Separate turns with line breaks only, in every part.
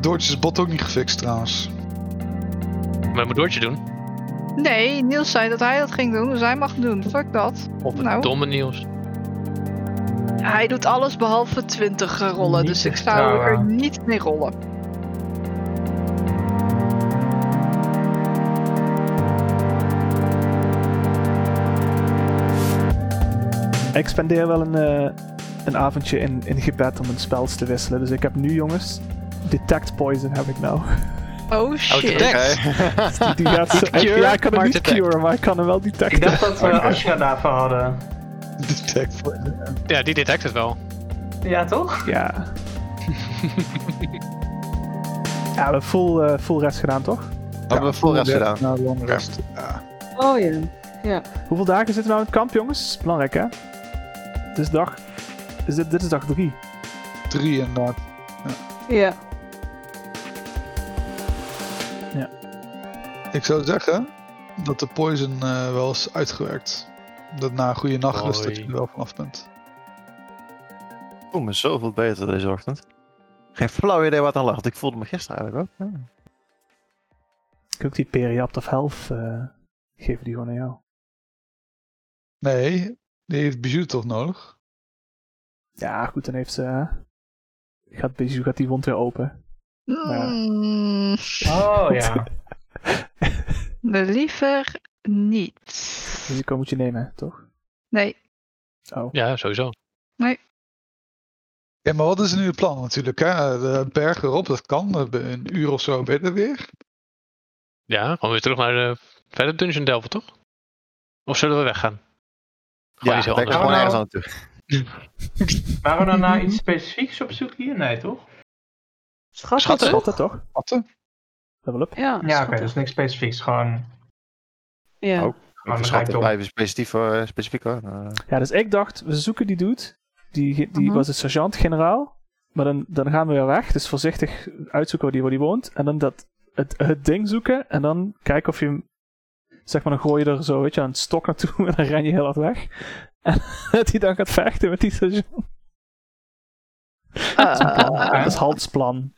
Doortjes bot ook niet gefixt trouwens.
Maar moet Doortje doen.
Nee, Niels zei dat hij dat ging doen, dus hij mag het doen. Fuck dat.
Op het
Nou.
domme nieuws.
Hij doet alles behalve 20 rollen,
Niet
dus
te
ik zou er
vertrouwen.
niet mee rollen.
Ik spendeer wel een, eh, een avondje in, in gebed om een spels te wisselen. Dus ik heb nu, jongens, Detect Poison heb ik nou.
Oh
Oké.
shit.
Detect.
Die, die gaat zo-
Cure,
ja, ik kan hem
maar
niet
detect.
cure, maar ik kan hem wel
Ik
detecten.
dacht dat eh, we Ashra daarvoor hadden.
Detect.
Ja, die detect het wel.
Ja, toch?
Ja. ja, we hebben full, eh, full rest gedaan, toch?
Hebben we full rest gedaan.
Nou, long rest. Ja.
Oh ja.
Hoeveel dagen zitten we nou in het kamp, jongens? Belangrijk, hè? Dit is dag... Is dit, dit is dag drie.
Drie inderdaad.
Ja.
Ik zou zeggen dat de poison eh, wel is uitgewerkt. Dat na een goede nachtrust dat je er wel vanaf bent.
Ik voel me zoveel beter deze ochtend. Geen flauw idee wat aan lag. want Ik voelde me gisteren eigenlijk ook. Ja.
Ah. Ik heb ook die periapt of health. eh, geven die gewoon aan jou.
Nee, die heeft Bijou toch nodig?
Ja, goed, dan heeft ze... eh, gaat, Bijou gaat die wond weer open.
Mm,
Oh ja.
liever niet.
Risico moet je nemen, toch?
Nee,
Oh.
Ja, sowieso.
Ja, maar wat is nu het plan natuurlijk? Hè? De berg erop, dat kan. eh, binnen Een uur of zo ben je er weer.
Ja, gewoon weer terug naar de verder dungeon delven, toch? Of zullen we weggaan? Gewoon iets heel
denk
anders.
gewoon
Oh, nou.
ergens aan toe.
Waren we dan naar iets specifieks op zoek hier? Nee, toch?
Schat,
Schatten?
toch?
Schatten, toch?
Atten?
Level up.
Ja,
Ja, oké,
schatten.
dus niks specifieks. Gewoon.
Oh,
Ja.
Ook.
dan
Ik
ga ik
schat,
door.
blijven specifiek, hoor, specifiek hoor. Eh,
Ja, dus ik dacht, we zoeken die dude. Die, die
Mhm.
was een sergeant-generaal. Maar dan, dan gaan we weer weg. Dus voorzichtig uitzoeken waar die, waar die woont. En dan dat, het, het ding zoeken. En dan kijken of je hem... Zeg maar, dan gooi je er zo, weet je, een stok naartoe. En dan ren je heel hard weg. En dat hij dan gaat vechten met die sergeant.
Eh,
Dat is Hans plan.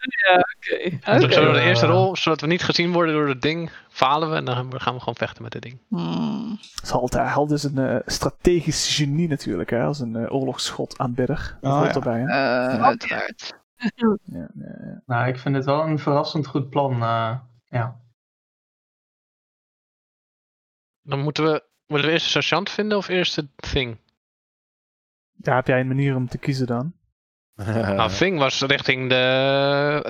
Oké.
Dus
Oké.
zullen we de
eh,
eerste rol, zodat we niet gezien worden door het ding, falen we en dan gaan we gaan we gewoon vechten met dit ding.
mm,
Dat is Halt, hè. Halt is een eh, strategisch genie natuurlijk, hè. Als een eh, oorlogsgodaanbidder. Dat
Ah,
hoort
ja.
erbij, hè.
eh, uiteraard.
Ja, ja, ja.
Nou, ik vind het wel een verrassend goed plan. eh.
Dan moeten we, moeten we eerst de sergeant vinden of eerst het thing?
Ja, heb jij een manier om te kiezen dan?
Nou, thing was richting de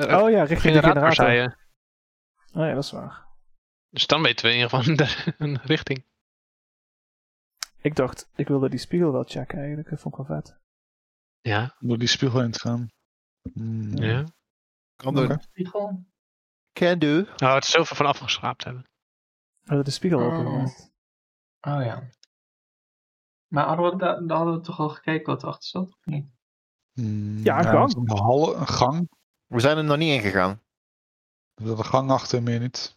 eh,
Oh ja, richting de
generator,
generator.
zei
Oh
je.
ja, dat is waar.
Dus dan weten we in ieder geval de- een richting.
Ik dacht, ik wilde die spiegel wel checken eigenlijk. Dat vond ik wel vet.
Ja,
Om door die spiegel heen te gaan. Hmm.
ja.
kan
Oké.
doen.
Spiegel?
Can do.
Nou, het is zoveel van afgeschraapt hebben.
We hadden de spiegel
Oh.
opengemaakt.
Oh ja. Maar hadden we, da- daar hadden we toch al gekeken wat erachter zat? of niet?
Hmm,
Ja, een
dat
gang.
is Een, hal, een gang.
We zijn er nog niet ingegaan.
Er zat een gang achter, meer niet.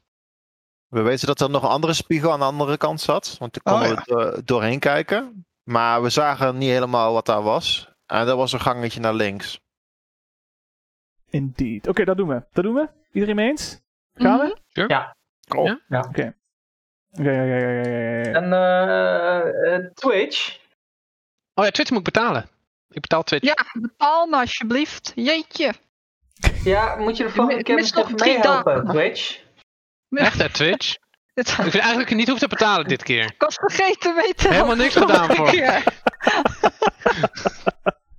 We weten dat er nog een andere spiegel aan de andere kant zat. Want toen
Oh,
konden we er doorheen kijken. Maar we zagen niet helemaal wat daar was. En dat was een gangetje naar links.
Indeed. Oké, dat doen we. Dat doen we. Iedereen mee eens? Gaan
Mhm.
we?
Cool.
Ja?
Oké, oké, oké, oké, oké.
En eh, eh, Twitch?
Oh ja, Twitch moet ik betalen. Ik betaal Twitch.
Ja, betaal me alsjeblieft. Jeetje.
Ja, moet je de
Oh,
volgende
Mi-
keer
mis
misschien
nog
even
drie
meehelpen, Twitch?
Echt hè, Twitch?
Het
Ik vind eigenlijk niet hoef te betalen dit keer.
ik was vergeten weten.
Helemaal niks gedaan voor.
Ja,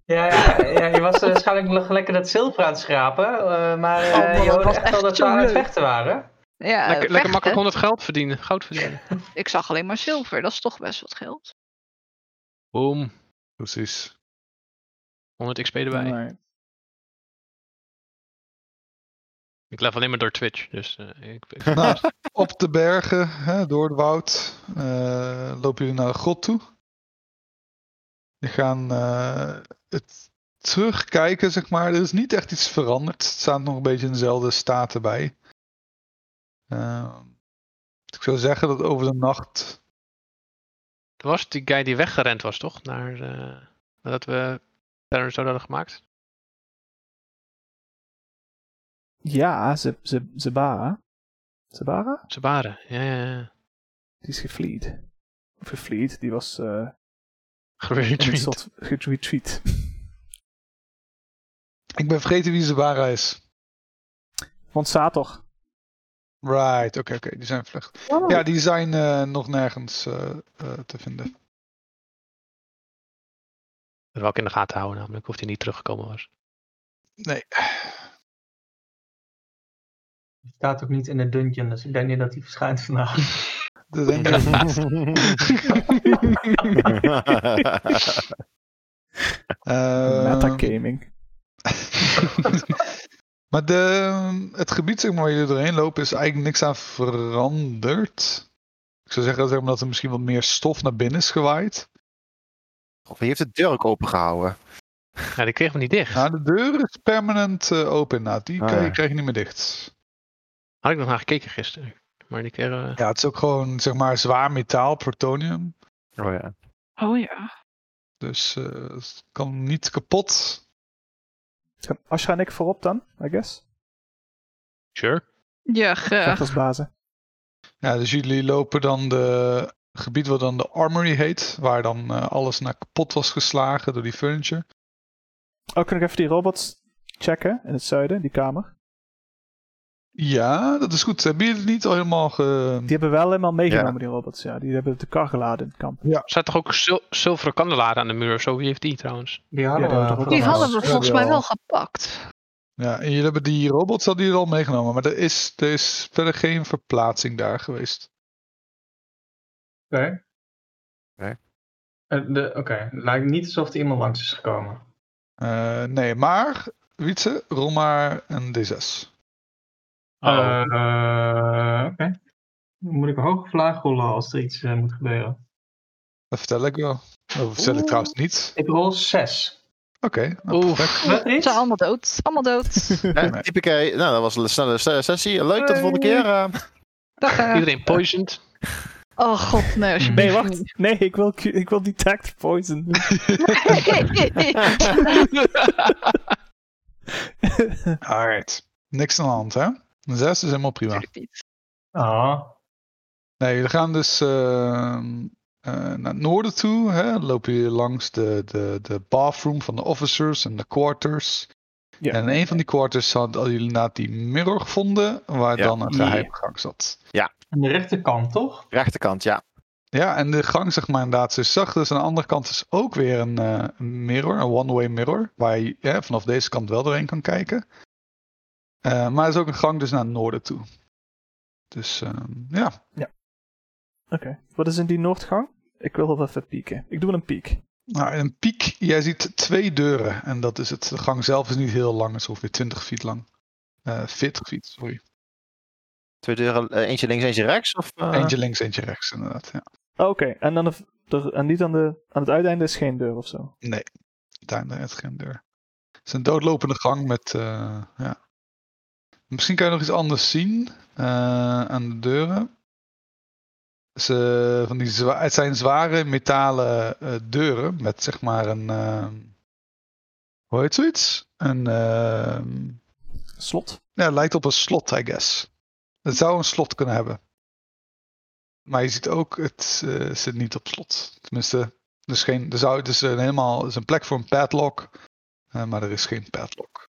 ja, ja, je was eh, waarschijnlijk nog lekker dat zilver aan het schrapen. eh, maar eh,
Oh man,
je
dat
hoorde
was
echt wel
echt
dat we
zo
aan het
leuk.
vechten waren.
Ja,
Lekker, lekker
vechten.
makkelijk 100 geld verdienen. Goud verdienen.
Ik zag alleen maar zilver, dat is toch best wat geld.
Boom.
Precies.
100 XP erbij.
Alright.
Ik leef alleen maar door Twitch. Dus eh, ik, ik-
Nou, op de bergen, hè, door het woud, eh, lopen jullie naar de grot toe. Je gaan eh, het terugkijken, zeg maar. Er is niet echt iets veranderd. Het staat nog een beetje in dezelfde staat erbij. Ehm, ik zou zeggen dat over de nacht...
Er was die guy die weggerend was, toch? Naar, eh, nadat we Terrorist hadden gemaakt.
Ja, ze, ze, Zebara. Zebara?
Sabara, ja, ja, ja.
Die is gefleed. Of gefleed, die was eh, in een
Geretreat.
soort retreat.
Ik ben vergeten wie Zabara is.
Want Sator.
Right, oké, oké, die zijn vlucht.
Oh,
Ja, die zijn eh, nog nergens eh, eh, te vinden.
Dat wou ik in de gaten houden namelijk, of die niet teruggekomen was.
Nee.
Het staat ook niet in de dungeon, dus ik denk niet dat hij verschijnt vandaag.
Dat denk ik. Eh,
Metagaming.
maar de, het gebied zeg maar, waar jullie doorheen lopen is eigenlijk niks aan veranderd. Ik zou zeggen zeg maar, dat er misschien wat meer stof naar binnen is gewaaid.
Of hij heeft de deur ook opengehouden.
Ja, die kreeg me niet dicht.
Nou, de deur is permanent eh, open. Nou, die
Ah,
kan-
ja.
krijg je niet meer dicht.
Had ik nog naar gekeken gisteren. Maar die keer... eh,
Ja, het is ook gewoon zeg maar, zwaar metaal, protonium.
Oh ja.
oh ja.
Dus eh, het kan niet kapot.
Gaan Asha en ik voorop dan, I guess.
Sure.
Ja, graag.
Vechtersbazen.
Ja, dus jullie lopen dan de gebied wat dan de Armory heet. Waar dan eh, alles naar kapot was geslagen door die furniture.
Oh, kun ik even die robots checken in het zuiden, die kamer?
Ja, dat is goed. Hebben jullie het niet al helemaal ge...
Die hebben wel helemaal meegenomen,
Ja.
die robots. Ja, die hebben de kar geladen in het kamp.
Er staat toch ook zil- zilveren kandelaren aan de muur of zo? Wie heeft die trouwens?
Die
Ja,
hadden we
dat hadden we.
vooraf.
Die hadden
Ja,
we volgens mij
wel.
wel gepakt.
Ja, en jullie hebben die robots hadden jullie al meegenomen. Maar er is, er is verder geen verplaatsing daar geweest.
Oké.
Oké.
Eh, de- Oké, het lijkt niet alsof er iemand langs is gekomen.
Eh, nee, maar... Wietse, rol maar een D6.
Oh,
Eh, Oké. Dan Moet ik een hoge vlaag rollen als er iets eh, moet gebeuren?
Dat vertel ik wel. Dat vertel ik
Oeh.
trouwens niet.
Ik rol 6.
Oké, nou,
Oeh.
perfect.
Wat
Ze
is?
zijn allemaal dood. Allemaal dood.
Ja, typieke, nou, dat was een snelle se- sessie. Leuk tot de volgende keer. eh.
Dag. eh.
iedereen poisoned.
Oh god, nee.
Nee,
alsjeblieft niet.
wacht. Nee, ik wil, cu- ik wil detect poison.
Alright. Niks aan de hand, hè? Een zes is helemaal prima.
Natuurlijk niet.
Ah,
Nee, jullie gaan dus ehm, eh, naar het noorden toe. Hè? Lopen jullie langs de, de, de bathroom van de officers en de quarters.
Ja.
En in een van die quarters hadden jullie inderdaad die mirror gevonden, waar
Ja.
dan een
Ja.
geheime gang zat.
aan de rechterkant toch?
Rechterkant, ja.
Ja, en de gang zeg maar inderdaad zo zacht. Dus aan de andere kant is ook weer een eh, een mirror, een one-way mirror, waar je hè, vanaf deze kant wel doorheen kan kijken. Eh, maar er is ook een gang dus naar het noorden toe. Dus ehm, ja,
Oké, wat is in die noordgang? Ik wil wel even pieken. Ik doe een piek.
Nou, in een piek, jij ziet twee deuren. En dat is het. De gang zelf is niet heel lang, het is ongeveer 20 feet lang. Eh 40 feet, sorry.
Twee deuren, eh, eentje links, eentje rechts. Of, eh,
Eentje links, eentje rechts, inderdaad. Ja.
Oh, Oké, en dan de, v- de- en niet aan, de, aan het uiteinde is geen deur of zo.
Daar daar is geen deur. Het is een doodlopende gang met. eh, ja. Misschien kan je nog iets anders zien eh, aan de deuren. Ze, van die zwa- het zijn zware metalen eh, deuren met zeg maar een. eh, hoe heet zoiets? Een. eh,
Slot.
Ja, het lijkt op een slot, I guess. Het zou een slot kunnen hebben. Maar je ziet ook, het eh, zit niet op slot. Tenminste, dus geen, er zou, het is een helemaal het is een plek voor een padlock. eh, maar er is geen padlock.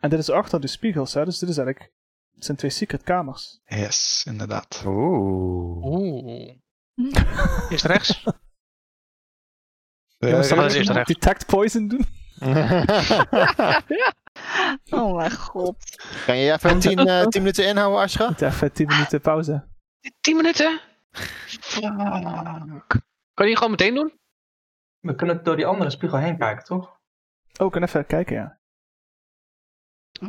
En dit is achter de spiegels, hè? dus dit is eigenlijk... Het zijn twee secret kamers.
Yes, inderdaad.
Oeh.
Oeh. Eerst rechts.
Eh,
dat
Jongens, dan
is
gaan we
eerst recht.
detect poison doen.
Oh mijn god.
kan je even 10 eh, 10 minuten inhouden, Ascha?
Moet Even 10 minuten pauze.
10 minuten?
Fuck.
Kan je die gewoon meteen doen?
We kunnen door die andere spiegel heen kijken, toch?
Oh, ik kan even kijken, ja.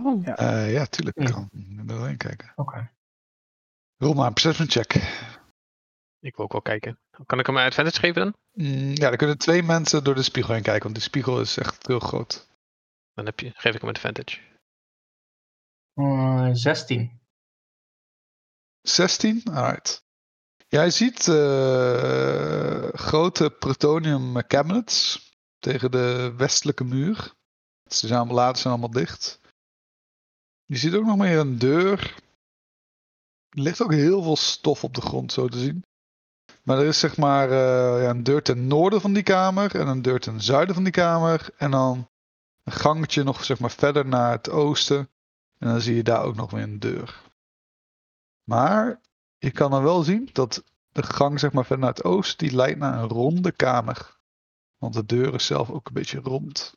Oh.
Eh, ja, tuurlijk. Ik
Ja.
kan er doorheen kijken.
Oké.
Rol maar een perception check.
Ik wil ook wel kijken. Kan ik hem advantage geven dan?
Mm, ja, er kunnen twee mensen door de spiegel heen kijken. Want die spiegel is echt heel groot.
Dan heb je, geef ik hem advantage.
Eh, 16.
16? Alright. Jij ziet eh, grote plutonium cabinets tegen de westelijke muur. Ze zijn allemaal later zijn allemaal dicht. Je ziet ook nog meer een deur. Er ligt ook heel veel stof op de grond, zo te zien. Maar er is zeg maar eh, ja, een deur ten noorden van die kamer en een deur ten zuiden van die kamer. En dan een gangetje nog zeg maar verder naar het oosten. En dan zie je daar ook nog weer een deur. Maar je kan dan wel zien dat de gang zeg maar verder naar het oosten, die leidt naar een ronde kamer. Want de deur is zelf ook een beetje rond.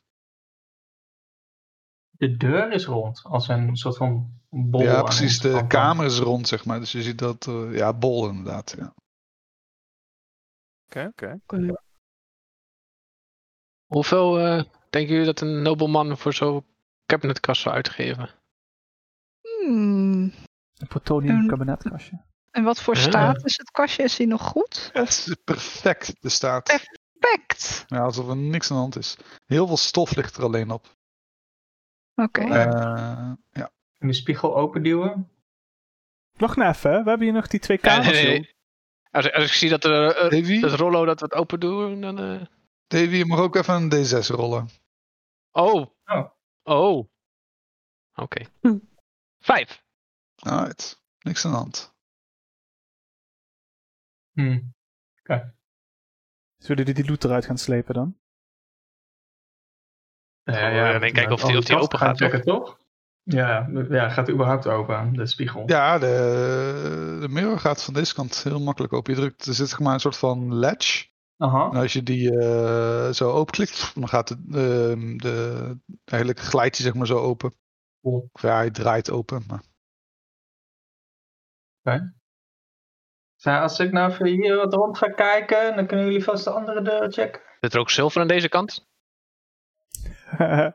De deur is rond, als een soort van bol.
ja,
aan
precies.
onze
De
kant dan.
kamer is rond, zeg maar. Dus je ziet dat, eh, ja, bol inderdaad. Ja.
Oké, oké.
Hoeveel eh, denken jullie dat een nobleman voor zo'n cabinetkast zou uitgeven?
Hmm.
Een plutonium
Een-
kabinetkastje.
En wat voor
Ja.
staat is het kastje? Is hij nog goed?
Het is perfect, de staat.
Perfect. Perfect.
Ja, alsof er niks aan de hand is. Heel veel stof ligt er alleen op.
Oké.
Eh, ja.
En Oh. de spiegel openduwen.
Nog net even, hè? we hebben hier nog die twee kamers.
nee, nee.
joh.
Als, als ik zie dat, er, eh, dat
Davy,
Rollo dat wat open doet, dan... eh,
Davy, je mag ook even een D6 rollen.
Oh.
Oh.
Oh. Oké.
Hm.
Vijf.
Alright. Niks aan de hand.
Hm.
Zullen jullie die loot eruit gaan slepen dan?
ja, ja, en ik kijk
Oh,
of die- of die open gaat,
Checken, toch? Ja, ja, gaat die überhaupt open, de spiegel?
Ja, de, de mirror gaat van deze kant heel makkelijk open. Je drukt, er zit zeg maar een soort van latch.
Aha.
En als je die eh, zo openklikt, dan gaat de, ehm, de eigenlijk glijdt hij zeg maar zo open.
Cool.
Of ja, hij draait open. Maar...
Nou, als ik nou even hier wat rond ga kijken, dan kunnen jullie vast de andere deuren checken.
Zit er ook zilver aan deze kant?
Eh,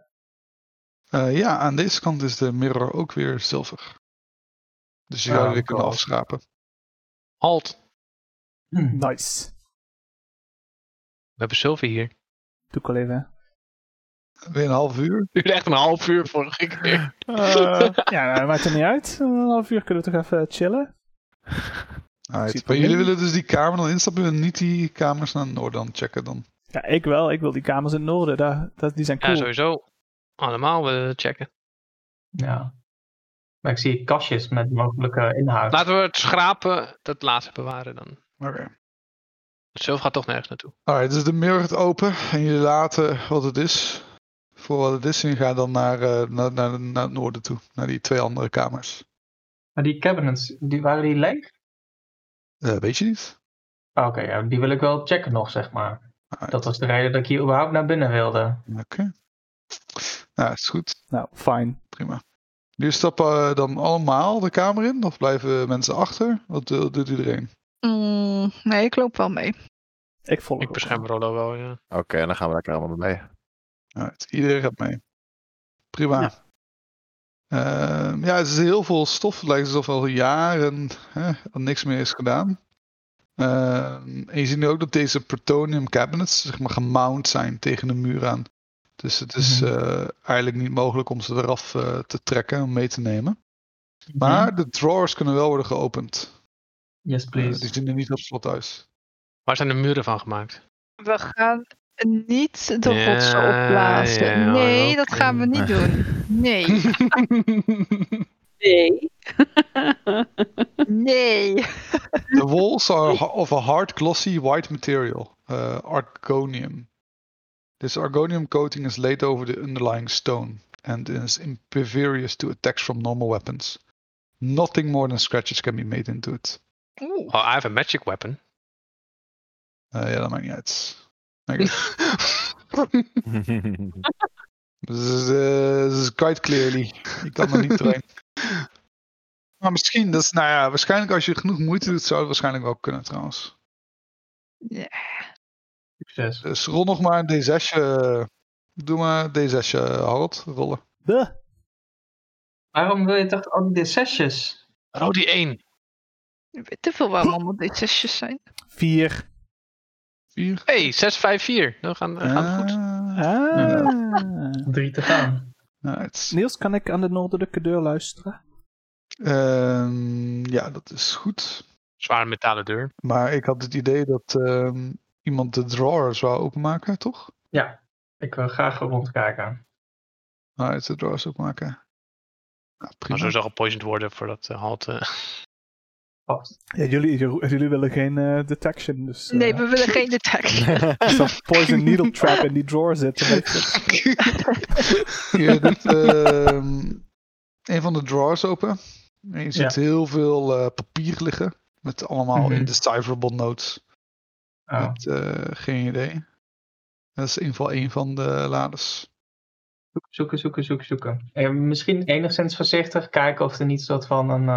ja, aan deze kant is de mirror ook weer zilver. Dus je
Ah,
zou weer kunnen
cool.
afschrapen.
Halt.
Hmm.
Hm.
nice.
We hebben zilver hier.
Doe ik al even. hè.
Weer een half uur.
Duurde echt een half uur vorige keer.
Eh, ja, nou, maakt er niet uit. Een half uur kunnen we toch even chillen?
Alright.
Ziet er
Maar jullie
niet.
willen dus die kamer dan instappen en niet die kamers naar Noordam checken dan.
Ja, ik wel. Ik wil die kamers in het noorden. Daar, dat, die zijn
Ja,
cool. Ah.
sowieso. Allemaal willen we checken.
Ja. Maar ik zie kastjes met mogelijke inhoud.
Laten we het schrapen, dat laatste bewaren dan.
Oké.
Het zilver gaat toch nergens naartoe.
Alright, dus de mirror gaat open en jullie laten wat het is. Voor wat het is en je gaat dan naar, eh, naar, naar, naar het noorden toe. Naar die twee andere kamers.
Maar die cabinets, die, waren die leeg?
Eh, weet je niet?
Ah, Oké, ja, die wil ik wel checken nog, zeg maar.
Ah,
Alright.
Dat was de reden dat ik hier überhaupt naar binnen wilde.
Oké. Nou, is goed.
Nou, fijn.
Prima. Jullie stappen eh, dan allemaal de kamer in? Of blijven mensen achter? Wat eh, doet iedereen?
Mm, nee, ik loop wel mee.
Ik volg
Ik
ook.
bescherm Rollo wel, ja.
Oké, dan gaan we lekker allemaal mee.
Alright, iedereen gaat mee. Prima.
Ja.
Ehm, ja, het is heel veel stof. Het lijkt alsof al jaren hè, al niks meer is gedaan. Ehm, en je ziet nu ook dat deze plutonium cabinets zeg maar, gemount zijn tegen de muur aan. Dus het is
Mhm.
eh, eigenlijk niet mogelijk om ze eraf eh, te trekken, om mee te nemen.
Mhm.
Maar de drawers kunnen wel worden geopend.
Yes,
Eh,
please.
die zien er niet op slot uit.
Waar zijn de muren van gemaakt?
We gaan niet de
Ja,
rotsen opblazen.
ja,
nee,
oké.
dat gaan we niet doen. Nee,
Nee.
nee.
The walls are ha- of a hard glossy white material, uh, argonium. This argonium coating is laid over the underlying stone and is impervious to attacks from normal weapons. Nothing more than scratches can be made into it.
Oeh.
Oh, I have a magic weapon.
Eh, ja, dat maakt niet uit. Oké. This is, eh, this is quite clearly. Ik kan er niet doorheen. Maar misschien, dat is, nou ja, waarschijnlijk als je genoeg moeite doet, zou het waarschijnlijk wel kunnen trouwens.
Ja.
Succes.
Dus rol nog maar een D6. eh, Doe maar D6, eh, Harold. Rollen.
Duh.
Waarom wil je toch al die D6'jes?
Oh, die één.
Je weet te veel waarom allemaal dit zesjes zijn.
Vier.
Vier.
hey, zes, vijf, vier. Dan gaan, dan gaat het goed.
Ah,
Ah.
Drie te gaan.
nice.
Niels, kan ik aan de noordelijke deur luisteren?
Ehm, ja, dat is goed.
Zware metalen deur.
Maar ik had het idee dat ehm, iemand de drawer zou openmaken, toch?
Ik wil graag rondkijken.
Nou, het de drawers openmaken. Nou,
Maar
prima.
zo zou gepoisoned worden voordat eh halt. eh,
Past.
Ja, jullie, jullie willen geen eh, detection, dus... eh,
Nee, we willen geen detect.
Als er poison needle trap in die drawer zit, dan weet je het.
Je doet ehm, een van de drawers open. En je ziet heel veel eh, papier liggen. Met allemaal
Mhm.
indecipherable notes.
Oh,
Met, eh, geen idee. Dat is in ieder geval een van de lades.
zoeken, zoeken, zoeken, zoeken, zoeken. Eh, misschien enigszins voorzichtig kijken of er niet soort van een,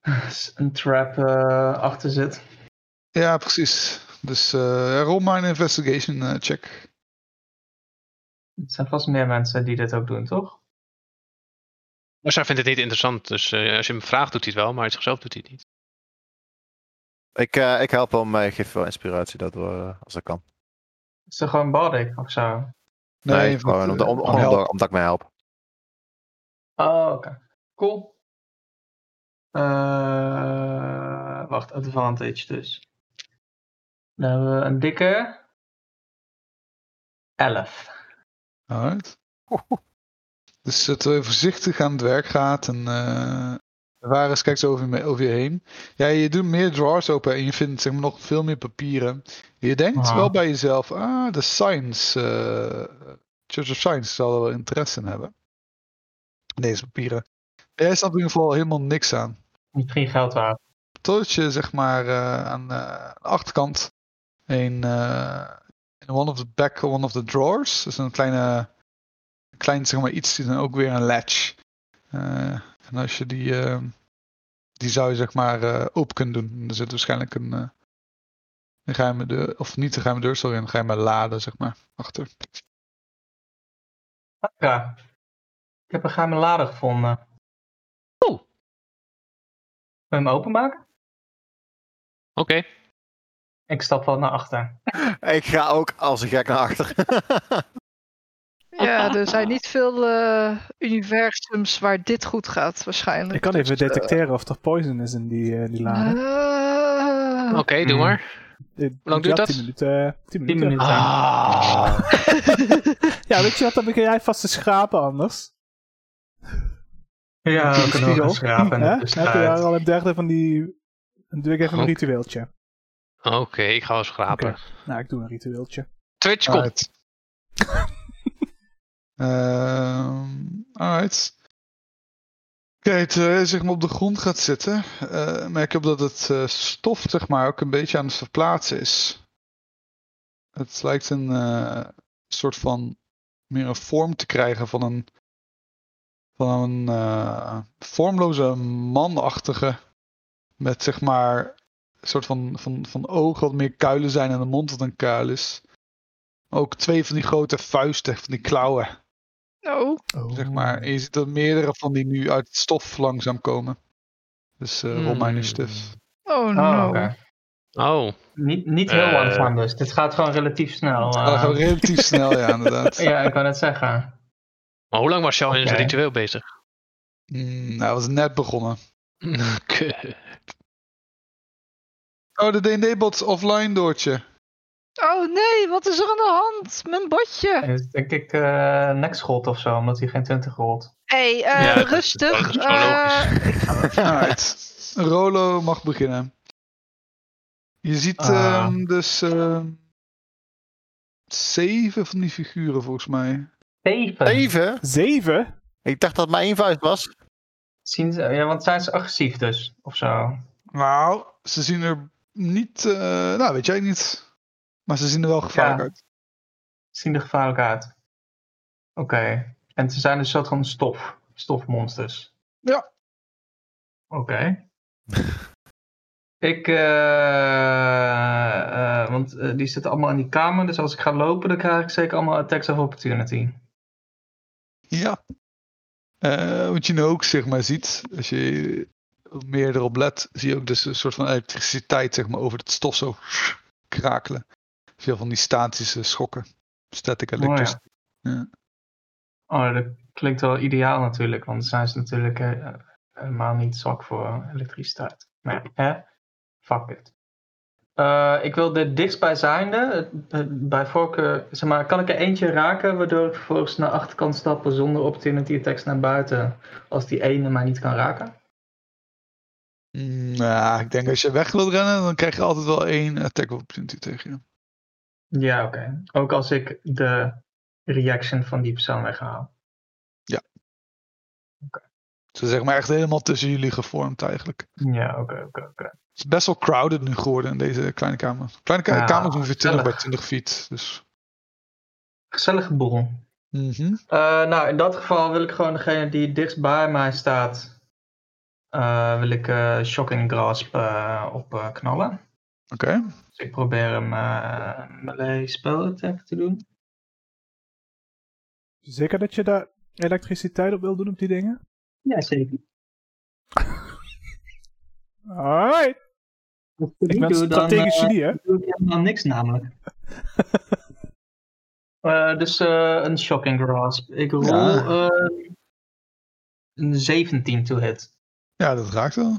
eh, een trap eh, achter zit.
Ja, precies. Dus eh rol maar een investigation eh, check.
Er zijn vast meer mensen die dit ook doen, toch?
Maar zij vindt het niet interessant, dus eh, als je hem vraagt doet hij het wel, maar uit zichzelf doet hij het niet.
Ik, eh, ik help hem, ik geef wel inspiratie daardoor, eh, als dat kan.
Is er gewoon Bardic of zo?
Nee,
want,
gewoon om,
eh,
om, om-
help.
omdat, omdat ik mij help.
Oh, oké. Cool. Eh, wacht, advantage dus. Dan hebben we een dikke 11.
Alright. Dus eh, terwijl je voorzichtig aan het werk gaat en eh waar is, kijkt zo over, je- over je heen. Ja, je doet meer drawers open en je vindt zeg maar, nog veel meer papieren. Je denkt
Ah.
wel bij jezelf, ah, de science, eh, Church of Science zal er wel interesse in hebben. Deze papieren. Er staat in ieder geval helemaal niks aan.
Misschien geld waard.
Totdat je zeg maar eh, aan eh, de achterkant een eh, in one of the back one of the drawers, dus een kleine klein zeg maar iets, dan ook weer een latch. Eh, en als je die eh, die zou je zeg maar eh, open kunnen doen, er zit waarschijnlijk een eh, een geheime deur of niet een geheime deur, sorry, een geheime lade zeg maar achter.
Ja. Ik heb een geheime lader gevonden. Oeh. Wil je hem openmaken?
Oké,
Ik stap wel naar achter.
Ik ga ook als een gek naar achter.
Ja, er zijn niet veel eh, universums waar dit goed gaat, waarschijnlijk.
Ik kan even
Dus, eh,
detecteren of er poison is in die, eh, die lade.
eh,
oké, doe
Mm.
maar.
Eh,
lang duurt
ja,
dat? Ah.
10 minuten. eh, 10
10
minuten.
minuten.
Ja, weet je wat? Dan begin jij vast te schrapen anders.
Ja, we kunnen wel gaan schrapen in de
Hm, Hè? Dan heb je
tussentijd.
daar al een derde van die... Dan doe ik even een
Oké.
ritueeltje.
Oké, ik ga wel schrapen.
Oké. Nou, ik doe een ritueeltje.
Twitch komt.
Alright. Ehm, alright. Oké, terwijl je zeg maar op de grond gaat zitten, eh, merk je op dat het eh, stof zeg maar ook een beetje aan het verplaatsen is. Het lijkt een eh, soort van meer een vorm te krijgen van een van een eh, vormloze manachtige met zeg maar een soort van, van, van ogen wat meer kuilen zijn en een mond wat een kuil is. Ook twee van die grote vuisten, van die klauwen,
Oh,
zeg maar. En je ziet dat meerdere van die nu uit het stof langzaam komen. Dus eh rol mijn
Hmm.
initiatief.
oh no.
Oh, oké.
Oh,
Niet, niet heel
Eh.
langzaam dus. Dit gaat gewoon relatief snel.
Dat gaat
eh.
Oh, relatief snel, ja, inderdaad.
ja, ik kan het zeggen.
maar hoe lang was jou in zijn
Oké.
ritueel bezig?
Mm, nou, dat was net begonnen.
Kut.
Oh, de D&D-bot is offline, Doortje.
Oh nee, wat is er aan de hand? Mijn botje.
Hij is denk ik eh next gold of zo, omdat hij geen 20 rolt.
Hé, eh,
Ja, dat is wel- dat
rustig.
is wel
eh,
Alright. Rolo mag beginnen. Je ziet
Ah.
ehm, dus ehm, zeven van die figuren, volgens mij.
7.
Even?
Zeven?
Ik dacht dat het maar één vuist was.
Zien ze, ja, want zijn ze agressief dus, of zo.
Nou, ze zien er niet. eh, nou, weet jij niet. Maar ze zien er wel gevaarlijk
Ja.
uit.
Zien er gevaarlijk uit. Oké. En ze zijn dus soort van stof. Stofmonsters.
Ja.
Oké. ik, eh, eh, want eh, die zitten allemaal in die kamer, dus als ik ga lopen, dan krijg ik zeker allemaal attacks of opportunity.
Ja. Eh, wat je nu ook zeg maar ziet, als je meer erop let, zie je ook dus een soort van elektriciteit zeg maar over het stof zo krakelen. Veel van die statische schokken. Static
Oh, ja.
electricity.
Oh, dat klinkt wel ideaal natuurlijk, want daar zijn ze natuurlijk eh, helemaal niet zwak voor elektriciteit. Maar ja, hè? Fuck it. Eh, ik wil de dichtstbijzijnde, eh, eh, bij voorkeur, zeg maar, kan ik er eentje raken waardoor ik vervolgens naar achter kan stappen zonder opportunity attacks naar buiten, als die ene mij niet kan raken?
Mm, Nou, ik denk als je weg wilt rennen, dan krijg je altijd wel één attack of opportunity tegen je.
Ja, oké. Ook als ik de reaction van die persoon weghaal.
Ze zeg maar echt helemaal tussen jullie gevormd eigenlijk.
Ja, oké, oké, oké.
Het is best wel crowded nu geworden in deze kleine kamer. Kleine ka
Ja,
kamer is ongeveer 20 bij
gezellig.
20 feet. Dus.
Gezellige boel.
Mhm.
Eh, nou, in dat geval wil ik gewoon degene die dichtst bij mij staat, eh, wil ik eh, Shocking Grasp eh, op eh, knallen.
Oké.
Dus ik probeer hem eh melee spell attack te doen.
Zeker dat je daar elektriciteit op wil doen op die dingen?
Ja, zeker.
Alright.
Als
Ik ben
eh,
strategisch genie, hè?
doe ik helemaal niks namelijk. Eh, dus eh, een Shocking Grasp. Ik rol
Ja.
eh, een 17 to hit.
Ja, dat raakt wel.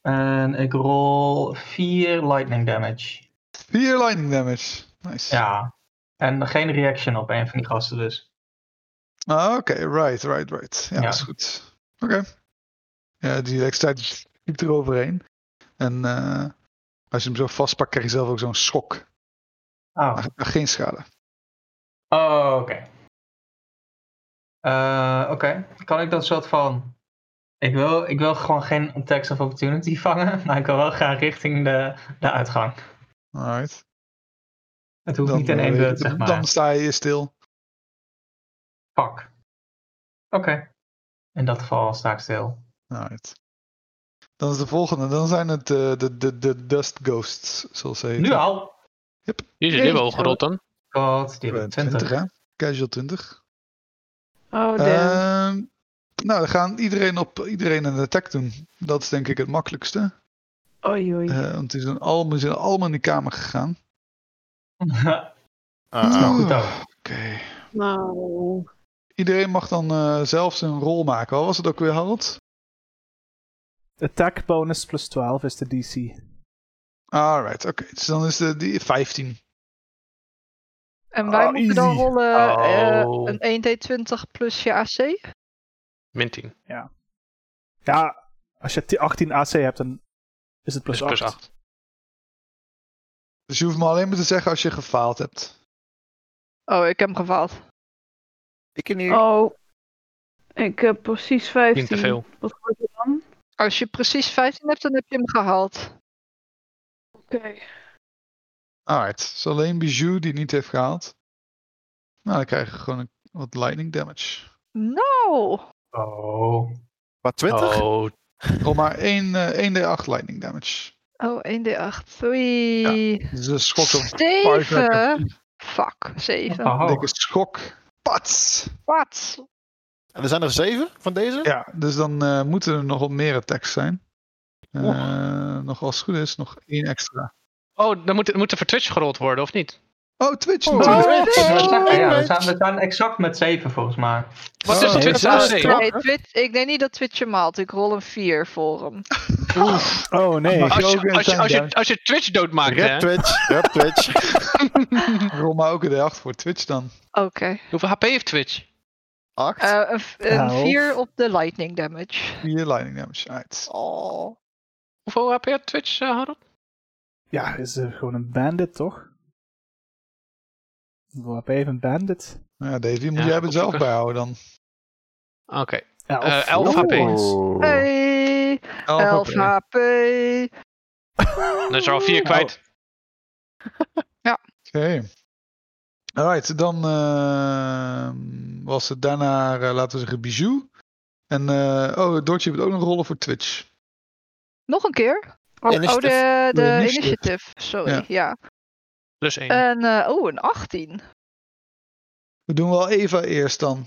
En ik rol 4 lightning damage.
4 lightning damage. Nice.
Ja. En geen reaction op een van die gasten dus.
Ah, Oké, right, right, right. Ja,
Ja.
dat is goed. Oké. Ja, die elektriciteit liep er overheen. En eh, als je hem zo vastpakt, krijg je zelf ook zo'n schok.
Oh,
Maar, maar geen schade.
oh oké. Eh, oké, kan ik dan soort van... Ik wil, ik wil gewoon geen attacks of opportunity vangen, maar ik wil wel gaan richting de, de uitgang.
Alright.
Het hoeft niet in
eh,
één beurt,
dan-
zeg maar.
dan sta je stil.
Fuck. Oké. In dat geval sta ik stil.
Alright. Nou, Dan is de volgende. Dan zijn het eh, de, de, de Dust Ghosts, zoals ze heten.
Nu al!
Die is
Jeetje.
wel gerot dan.
God, die
Eh,
hebben 20.
20, hè? Casual 20.
Oh, damn.
Ehm, nou, dan gaan iedereen op iedereen een attack doen. Dat is denk ik het makkelijkste.
Oei, oei.
Eh, want die zijn allemaal, die zijn allemaal in die kamer gegaan.
Ah,
goed ook.
Oké.
Nou.
Iedereen mag dan eh, zelf zijn rol maken. Wat was het ook weer, Harold?
Attack bonus plus 12 is de DC.
Alright, oké. Dus dan is de, die 15.
En wij
oh,
moeten dan
easy.
rollen eh,
Oh.
een 1d20 plus je AC?
Min 10.
Ja, als je 10 18 AC hebt, dan is het plus
Dus
8.
plus 8.
Dus je hoeft me alleen maar te zeggen als je gefaald hebt.
Oh, ik heb hem gefaald.
Ik in hier.
Oh. Ik heb precies 15.
Niet te veel.
Wat wordt er dan?
Als je precies 15 hebt, dan heb je hem gehaald.
Oké.
Alright, dus alleen Bijou die niet heeft gehaald. Nou, dan krijg je gewoon een, wat lightning damage.
Nou,
Oh.
Wat, 20?
Oh,
Oh, maar 1, eh 1d8 lightning damage.
Oh, 1d8. Oei.
Dus een schok van
Zeven. Fuck, 7.
Oh.
Dikke schok. Pats!
Wat?
En er zijn er zeven van deze?
Ja, dus dan eh, moeten er nog wat meer attacks zijn. Eh, Nog als het goed is, nog één extra.
oh dan moet, moet er voor Twitch gerold worden, of niet?
Oh, Twitch
Oh,
natuurlijk.
Twitch.
Ja, we staan, ja, we
Twitch.
staan, we staan exact met 7 volgens mij.
Wat is
Oh,
de Twitch
dat
AC?
is knap.
Nee, Twitch, ik denk niet dat Twitch hem haalt. Ik rol een 4 voor hem.
Oh nee.
Mag
Als
je ook
je,
weer
als, je,
zijn
als, je,
daar?
als je Twitch doodmaakt,
Rap
hè?
Twitch, rap Twitch.
Rol maar ook een D8 voor Twitch dan.
Oké.
Hoeveel HP heeft Twitch?
Acht.
Eh, een v- een
Nou.
Elf.
4 op de lightning damage.
Vier lightning damage. Right.
Oh.
Hoeveel HP heeft Twitch, eh, Harold?
Ja, is eh, gewoon een bandit, toch? Hoeveel heb je een bandit?
Nou Ja, Davy, moet
Ja,
jij het zelf
opzoeken.
bijhouden dan.
Oké.
Ja,
Eh,
of-
elf
of-
HP.
Oh.
Hey, 11
HP.
HP.
Oh, Dan is er al 4
Oh.
Nou.
kwijt.
Oké. Alright, dan ehm, was het daarna, eh, laten we zeggen, Bijou. En, eh, oh, Dortje moet ook nog rollen voor Twitch.
Nog een keer? Oh,
Initiative.
oh, de, de
De initiative.
initiative. Sorry,
Ja.
ja.
Plus 1.
En, eh, oh, een 18.
We doen wel Eva eerst dan.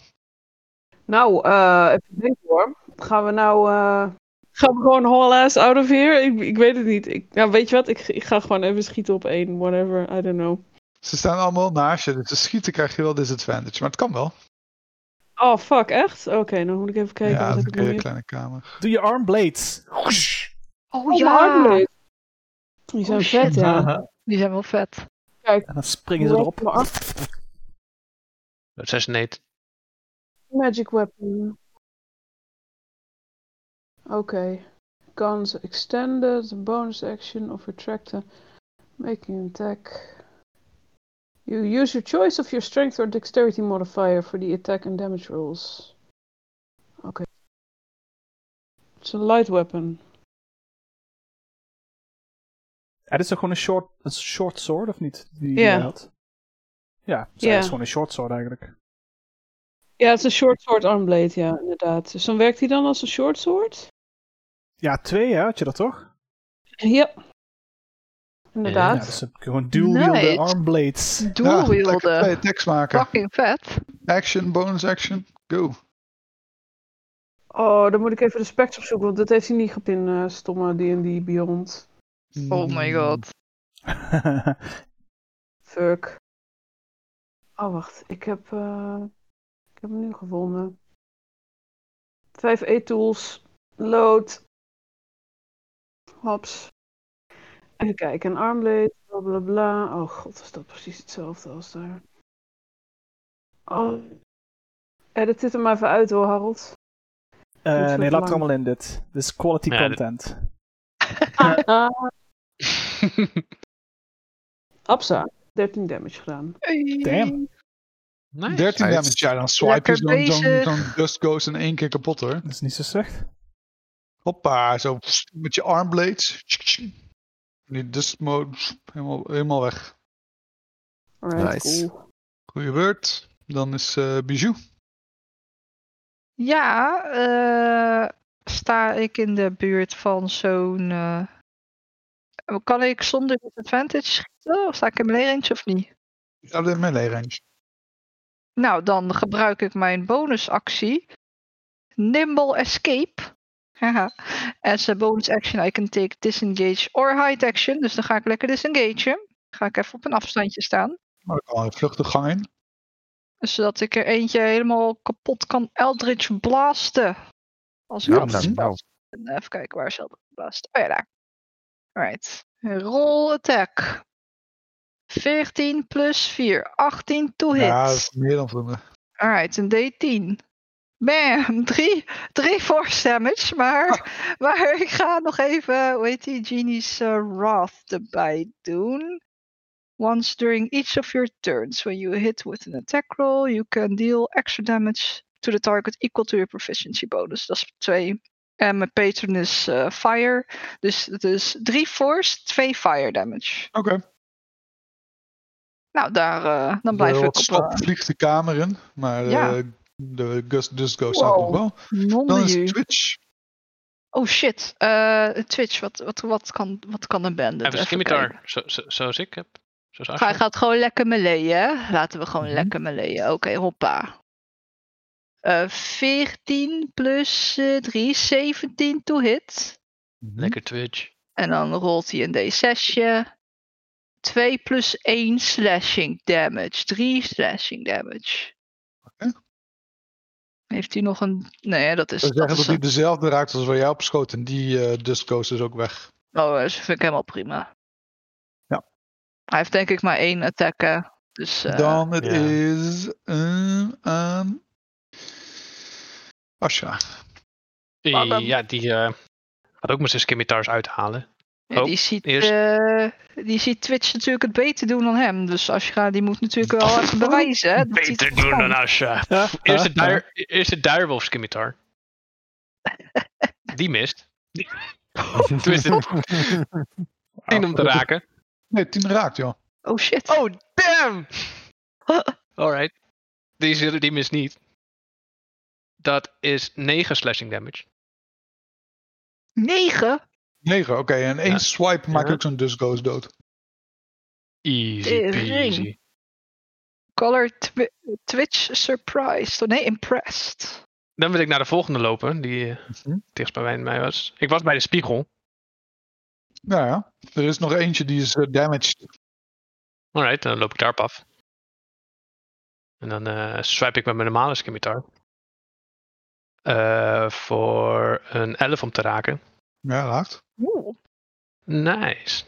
Nou, eh, even denken hoor. Gaan we nou... eh, Gaan we gewoon whole ass out of here? Ik, ik weet het niet. Ik, nou, weet je wat? Ik, ik ga gewoon even schieten op één. Whatever. I don't know.
Ze staan allemaal naast je, dus te schieten krijg je wel disadvantage. Maar het kan wel.
Oh, fuck. Echt? Oké, dan moet ik even kijken.
ja,
wat heb
dat is
ik nog
een hele
meer?
kleine kamer.
Doe je armblades.
Oh,
Oh, mijn
ja.
armblade. Die
Oh,
zijn
shit.
vet, ja.
Die zijn wel vet.
En dan springen ze
Hoe
erop.
werkt mijn af-
Dat is neet.
Magic weapon. Oké. Guns extended, bonus action of retracted, making an attack. You use your choice of your strength or dexterity modifier for the attack and damage rolls. Oké. It's a light weapon.
Het is toch gewoon een short, een short sword, of niet? Die
Ja.
hij had. Ja, zij
Ja.
is gewoon een short sword eigenlijk.
Ja, het is een short sword armblade, ja, inderdaad. Dus dan werkt hij dan als een short sword?
Ja, twee hè, had je dat toch?
Ja.
Ja,
Inderdaad.
dus gewoon dual-wielde
Nice.
armblades.
lekker
Dual-wielden.
twee attacks maken.
Fucking vet.
Action, bonus action, go.
Oh, dan moet ik even de specs opzoeken, want dat heeft hij niet gehad in eh, stomme D&D Beyond.
Oh my god.
Fuck. Oh, wacht. Ik heb, eh, ik heb hem nu gevonden. 5 E-tools. Load. Hops. Even kijken. Een armblade. Bla bla bla. Oh god, is dat precies hetzelfde als daar. Oh. Edit dit er maar even uit hoor, Harold.
Eh,
Niet zo
nee, laat
lang.
het allemaal in dit. Dit is quality
Ja, dit-
content.
Ah, Absa. 13 damage gedaan.
Damn.
nice.
13 damage, ja, dan swipe je zo'n
Lekker
zo'n-
bezig.
zo'n Dust Ghost in één keer kapot hoor.
Dat is niet zo slecht.
Hoppa, zo pst, met je armblades. Tsk, tsk. Die Dust mode, pst, helemaal, helemaal weg.
Alright,
Nice.
cool.
Goeie beurt. Dan is eh Bijou.
Ja, eh, sta ik in de buurt van zo'n... eh, Kan ik zonder disadvantage schieten? Of sta ik in mijn range of niet?
Alleen melee range.
Nou, dan gebruik ik mijn bonusactie. Nimble Escape. Haha. As a bonus action I can take disengage or hide action. Dus dan ga ik lekker disengagen. Ga ik even op een afstandje staan.
Maar ik kan een vluchtige gang in.
Zodat ik er eentje helemaal kapot kan Eldritch blasten. Als ik
Nou,
dat
nou, nou.
En Even kijken, waar is Eldritch blast? Oh ja, daar. Alright. Roll attack. 14 plus 4. 18 to hit.
Ja, dat is meer dan voldoende.
Alright, een D10. Bam, drie, drie force damage, maar, maar ik ga nog even, hoe heet die, Genie's eh, Wrath erbij doen. Once during each of your turns, when you hit with an attack roll, you can deal extra damage to the target equal to your proficiency bonus. Dat is twee. En mijn patron is eh, fire, dus het is drie force, twee fire damage.
Oké.
Nou, daar, eh, dan blijf
De
ik op
stap vliegt de kamer in, maar eh,
Ja.
de Gust, Dust Ghost staat nog
Wow.
wel.
eh, non
Dan is
you.
het Twitch.
Oh shit, eh, Twitch, wat, wat, wat, kan, wat kan een Dus band?
Even scimitar, zo- zo- zoals ik heb. Zoals
Hij
Axel.
gaat gewoon lekker meleeën, hè? Laten we gewoon
Mhm.
lekker meleeën. Oké, hoppa. Eh 14 plus eh, 3, 17 to hit.
Lekker Twitch.
En dan rolt hij een D6'je. 2 plus 1 slashing damage. 3 slashing damage.
Oké.
Heeft hij nog een... Nee, dat is...
Ze zeggen
dat
dat
is
die
een...
dezelfde raakt als waar jou op schoot. En die eh Dust Ghost is ook weg.
Oh, dat vind ik helemaal prima.
Ja.
Hij heeft denk ik maar één attack, hè? Dus... eh,
Dan het
Ja.
is ehm, aan Asha.
Die-
Waarom?
Ja, die eh, gaat ook met zijn scimitars uithalen.
Ja,
Oh,
die, ziet,
eerst-
eh, die ziet Twitch natuurlijk het beter doen dan hem. Dus Ashra die moet natuurlijk wel even bewijzen. hè, dat hij het
Oh, Beter
kan.
doen dan Asha.
Ja,
eh. Eerst
ja,
de dire- eerst de direwolf scimitar. Die mist. Tenminste, tien om te raken.
Nee, 10 raakt, joh.
Oh shit.
Oh, damn! Alright. Die, is- die mist niet. Dat is 9 slashing damage.
9?
9, oké. En één
Ja.
swipe maakt
Ja.
ook zo'n Dust Ghost dood.
Easy
Tering.
peasy.
Color twi- Twitch surprised. Oh nee, impressed.
Dan wil ik naar de volgende lopen, die eh, dichtst bij mij- mij was. Ik was bij de spiegel.
Nou ja, er is nog eentje die is eh, damaged.
Alright, dan loop ik daarop af. En dan eh swipe ik met mijn normale scimitar. Eh, voor een 11 om te raken.
Ja, raakt.
Oeh.
Nice.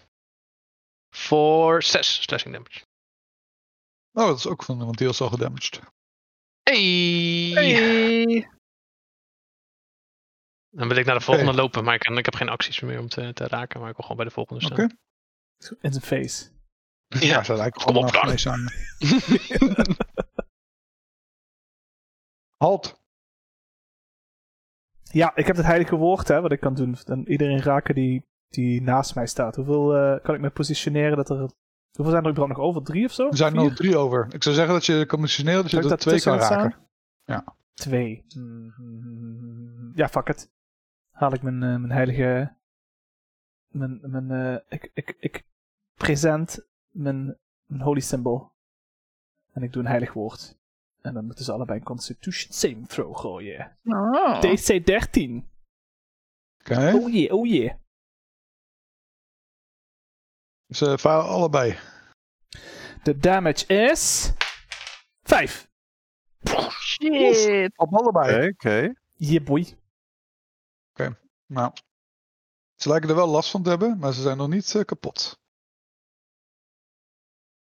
Voor 6 slashing damage.
Oh, dat is ook van, want die was al gedamaged.
Hey!
Hey.
Dan wil ik naar de volgende lopen, maar ik, ik heb geen acties meer om te, te raken. Maar ik wil gewoon bij de volgende staan.
Oké.
In zijn face.
Ja, ze lijken
Kom
gewoon
op,
naast
dan.
mij samen. Halt.
Ja, ik heb het heilige woord, hè, wat ik kan doen. Dan iedereen raken die, die naast mij staat. Hoeveel eh, kan ik me positioneren dat er... Hoeveel zijn er überhaupt nog over? Drie of zo?
Er zijn er
Vier?
nog drie over. Ik zou zeggen dat je conditioneel Dus dat je
Zou ik
er
dat
twee kan
tussenin
raken.
Twee. Ja, fuck het. Haal ik mijn, eh, mijn heilige... Mijn, mijn, eh, ik, ik, ik present mijn, mijn holy symbol. En ik doe een heilig woord. En dan moeten ze allebei een constitution saving throw gooien.
Oh.
DC 13.
Oké.
Oh jee, oh jee.
Ze falen allebei.
De damage is... Vijf.
Shit.
Op allebei.
Oké, oké.
Yeah, boy.
Nou. Ze lijken er wel last van te hebben, maar ze zijn nog niet eh, kapot.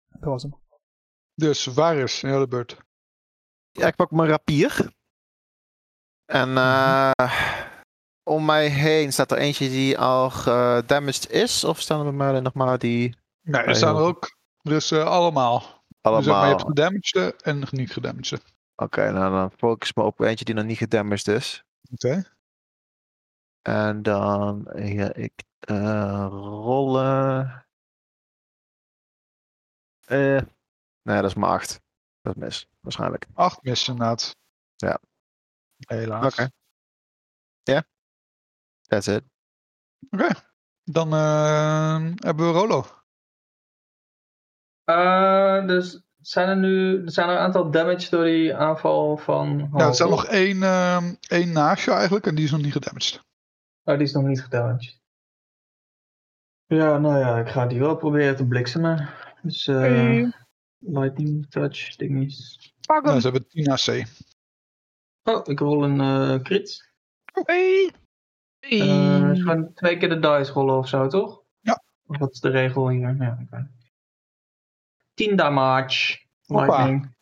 Dat was hem.
Dus waar is in de beurt?
Ja, ik pak mijn rapier. En
Mhm.
eh, om mij heen staat er eentje die al gedamaged is. Of staan er bij mij alleen nog maar die
Nee, er
Nee,
staan er
joh.
ook. Dus eh, allemaal. Dus zeg maar, je
allemaal...
hebt gedamaged en niet gedamaged.
Oké, nou dan focus ik me op eentje die nog niet gedamaged is.
Oké.
En dan ga ik eh, rollen. Eh, nee, dat is maar 8. Dat is mis, waarschijnlijk.
Acht missen inderdaad.
Ja.
Helaas.
Oké. Ja. That's it.
Dan eh, hebben we Rolo.
Eh, dus zijn er nu er zijn er een aantal damage door die aanval van.
Ja, er staat
Oh.
nog één, ehm één naast je eigenlijk en die is nog niet gedamaged.
Oh, die is nog niet gedamaged. Ja, nou ja, ik ga die wel proberen te bliksemen. Dus eh,
Hey.
lightning touch dingies.
Pak
Nou,
hem.
ze hebben 10 AC.
Oh, ik rol een eh crit.
Hey.
Eh, dus gewoon twee keer de dice rollen of zo, toch?
Ja.
Of wat is de regel hier? Ja, ik weet het. 10 damage.
Hoppa.
Lightning.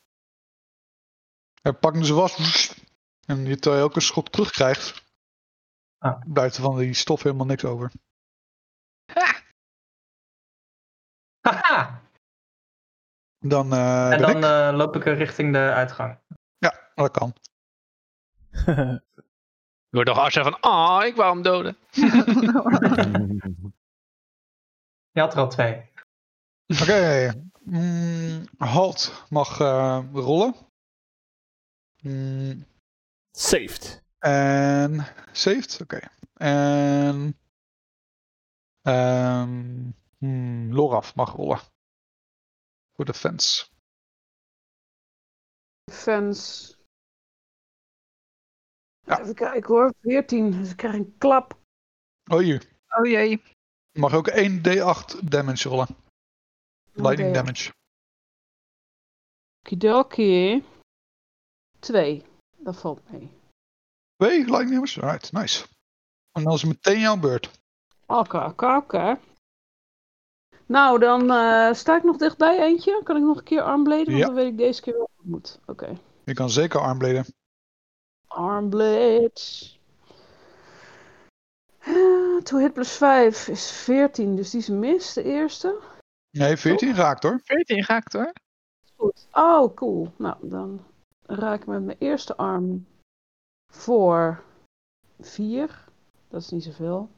Hij pakt hem zijn was. woest. En je- terwijl je ook een schot terugkrijgt,
Ah.
blijft er van die stof helemaal niks over.
Haha!
Dan, eh,
en dan
Rick.
eh, loop ik er richting de uitgang.
Ja, dat kan.
Ik hoor toch hard zeggen van, ah, ik wou hem doden.
Je had er al twee.
Oké. Mm, halt mag eh, rollen. Mm,
Saved.
En saved, oké. En ehm hmm, Loraf mag rollen. Voor de fans.
Fans.
Ja.
Even kijken hoor. 14. Dus ik krijg een klap.
Oh, je
Oh jee.
mag ook 1 d8 damage rollen. Lightning
Oké.
damage.
Okidoki. Twee. Dat valt mee.
2 lightning damage, alright, nice. En dan is het meteen jouw beurt.
Oké, oké, oké. Nou, dan eh, sta ik nog dichtbij eentje. Kan ik nog een keer armbleden? Want
Ja.
dan weet ik deze keer wel wat ik moet. Oké.
Je kan zeker armbleden.
Armblades. Eh, To hit plus 5 is 14, dus die is mis, de eerste.
Nee, 14
Oh.
raakt hoor.
14 raakt hoor.
Goed. Oh, cool. Nou, dan raak ik met mijn eerste arm voor 4. Dat is niet zoveel.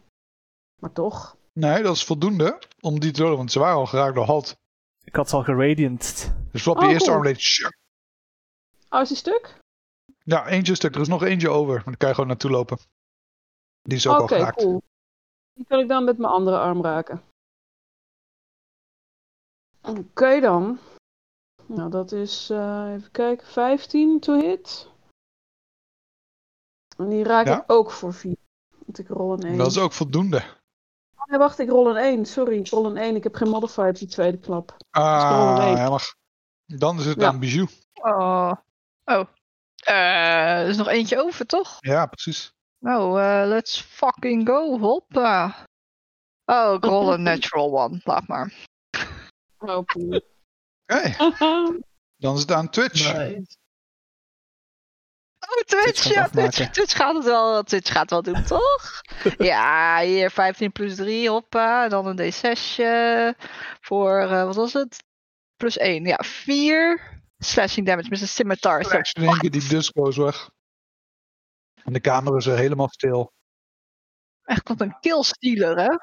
Maar toch.
Nee, dat is voldoende om die te rollen, want ze waren al geraakt door halt.
Ik had ze al geradiant.
Dus swap je
Oh,
eerste
cool.
armblade. Shuck.
Oh, is die stuk?
Ja, eentje stuk. Er is nog eentje over, maar dan kan je gewoon naartoe lopen. Die is ook
Oké,
al geraakt.
cool. Die kan ik dan met mijn andere arm raken. Oké dan. Nou, dat is, eh, even kijken, 15 to hit. En die raak
Ja.
ik ook voor 4. Want ik rol een 1.
Dat is ook voldoende.
Nee, wacht, ik rol een 1. Sorry, ik rol een 1. Ik heb geen modifier op die tweede klap.
Ah,
gewoon leeg.
ja, maar dan is het
Ja.
aan Bijou.
Oh. Oh. Eh, er is nog eentje over, toch?
Ja, precies.
Nou, eh, let's fucking go. Hoppa. Oh, ik rol een natural Oh, one. Laat maar.
helpen.
Oké, dan is het aan Twitch.
Nice.
Oh, Twitch,
gaat
ja,
afmaken.
Twitch, Twitch gaat het wel, Twitch gaat het wel doen, toch? ja, hier 15 plus 3, hoppa. En dan een D6 voor, eh, wat was het? Plus 1, ja, 4 slashing damage met een scimitar. Zo,
Straks in één keer die disco is weg. En de kamer is weer helemaal stil.
Echt wat een killstealer, hè?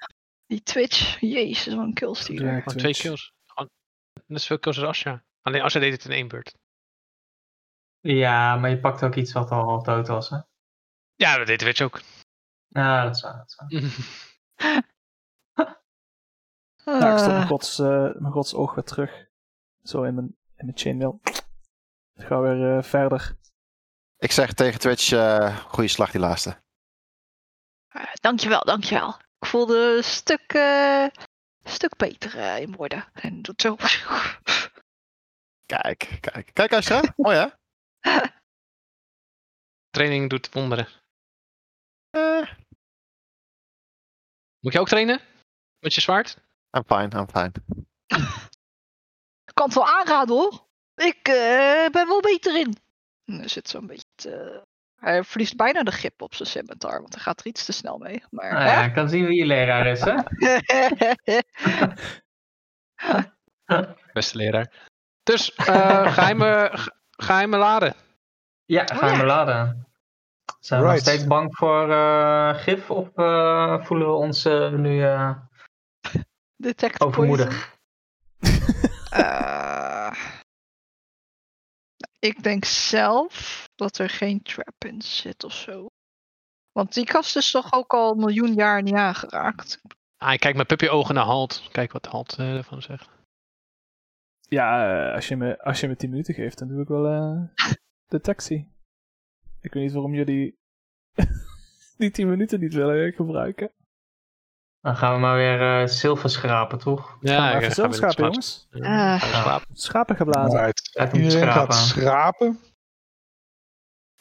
Die Twitch, jezus, wat een killstealer.
Direct
Gewoon Oh, twee
Twitch.
kills. Gewoon Net zoveel kills als Asja. Alleen Asja deed het in één beurt.
Ja, maar je pakt ook iets wat al half dood was, hè?
Ja, dat deed Twitch ook.
Ja, dat is waar. Dat is waar.
Ja, Nou, ik stop mijn
Ah,
gods, eh, mijn gods oog weer terug. Zo in mijn, in mijn chainmail. Ik ga weer eh, verder.
Ik zeg tegen Twitch, eh goede slag die laatste.
eh, dankjewel, dankjewel. Ik voelde een stuk, eh, stuk beter eh, in worden. En doet zo.
Kijk, kijk. Kijk Astra,
Oh
mooi hè?
Training doet wonderen.
Eh,
Moet je ook trainen? Met je zwaard?
I'm fine, I'm fine.
Ik kan het wel aanraden hoor. Ik eh, ben wel beter in. En Hij zit zo'n beetje te- Hij verliest bijna de grip op zijn scimitar, want hij gaat er iets te snel mee. Maar,
Nou ja, ik kan zien wie je leraar is, hè?
hè?
Beste leraar. Dus, eh, geheime, ge- geheime laden.
Ja, ga je
Oh, ja.
me laden. Zijn we
Right.
nog steeds bang voor eh, gif of eh, voelen we ons eh, nu eh,
Detect poison.
overmoedig?
Eh, ik denk zelf dat er geen trap in zit of zo. Want die kast is toch ook al een miljoen jaar niet aangeraakt.
Ah, ik kijk met puppy ogen naar Halt. Kijk wat Halt eh, ervan zegt.
Ja, eh, als, je me, als je me 10 minuten geeft, dan doe ik wel eh detectie. Ik weet niet waarom jullie die 10 minuten niet willen eh, gebruiken.
Dan gaan we maar weer eh, zilver schrapen, toch?
Gaan we
ik
even
ga
zelf
weer
schapen,
slapen.
jongens.
Ah.
Ja, ik ga weer slapen.
Schapen geblazen.
Right.
Uit om te
Iedereen gaat schrapen.
schrapen.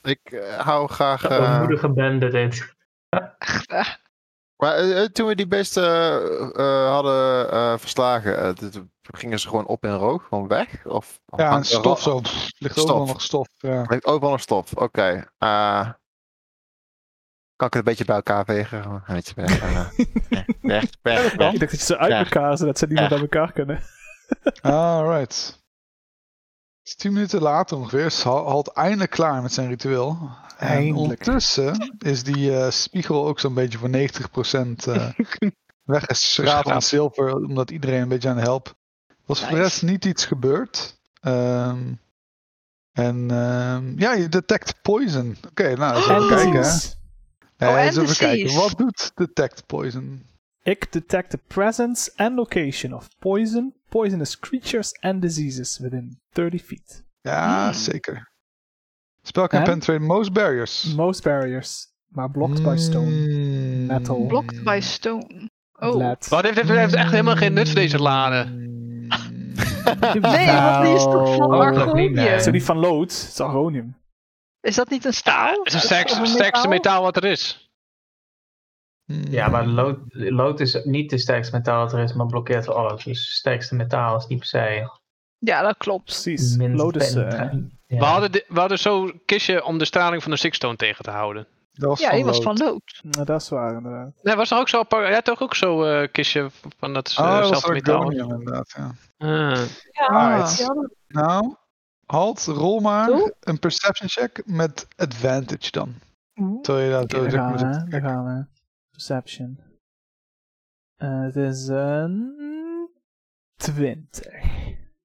Ik eh, hou graag... eh,
Overmoedige bende dit.
Echt, eh,
Maar eh, eh, toen we die beesten eh, eh, hadden eh, verslagen, eh, dit- gingen ze gewoon op in rook, gewoon weg? Of
Ja, en
hangt er
stof
al-
zo. Pff, Ligt
Stof.
overal nog stof. Ja.
Heeft overal nog stof, oké. eh, kan ik het een beetje bij elkaar vegen? Gewoon Een beetje weg, eh, weg, weg, weg, weg.
Ik dacht dat je ze uit
Ja.
elkaar zodat ze niet meer
Ja.
bij elkaar kunnen.
Alright. Ah, Het is tien minuten later ongeveer is Hal- Halt eindelijk klaar met zijn ritueel. En
Eindelijk.
ondertussen is die eh, spiegel ook zo'n beetje voor 90% eh weggeschraapt aan
Geschraapt.
zilver, omdat iedereen een beetje aan helpt. Was voor de
Nice.
rest niet iets gebeurd. Ehm, en ehm, ja, je detect poison. Oké, nou, eens even
En
kijken. hè.
precies.
Ja,
Oh, en
eens even kijken.
disease.
Wat doet detect poison?
Ik detect the presence and location of poison, poisonous creatures and diseases within 30 feet.
Ja,
Hmm.
zeker. Spel can
En?
penetrate most barriers. Hmm.
Most barriers, maar blocked by stone. metal.
blocked by stone.
Oh.
Oh.
Wat heeft, heeft, heeft echt helemaal geen nut voor deze laden?
Nee, want die is toch van
Oh,
Nou.
Argonium?
Zo die van lood, het is argonium.
Is dat niet een staal?
Het is het
Of een
sterkste metaal wat er is.
Hmm.
Ja, maar lood, lood is niet de sterkste metaal dat er is, maar blokkeert wel alles. Dus het sterkste metaal is niet per se
Ja, dat klopt.
Precies,
minst
lood
Dus,
is... eh,
penetrant. Ja.
We hadden, di- we hadden zo'n kistje om de straling van de Sixstone tegen te houden.
Dat was
Ja,
van
die was
lood.
van lood.
nou, dat is waar, inderdaad.
Nee, was er ook zo'n par- ja, toch ook zo'n eh, kistje
Oh,
van
dat
datzelfde
was
metaal?
Argonium inderdaad. Ja.
eh, Ah.
Alright.
Ja, dat
Nou, Halt, rol maar
Doe.
een perception check met advantage dan. Terwijl je dat
Oké,
zo
daar
zeg maar
gaan
zit
we,
te
daar
kijken.
gaan we. Perception. Eh, Het is een... 20.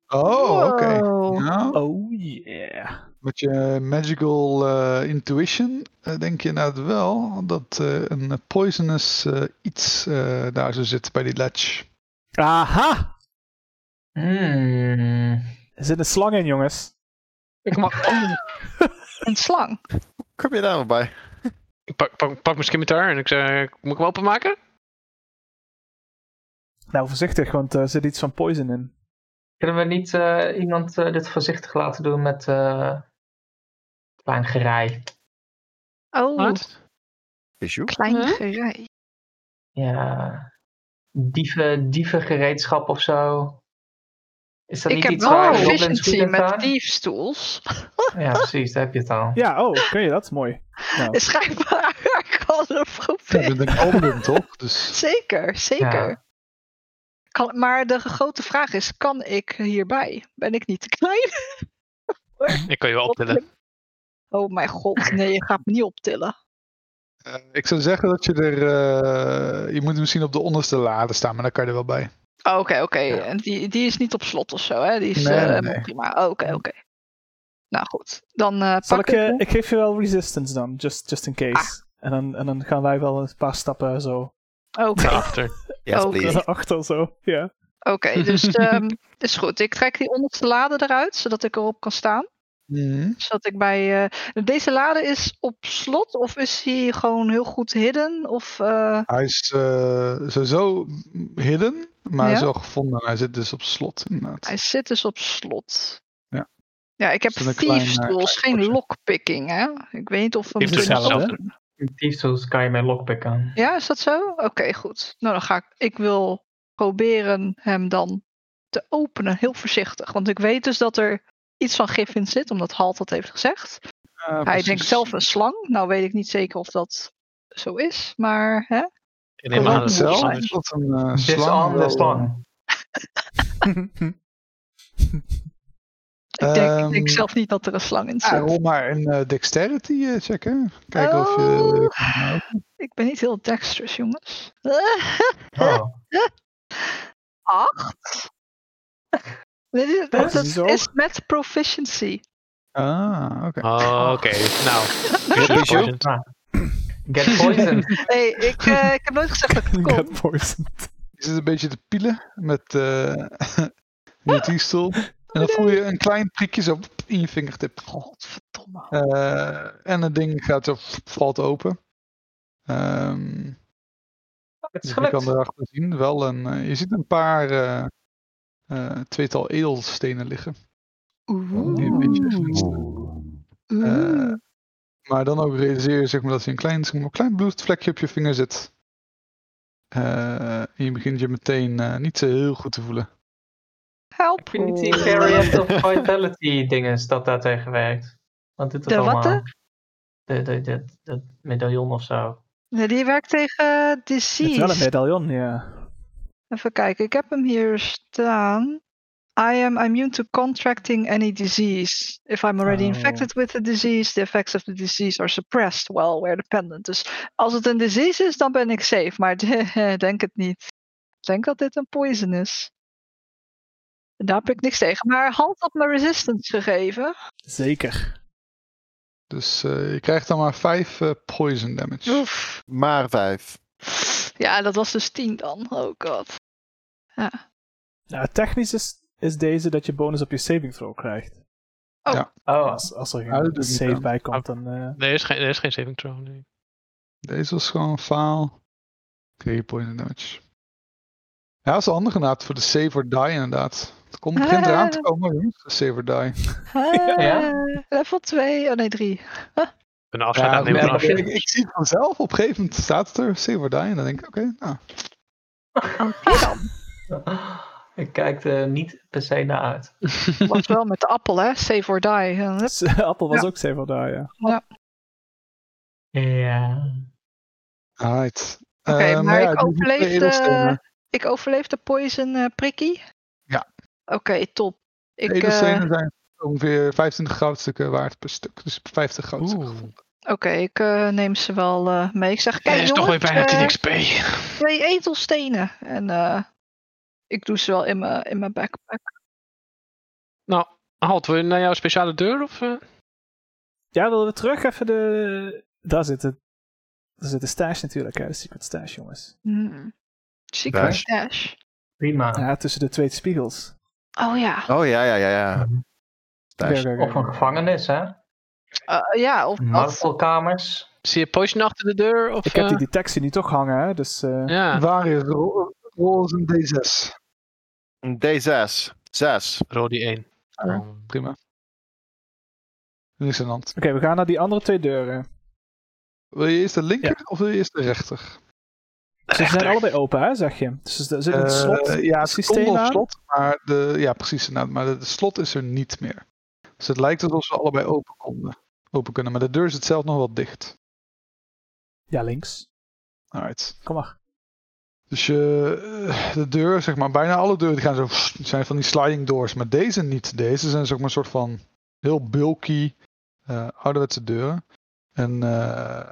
Oh, oké.
Wow.
Nou,
Oh yeah.
met je magical eh, intuition eh, denk je inderdaad wel dat eh, een poisonous eh, iets eh, daar zo zit bij die ledge.
Aha!
Hmm.
Er zit een slang in, jongens.
Ik, mag-
Een slang.
Kom je daar maar bij?
ik pak, pak, pak mijn scimitar en ik zeg, moet ik hem openmaken?
Nou, voorzichtig, want er zit iets van poison in.
Kunnen we niet eh, iemand eh, dit voorzichtig laten doen met eh klein gerei?
Oh,
Wat?
Issue?
klein
Huh?
gerei.
Ja, dieven, dievengereedschap of zo. Is dat
Ik
niet
heb
iets
wel
waar goblins goed
efficiency
in
met
staan?
diefstoels.
Ja, precies, daar heb je het al.
Ja, oh, kun je dat? Mooi. Nou,
Schijnbaar kan het
Ja, ik
proberen.
ben een goblin toch? Dus
Zeker, zeker.
Ja.
Kan, maar de grote vraag is, kan ik hierbij? Ben ik niet te klein?
Ik kan je wel optillen.
Oh mijn god, nee, je gaat me niet optillen.
eh, ik zou zeggen dat je er. eh, je moet misschien op de onderste lade staan, maar dan kan je er wel bij.
Oh, Oké, oké. En die, die is niet op slot of zo, hè? Die is
Nee,
eh,
nee,
helemaal
nee.
prima. Oh, Oké, oké. Nou goed, dan eh,
zal
pak
ik,
ik...
eh,
hem.
ik geef je wel resistance dan, just, just in case. En, dan, en dan gaan wij wel een paar stappen zo
Oké,
Naar achter.
Yes,
Oké.
please.
naar achter zo. Ja.
oké. dus ehm, is goed. Ik trek die onderste lade eruit, zodat ik erop kan staan. Zodat ik bij... eh, deze lade is op slot of is die gewoon heel goed hidden? Of... eh,
Hij is eh, sowieso hidden, maar
Ja.
is al gevonden. Hij zit dus op slot inderdaad.
Hij zit dus op slot.
Ja.
Ja, ik heb
Is dat een klein, eh,
thieves
klein
tools, geen
potje?
lockpicking, hè? Ik weet niet of we
Heeft
Even
dus
misschien-
zelf,
hetzelfde.
hè?
Thieves tools kan je met lockpicken.
Ja, is dat zo? Oké, goed. Nou, dan ga ik... Ik wil proberen hem dan te openen, heel voorzichtig. Want ik weet dus dat er iets van gif in zit, omdat Halt dat heeft gezegd.
Ja,
Hij
precies.
denkt zelf een slang. Nou weet ik niet zeker of dat zo is, maar... Hè?
Ik neem aan dat het
zelf
iets
Zelf?
anders
dat een eh,
Disarm
slang.
the
wel-
slang.
Ik, denk, ik denk
Ehm,
zelf niet dat er een slang in zit.
Ja, rol maar een eh, dexterity eh, check, hè? Kijken of je...
Oh. Ik ben niet heel dexterous, jongens.
Oh.
Acht? Dit is,
Dat
dat
is zo.
is met proficiency.
Ah, oké.
Oh, oké. Nou, you're
Bijou?
poisoned.
Get poisoned.
Nee, ik, eh, ik heb nooit gezegd dat ik het kon.
Get poisoned.
Je zit een beetje te pielen met eh je diesel. En dan voel je een klein prikje zo in je vingertip.
Godverdomme.
Eh, en het ding gaat zo, valt open. Ehm,
Oh,
Het is
dus je kan
gelukt.
erachter zien. Wel een, eh, je ziet een paar eh, eh, tweetal edelstenen liggen. Die een beetje glinsteren. Eh, maar dan ook realiseer je zeg maar, dat je een klein, zeg maar, een klein bloedvlekje op je vinger zit. Eh, en je begint je meteen eh, niet zo heel goed te voelen.
Help.
Ik vind niet die variant of vitality dinges dat daar tegen werkt. Want dit is
De
allemaal...
watte?
De, de, de, dat medaillon of zo.
Nee, die werkt tegen
Het is wel een
disease.
medaillon, ja.
Even kijken, ik heb hem hier staan. I am immune to contracting any disease. If I'm already
Oh.
infected with the disease, the effects of the disease are suppressed while we're dependent. Dus als het een disease is, dan ben ik safe. Maar denk het niet. Ik denk dat dit een poison is. Daar heb ik niks tegen. Maar Halt had me resistance gegeven.
Zeker.
Dus eh, je krijgt dan maar 5 poison damage.
Oef.
Maar vijf.
Ja, dat was dus 10 dan. Oh god.
Nou, technisch is, is deze dat je bonus op je saving throw krijgt.
Oh,
Als, als er
Ah, dat
geen
doe ik
save
niet.
bij komt, dan... eh,
Er is geen, er is geen saving throw. nee.
Deze was gewoon een faal. Kreeg je poison damage. Ja, dat is handig inderdaad voor de save or die inderdaad. Het komt begint eraan te komen, jongens, de save or die.
Ja.
Ah, Level 2, oh nee 3.
Een afscheid
Ja,
aannemen
maar
van afscheid.
ik, ik zie het vanzelf. Op een gegeven moment staat het er save or die en dan denk ik, oké, nou.
ik kijk er niet per se naar uit.
Was wel met de appel hè, save or die. En hup,
Appel was
Ja.
ook save or die, ja.
Ja.
Alright.
Oké,
Eh,
maar ik
die twee
overleefde-
edelstenen.
Ik overleef de poison eh, prikkie?
Ja.
Oké, top. Ik, eh,
Edelstenen zijn ongeveer 25 goudstukken waard per stuk. Dus 50 goudstukken.
Oeh.
Oké, ik eh, neem ze wel eh, mee. Ik zeg,
Er
kijk
is toch weer
jongens,
bijna 10
eh,
XP.
twee edelstenen. En eh, ik doe ze wel in mijn in mijn backpack.
Nou, Halt, wil je naar jouw speciale deur? Of, eh?
Ja, willen we terug even de... Daar zit het. Daar zit de stash natuurlijk, hè. De secret stash, jongens.
Hmm. Secret
Dash.
stash.
Prima.
Ja, tussen de twee spiegels.
Oh ja.
Oh ja, ja, ja, ja.
Oké,
Thuis.
Mhm. oké, oké.
Of een gevangenis, hè?
Eh, ja, of, of
Martelkamers.
Zie je potion achter de deur? Of,
Ik heb die
eh,
detectie nu toch hangen, hè. Dus eh,
Ja,
Waar is rol, rol is een D6?
Een D6. 6.
rol die 1.
Prima. Niks aan de hand.
Oké, we gaan naar die andere twee deuren.
Wil je eerst de linker of wil je eerst de rechter?
Ze zijn
rechter.
allebei open, hè, zeg je? Dus er zit een
Eh,
slot.
ja, het
systeem
stond nog
aan?
slot, maar de, ja, precies. inderdaad, maar de, de slot is er niet meer. Dus het lijkt alsof ze allebei open, konden, open kunnen. Maar de deur zit zelf nog wel dicht.
Ja, links.
Alright.
Kom maar.
Dus je, eh, de deur, zeg maar, bijna alle deuren die gaan zo, zijn van die sliding doors. Maar deze niet. Deze zijn zeg maar een soort van heel bulky, eh, ouderwetse deuren. En eh,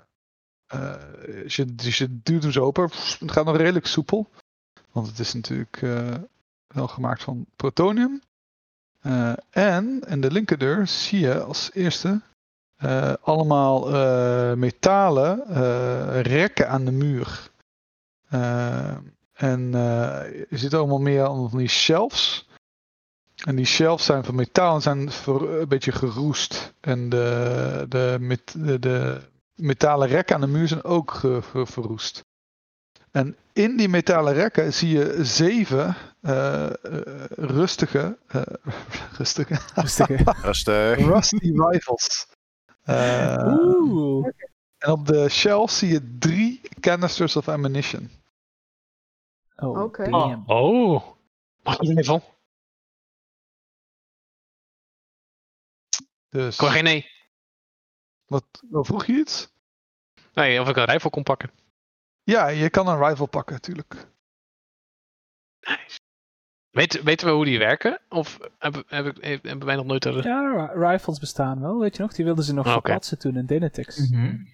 eh, dus, je, dus je duwt hem zo open. Het gaat nog redelijk soepel. Want het is natuurlijk eh, wel gemaakt van plutonium. Eh, en in de linkerdeur zie je als eerste eh, allemaal eh, metalen eh, rekken aan de muur. Eh, en eh, er zitten allemaal meer allemaal van die shelves. En die shelves zijn van metaal en zijn ver- een beetje geroest. En de, de, met- de, de metalen rekken aan de muur zijn ook ge- ge- verroest. En in die metalen rekken zie je zeven eh, eh, rustige, eh, rustige
Rustig.
Rustig.
rusty rifles. Eh,
Oeh.
en op de shelves zie je drie canisters of ammunition.
Oh,
Oké.
damn.
Oh. Mag ik even?
Dus,
Ik hoor geen nee.
wat, wat vroeg je iets?
Nee, of ik een rifle kon pakken.
Ja, je kan een rifle pakken natuurlijk.
Weet, weten we hoe die werken? Of hebben, heb ik, heb- hebben wij nog nooit... Er...
Ja, ri- rifles bestaan wel, weet je nog? Die wilden ze nog
Ah, Oké.
verplaatsen toen in Denetix.
Mm.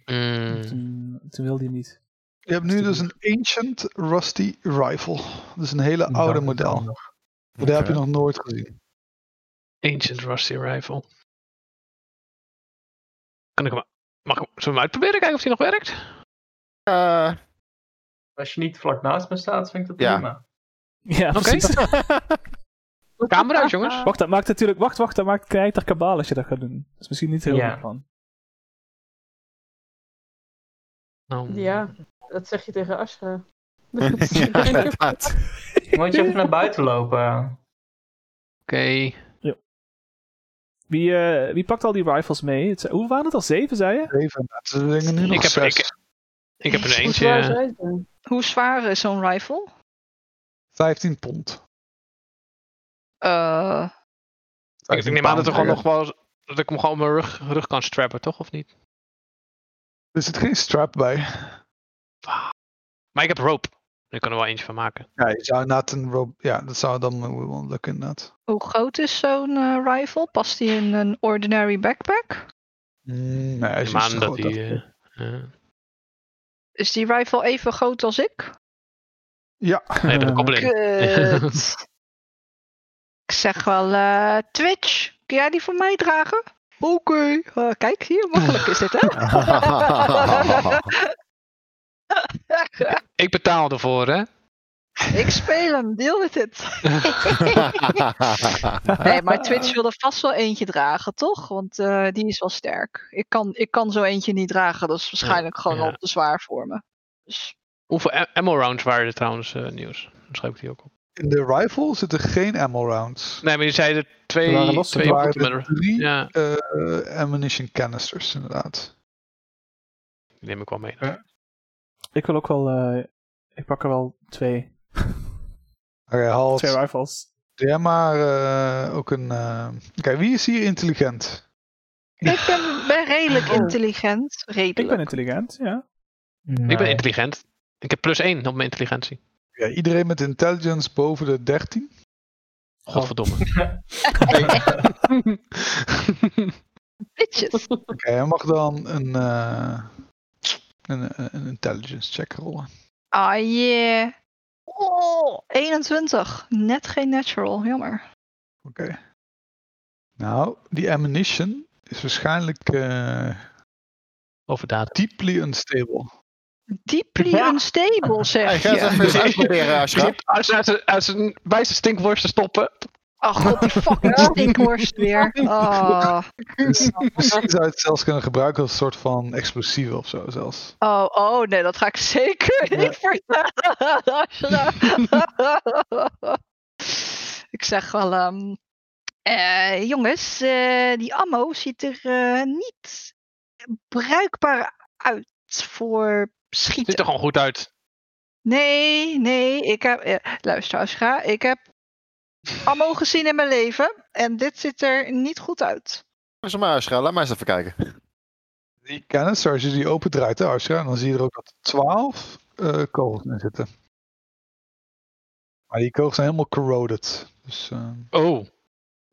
Toen, toen wilde hij niet.
Je hebt nu dus een ancient rusty rifle. Dus een hele oude model. Dat heb je nog nooit gezien.
Ancient Rusty Rifle. Kan ik hem... Mag ik, hem- zullen we hem uitproberen? Kijken of hij nog werkt?
Eh,
Als je niet vlak naast me staat, vind ik dat
Ja.
prima.
Ja,
Oké.
precies.
Camera uit, jongens.
Wacht, dat maakt natuurlijk... Wacht, wacht, dat maakt krijter kabaal als je dat gaat doen. Dat is misschien niet heel
Ja.
goed plan.
Nou,
Ja, dat zeg je tegen Ashra.
ja, inderdaad.
Moet je even naar buiten lopen?
Oké.
Wie, eh, wie pakt al die rifles mee? Het zijn- hoe waren het al? Zeven, zei je?
Even, ze liggen nu nog
Ik heb,
zes.
ik, ik heb er
Hoe zwaar
eentje...
zijn ze?
Hoe zwaar is zo'n rifle?
15 pond.
Eh,
Ik, ik neem aan dat, er gewoon nog wel, dat ik hem gewoon op mijn rug, rug kan strappen, toch? Of niet?
Er zit geen strap bij.
Maar ik heb rope. Ik kan er wel eentje van maken.
Ja, je zou inderdaad een rope- Ja, dat zou dan wel lukken inderdaad.
hoe groot is zo'n eh, rifle? Past die in een ordinary backpack?
Mm, nee, hij is
Ik neem
iets
aan dat
groter.
die... eh, eh,
Is die rifle even groot als ik?
Ja.
nee, dat is een koppeling.
Kut. ik zeg wel, eh, Twitch, kun jij die voor mij dragen? Oké. Eh, kijk, hier, makkelijk is dit, hè?
Ik betaal ervoor, hè?
ik speel hem, deal with it. Nee, maar Twitch wilde vast wel eentje dragen, toch? Want eh, die is wel sterk. Ik kan, ik kan zo eentje niet dragen, dat is waarschijnlijk gewoon
ja.
al te zwaar voor me. Dus,
Hoeveel a- ammo rounds waren er trouwens, eh, nieuws? Dan schrijf ik die ook op.
In de rifle zitten geen ammo rounds.
Nee, maar je zei er twee...
Er waren losse
twee
er
op-
waren er drie
Ja,
eh, ammunition canisters inderdaad.
die neem ik wel mee.
Ik wil ook wel... eh, ik pak er wel twee.
Oké, halt.
Twee rifles.
Ja, maar eh, ook een... eh, Oké, wie is hier intelligent?
ik ben, ben redelijk intelligent.
Ik ben
Oh. Redelijk.
intelligent, ja.
Ik ben intelligent. Ik heb plus één op mijn intelligentie.
Ja, iedereen met intelligence boven de 13?
Godverdomme.
Bitches.
Oké, hij mag dan een, eh, een, een intelligence check rollen.
Ah, yeah. Oh, 21. Net geen natural, jammer.
Oké. Nou, die ammunition is waarschijnlijk eh,
Overdaad.
deeply unstable.
Deeply
Ja.
unstable,
Hey,
zeg
ga eens
je.
even eens uitproberen, Ashra.
Als uit zijn- Eh, uit zijn bij zijn stinkworst te stoppen.
Ach, Oh, god, die fucking stinkworst weer. Oh,
Dus misschien zou je het zelfs kunnen gebruiken als een soort van explosieve of zo zelfs.
oh, oh, nee, dat ga ik zeker niet vertellen. Ashra. ik zeg wel, ehm, eh, jongens, eh, die ammo ziet er eh, niet bruikbaar uit voor
Ziet
schieten.
er gewoon goed uit.
Nee, nee, ik heb. eh, Luister, Ashra, ik heb ammo gezien in mijn leven. En dit ziet er niet goed uit.
Is er maar Ashra, laat mij eens even kijken.
Die kennis, als je die opendraait, hè, Arsja, dan zie je er ook dat 12 eh kogels in zitten. Maar die kogels zijn helemaal corroded. Dus, eh,
Oh,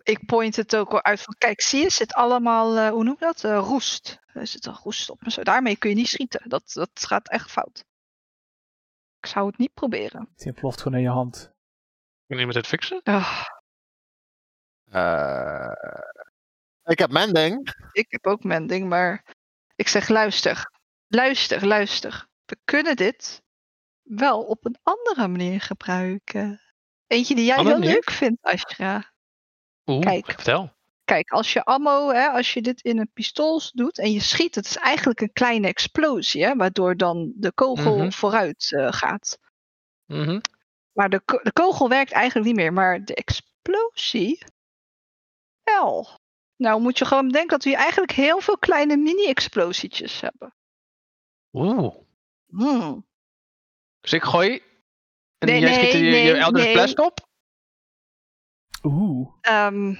Ik point het ook wel uit van, kijk, zie je, zit allemaal, eh, hoe noem je dat? Eh, roest. Er zit al roest op en zo. Daarmee kun je niet schieten. Dat, dat gaat echt fout. Ik zou het niet proberen.
Die ploft gewoon in je hand.
kun je met het fixen?
Ah,
Eh, ik heb mijn ding.
ik heb ook mijn ding, maar ik zeg luister. Luister, luister. We kunnen dit wel op een andere manier gebruiken. Eentje die jij
Andere
heel
manier?
leuk vindt, Ashra.
Oeh,
Kijk.
vertel.
Kijk, als je ammo, hè, als je dit in een pistool doet en je schiet, het is eigenlijk een kleine explosie, hè, waardoor dan de kogel
Mhm.
vooruit eh, gaat.
Mhm.
Maar de, ko- de kogel werkt eigenlijk niet meer, maar de explosie wel. Nou moet je gewoon bedenken dat we hier eigenlijk heel veel kleine mini-explosietjes hebben.
Oeh.
Hmm.
Dus ik gooi. En
Nee,
jij schiet
nee,
je, je
nee,
elders
nee.
blast op.
Oeh.
Ehm,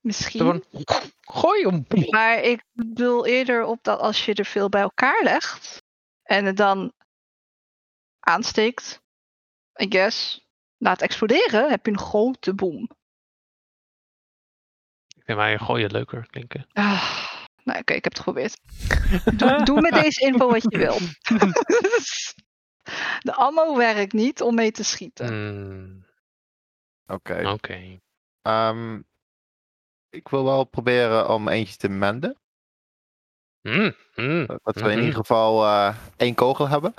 misschien.
Dan gewoon, gooi hem.
Maar ik bedoel eerder op dat als je er veel bij elkaar legt en het dan aansteekt, I guess, laat exploderen, heb je een grote boom.
Ik vind mij gooien leuker klinken.
Ah, nou oké, ik heb het geprobeerd. Doe, doe met deze info wat je wil. De ammo werkt niet om mee te schieten.
Mm,
Oké.
Oké.
Ehm, ik wil wel proberen om eentje te menden. Eh,
Mm, mm,
Dat we in
Mhm.
ieder geval eh, één kogel hebben.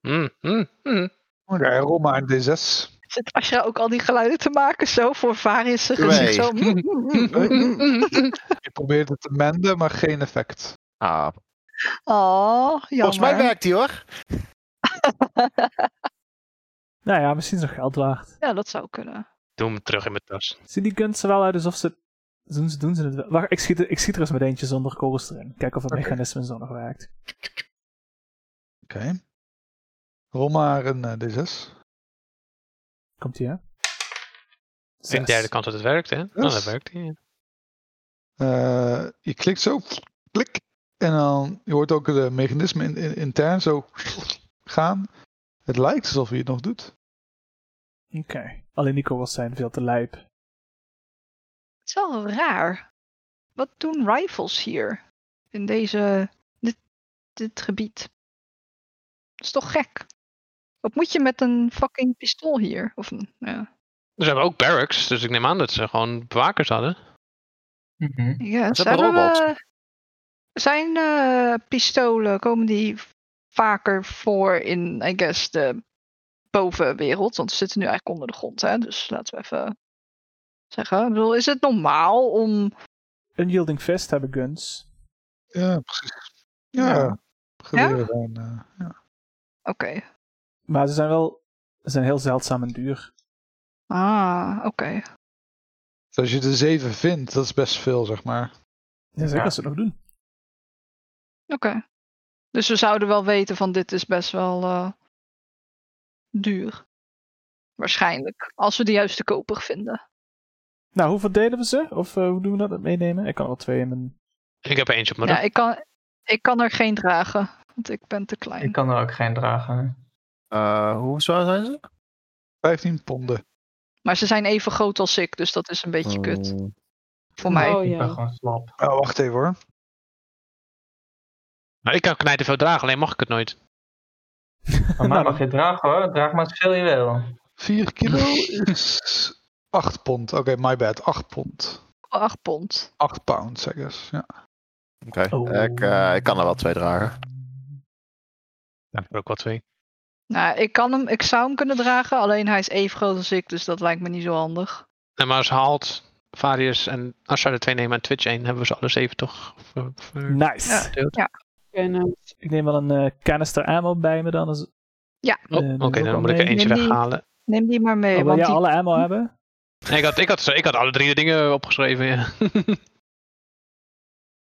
mm, mm, mm.
Oké, rol maar een D6.
Zit Ashra ook al die geluiden te maken zo voor Varius zijn gezicht?
Nee.
Zo, mm, mm, mm, mm, mm.
Je probeert het te menden, maar geen effect.
Ah,
Oh, jammer.
volgens mij werkt die hoor.
Nou ja, misschien is het nog geld waard.
Ja, dat zou kunnen.
Doe hem terug in mijn tas.
Zien die guns er wel uit alsof ze... Doen ze, doen ze het wel? Wacht, ik schiet, ik schiet er eens met eentje zonder kogels erin. Kijk of het
Oké.
mechanisme zo nog werkt.
Oké. Rol maar een eh, D6.
Komt ie, hè?
Een derde kans dat het werkt, hè? Nou, dat werkt. Ja.
Eh, je klikt zo, klik, en dan je hoort ook de mechanismen in, in- intern zo gaan. Het lijkt alsof hij het nog doet.
Oké. Alleen die kogels zijn veel te lijp.
Het is wel raar. Wat doen rifles hier? In deze. Dit, dit gebied. Dat is toch gek? Wat moet je met een fucking pistool hier? Of een. Ja.
Ze hebben ook barracks, dus ik neem aan dat ze gewoon bewakers hadden.
Mhm.
Yes,
Hm? hebben
hebben
robots.
we- eh, Zijn eh, pistolen. Komen die vaker voor in, I guess, de bovenwereld? Want ze zitten nu eigenlijk onder de grond, hè? Dus laten we even. Zeggen. Ik bedoel, is het normaal om.
Unyielding Fist hebben guns.
Ja, precies. Ja,
Ja.
geweren zijn, eh, ja.
Oké.
Maar ze zijn wel... Ze zijn heel zeldzaam en duur.
Ah, oké.
Dus als je de zeven vindt, dat is best veel, zeg maar.
Ja, zeker
Ja.
als ze het nog doen.
Oké. Dus we zouden wel weten van dit is best wel eh, duur. Waarschijnlijk. Als we de juiste koper vinden.
Nou, hoe verdelen we ze? Of eh, hoe doen we dat? met Meenemen? Ik kan er twee in mijn...
Ik heb er eentje op mijn
ja,
rug.
ik kan, ik kan er geen dragen. Want ik ben te klein.
Ik kan er ook geen dragen.
Eh, hoe zwaar zijn ze?
15 ponden.
Maar ze zijn even groot als ik. Dus dat is een beetje kut.
Mm,
Voor mij.
Oh
Ik ben
ja.
gewoon slap.
Oh, wacht even hoor.
Maar ik kan knijten veel dragen, alleen mag ik het nooit.
Maar mij
Nou,
mag je dragen hoor. Draag maar zoveel je wil.
4 kilo is 8 pond. Oké, my bad. 8 pond.
8 pond.
8 pound, zeg eens. Ja.
Oké,
Oh.
ik, eh, ik kan er wel twee dragen.
Ja, ik heb ook wat twee.
Nou, ik, kan hem, ik zou hem kunnen dragen. Alleen hij is even groot als ik. Dus dat lijkt me niet zo handig.
En maar als haalt Varius en Asha de twee nemen en Twitch één, hebben we ze alle zeven toch ver- ver-
Nice.
Ja.
verdeeld?
Oké, nou,
Ik neem wel een eh, canister ammo bij me dan. Als...
Oh,
Eh,
Oké,
neem ik
dan
ook
moet ik
mee.
er eentje
Neem die.
weghalen.
Neem die maar mee.
Oh, wil
want
jij
die-
alle ammo hebben?
Nee, ik, had, ik, had, ze- ik had alle drie de dingen opgeschreven, ja.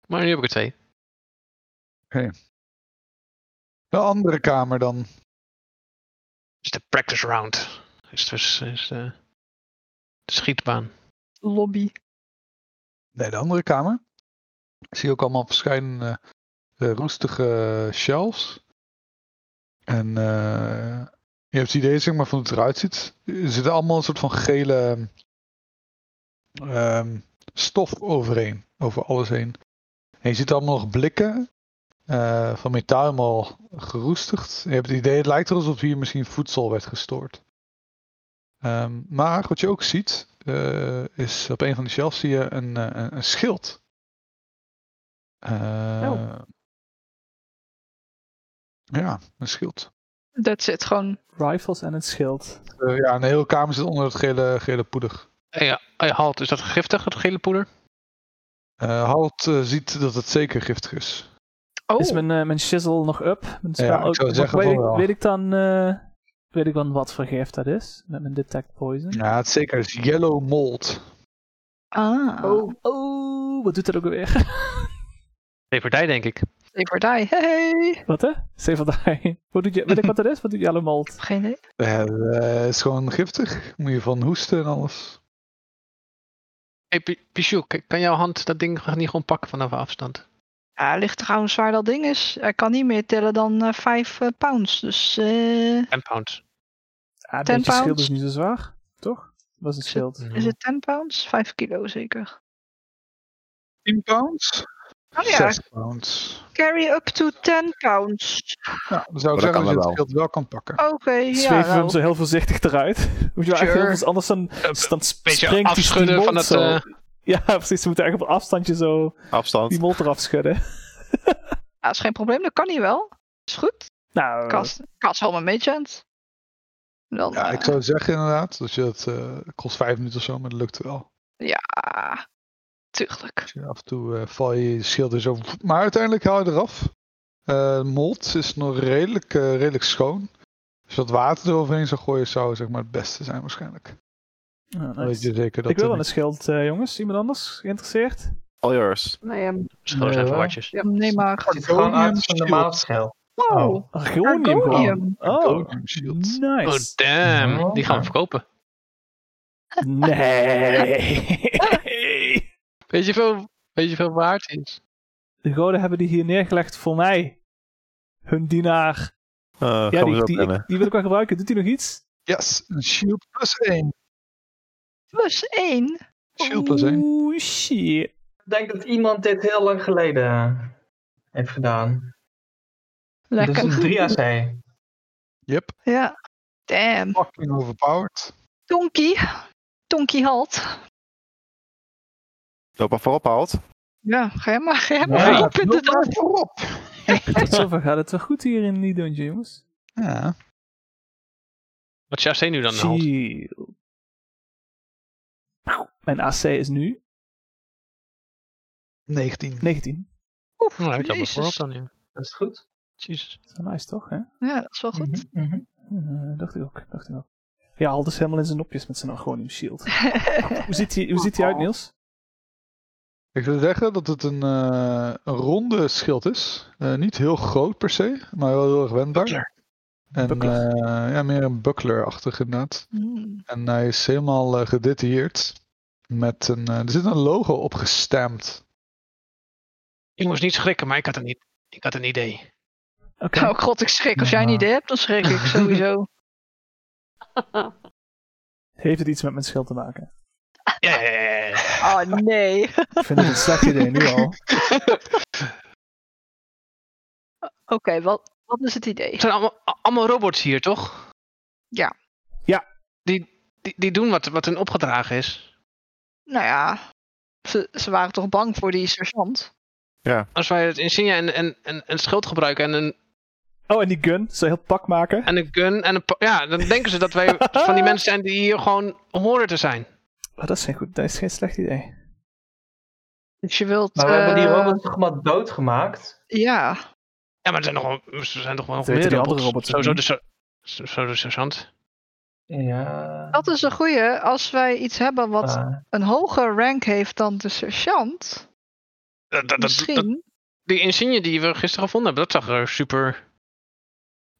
maar nu heb ik er twee.
De andere kamer dan.
is de practice round. Is dus is de, de schietbaan.
Lobby.
Nee, de andere kamer. Ik zie ook allemaal verschillende eh, roestige shelves. En eh, je hebt het idee zeg maar, van hoe het eruit ziet. Er zitten allemaal een soort van gele ehm, stof overheen, over alles heen. En je ziet allemaal nog blikken eh, van metaal helemaal geroestigd. Je hebt het idee, het lijkt er alsof hier misschien voedsel werd gestoord. Ehm, maar wat je ook ziet, eh, is op een van de shelves zie je een, eh, een, een schild. Eh, Ja, een schild.
Dat zit gewoon.
Rifles en een schild.
Eh, ja, een hele kamer zit onder het gele, gele poeder.
Hey, Eh, ja, hey, halt, is dat giftig, dat gele poeder?
Eh Halt eh, ziet dat het zeker giftig is.
Oh,
Is mijn, eh, mijn shizzle nog up? Mijn spel
ik
ook-
zou zeggen
weet,
van
ik,
wel.
weet ik dan... eh, weet ik dan wat voor gif dat is? Met mijn detect poison.
Ja, het zeker is yellow mold.
ah.
Oh, oh, wat doet dat ook weer?
Leverdij, denk ik.
Paper die. Hey.
wat hè? Severdai. Wat doet je, weet ik wat dat is? Wat doet Yellow Mold?
Geen idee.
Eh, eh, is gewoon giftig. Moet je van hoesten en alles.
Hey, Pi- Pichou, k- kan jouw hand dat ding niet gewoon pakken vanaf afstand?
Ja, het ligt trouwens waar dat ding is. Hij kan niet meer tellen dan eh, 5 eh, pounds. Dus eh,
10 pounds.
Ah, een
10
beetje schild
pounds.
is niet zo zwaar, toch? Was een schild.
is het 10 pounds? 5 kilo zeker.
10 pounds?
Oh ja,
6 pounds.
carry up to 10 pounds.
Ja, dan zou ik
dat kan
zeggen dat je
wel.
het schild wel kan pakken.
Oké, Oh, ja.
Zweven we hem
Nou.
zo heel voorzichtig eruit. Moet je wel echt
Sure.
heel veel, anders dan, dan
Beetje
springt die- die
afschudden
mold
van het...
zo.
eh, Oh,
Ja, precies. Ze moeten echt op afstandje zo
Afstand.
die mond eraf schudden.
Ja, is geen probleem, dat kan hij wel. Is goed.
Nou,
Kast, kast wel mijn meegent. Dan,
Ja, ik
eh,
zou zeggen inderdaad dat je het eh, kost vijf minuten of zo, maar dat lukt wel.
eh, ja, tuurlijk.
Dus af en toe eh, val je je schild er zo. Maar uiteindelijk haal je eraf. Eh mold is nog redelijk, eh, redelijk schoon. Als je wat water eroverheen zou gooien, zou zeg maar het beste zijn waarschijnlijk.
eh,
Dan
nice.
weet je zeker dat
Ik wil
er
wel een schild, eh, jongens. Iemand anders geïnteresseerd?
All yours.
Nou ja,
Schoon zijn
Nee,
voor
hoor.
watjes.
ja.
Nee, maar.
Het ziet er gewoon uit als een normaal schel.
Wow.
Argonium gewoon.
Argonium.
Oh,
Argonium shield.
Oh,
nice.
damn. Die gaan we
Ja.
verkopen.
Nee.
Weet je veel, weet je veel waard is?
De goden hebben die hier neergelegd voor mij. Hun dienaar.
Eh,
Ja,
gaan we
die,
zo
die,
bellen.
die wil ik wel gebruiken. Doet hij nog iets?
Yes, een shield plus 1.
Plus 1.
Shield plus 1.
Oeh, shit.
Ik denk dat iemand dit heel lang geleden heeft gedaan.
Lekker.
Dus een 3 AC.
Yep,
Ja. Damn.
fucking overpowered.
Tonky. Tonky halt.
Loop maar voorop, haalt.
Ja, ga jij maar, ga jij maar
Ja,
op inderdaad.
voorop.
Tot zover gaat het wel goed hier in die dungeon, jongens.
Ja,
Wat is jouw steen nu dan? Halt?
Shield. Pauw. Mijn AC is nu
19.
19.
Oef,
Nou, ik had me
jezus.
voorop dan, ja.
Dat is goed.
Jezus.
Dat is wel nice, toch? Hè?
Ja, dat is wel goed.
Mhm, mhm.
Eh, dacht ik ook. Dacht ik ook. Ja, Aldus helemaal in zijn nopjes met zijn Argonium Shield. Hoe ziet hij hoe ziet hij uit, Niels?
Ik zou zeggen dat het een, eh, een ronde schild is. Eh, niet heel groot per se, maar wel heel erg wendbaar.
Buckler.
En
Buckler.
eh, ja, meer een buckler-achtig inderdaad.
Hmm.
En hij is helemaal eh, gedetailleerd. Met een, eh, er zit een logo op gestampt.
Jongens, niet schrikken, maar ik had een, i- ik had een idee.
Oké.
Oh god, ik schrik. Als jij een
Ja.
idee hebt, dan schrik ik sowieso.
Heeft het iets met mijn schild te maken?
Ja, ja, ja, ja, ja.
Oh nee. Oké,
Ik vind het een slecht idee nu al.
wat, wat is het idee?
Het zijn allemaal, a- allemaal robots hier, toch?
Ja.
Ja.
Die, die, die doen wat, wat hun opgedragen is.
Nou ja, ze, ze waren toch bang voor die sergeant?
Als wij het insignia en, en, en, en schild gebruiken en een,
Oh, en die gun. Zo heel pak maken.
en een gun en een... pa- Ja, dan denken ze dat wij van die mensen zijn die hier gewoon horen te zijn.
Maar Oh, dat is geen goed, dat is geen slecht idee.
Dus je wilt...
Maar we hebben die
eh,
robots toch maar doodgemaakt.
Ja.
Ja, maar er zijn nog wel, er zijn nog wel nog
weten
meer
die
robots.
andere robots ook
Sowieso de, ser- sowieso de sergeant.
Ja.
Dat is een goeie. Als wij iets hebben wat
maar-
een hoger rank heeft dan de sergeant,
Dat, dat, dat, dat-
misschien...
die insigne die we gisteren gevonden hebben, dat zag er super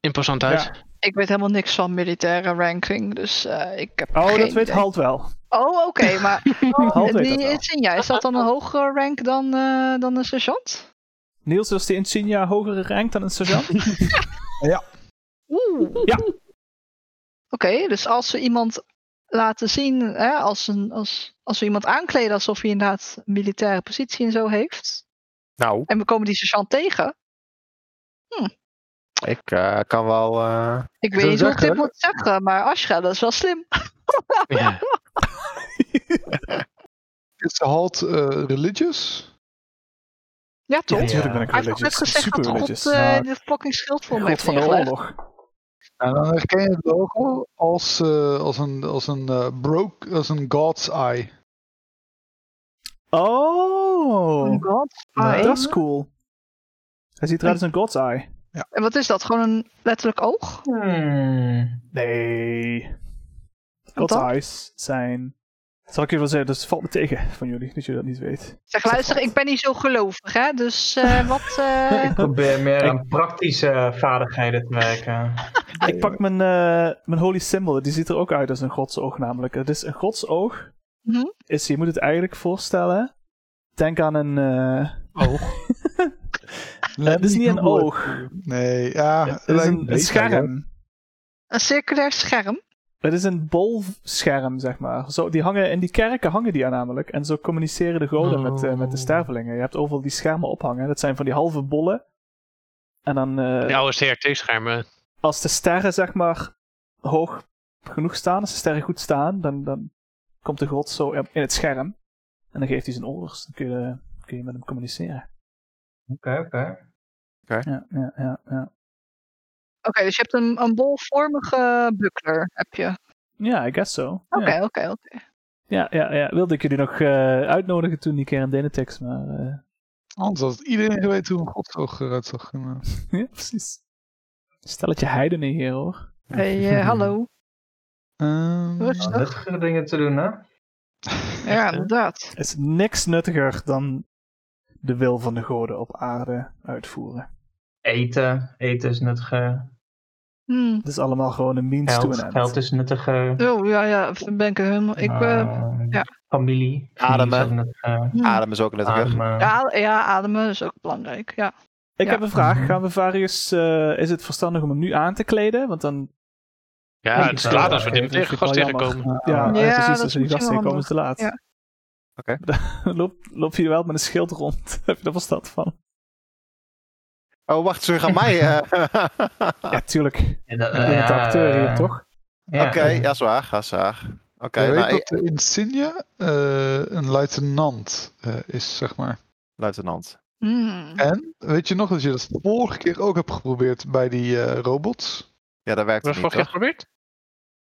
imposant uit.
Ik weet helemaal niks van militaire ranking, dus eh, ik heb
Oh,
geen
dat weet
idee.
Halt wel.
Oh, oké, maar oh,
Halt weet dat
die
wel.
Insignia, is dat dan een hogere rank dan, eh, dan een sergeant?
Niels, was de insignia hogere rank dan een sergeant?
Oeh.
Ja.
Oké, dus als we iemand laten zien, hè, als, een, als, als we iemand aankleden alsof hij inderdaad een militaire positie en zo heeft,
Nou,
en we komen die sergeant tegen,
ik eh, kan wel. eh,
ik
zou
weet niet hoe ik dit
zeggen-
moet zeggen, maar Ashra, dat is wel slim.
Ja.
Is de halt eh, religious?
Ja, toch?
natuurlijk ben ik
Hij heeft toch net
religious.
gezegd
Super
dat God
religious.
eh
Maar
dit fucking schild voor me
God
heeft
van de
neergelegd.
oorlog.
En Nou, dan herken je het logo als, eh, als een, als een eh, broke, als een god's eye.
Oh,
Een god.
nou,
Ah,
dat is cool. Hij ziet eruit als een god's eye.
En wat is dat? Gewoon een letterlijk oog?
Hmm.
Nee. God's
dan?
eyes zijn... Dat zal ik je wel zeggen, dus het valt me tegen van jullie, dat je dat niet weet.
Zeg,
dat
luister,
wat?
ik ben niet zo gelovig, hè? Dus eh, wat. eh,
Ik probeer meer
Ik-
aan praktische vaardigheden te werken.
Ik pak mijn, eh, mijn holy symbol, die ziet er ook uit als een godsoog namelijk. Het is een godsoog.
Mhm.
Is, je moet het eigenlijk voorstellen. Denk aan een... eh, het is niet een oog.
Nee, ja.
Het is
lijkt-
een, een scherm.
een circulair scherm.
Het is een bolscherm, zeg maar. Zo, die hangen, in die kerken hangen die aan namelijk. En zo communiceren de goden met, eh, met de
Oh.
stervelingen. Je hebt overal die schermen ophangen. Dat zijn van die halve bollen. En dan, eh,
De oude CRT-schermen.
als de sterren, zeg maar, hoog genoeg staan, als de sterren goed staan, dan, dan komt de god zo in in het scherm. En dan geeft hij zijn orders. Dan kun je, kun je met hem communiceren.
Oké, oké.
Ja, ja, ja. Ja,
Oké, dus je hebt een, een bolvormige buckler. Heb je.
ja I guess so. Ja.
Oké, oké, oké.
Ja, ja, ja. Wilde ik jullie nog eh, uitnodigen toen die keer in Denetex, maar... eh,
Anders had iedereen geweten hoe een godsoog eruit zag. eh. Maar-
Ja, precies. Stelletje heidenen hier hoor.
Hey, eh, hallo.
Ehm,
Nou,
Rustig.
Nuttige dingen te doen, hè?
Ja, inderdaad.
Er is niks nuttiger dan de wil van de goden op aarde uitvoeren.
Eten. Eten is nuttiger.
Hmm.
Het is allemaal gewoon een means to
Geld.
an end.
Geld is nuttiger.
Oh, ja, ja, dan ben ik er helemaal. Ik, eh,
Eh,
ja.
Familie.
Ademen.
Familie is ook eh, nuttiger.
hmm.
Adem is ook nuttig.
Ademen.
Ja, ja, ademen is ook belangrijk. Ja.
Ik
Ja.
heb een vraag. Gaan we Varius, eh, is het verstandig om hem nu aan te kleden? Want dan...
Ja, het
ik
is
zou
laat
wel
als we
oké,
dit
dat
tegen
vind ik
gast
wel jammer.
tegenkomen.
Ja,
Ja,
eh,
dat is
precies. Als we die
misschien
gasten
wel
komen, is het te laat.
Ja.
Oké.
Loop, loop je wel met een schild rond. heb je er verstand van?
Oh, wacht, ze gaan mij. eh.
Ja, tuurlijk. Ik
Ja, dat-
ben de
ja,
acteur hier,
eh,
toch?
ja.
Oké, ja, dat is waar, dat is waar. Oké,
je weet
nou, ik-
dat de insignia eh, een luitenant eh, is, zeg maar.
luitenant.
Hmm.
En weet je nog dat je dat vorige keer ook hebt geprobeerd bij die eh, robots?
Ja, dat werkt
Was
niet,
vorig jaar
toch?
geprobeerd?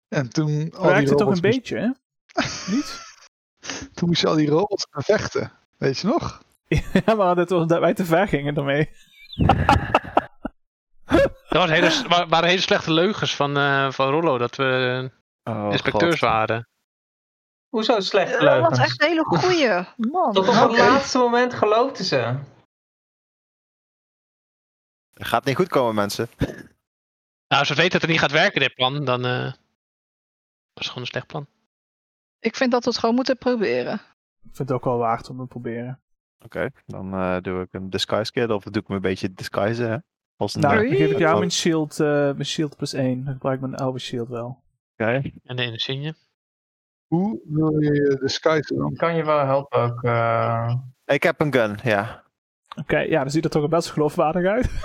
En toen, al die
Werkt het toch
robots
een beetje, hè? Niet?
moest- toen moest je al die robots bevechten. Weet je nog?
Ja, maar dat was omdat wij te ver gingen ermee.
Dat was hele, wa- waren hele slechte leugens van, eh, van Rollo dat we
Oh,
inspecteurs
God.
waren.
Hoezo slecht
Ja, Eh, dat was
leugens?
echt een hele goeie. Man.
Tot op het
Oké.
laatste moment geloofden ze.
Het gaat niet goed komen, mensen.
Nou, als we weten dat het niet gaat werken, dit plan, dan eh, was het gewoon een slecht plan.
Ik vind dat we het gewoon moeten proberen.
Ik vind het ook wel waard om te proberen.
Oké, dan eh, doe ik een disguise kit of doe ik me een beetje disguisen. Hè? Als een,
Nou,
eh,
dan geef ik jou
Oké.
mijn shield, eh, mijn shield plus 1. Dan gebruik ik mijn oude shield wel.
oké.
En de insigne.
Hoe wil je je disguise dan?
Kan je wel helpen ook. eh,
Ik heb een gun, ja.
Oké, ja, dan ziet er toch best geloofwaardig uit.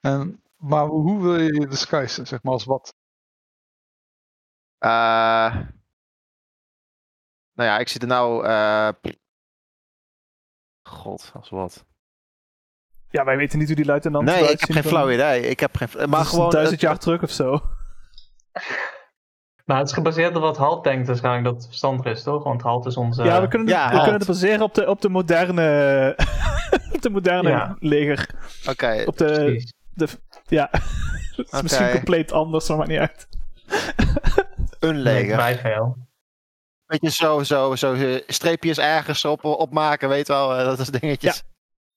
En, maar hoe wil je je disguise, zeg maar, als wat?
Eh, nou ja, ik zie er nou... eh, God, als wat.
Ja, wij weten niet hoe die luitenant
Nee,
eruit
ik heb
zien
geen
van-
flauw idee. Ik heb geen...
Het
eh, Maar
is
gewoon...
duizend
het-
jaar terug of zo.
Maar Nou, het is gebaseerd op wat Halt denkt waarschijnlijk dat het verstandig is, toch? Want Halt is onze...
ja, we kunnen,
ja,
we
halt.
kunnen het baseren op de, op de moderne, op de moderne
Ja.
leger.
Oké,
Op de,
Precies.
ja, het is
Oké.
misschien compleet anders, maar maakt niet uit.
een
Nee,
leger.
vrij veel.
Weet je, zo, zo, zo eh, streepjes ergens op, opmaken, weet wel, eh, dat is dingetjes.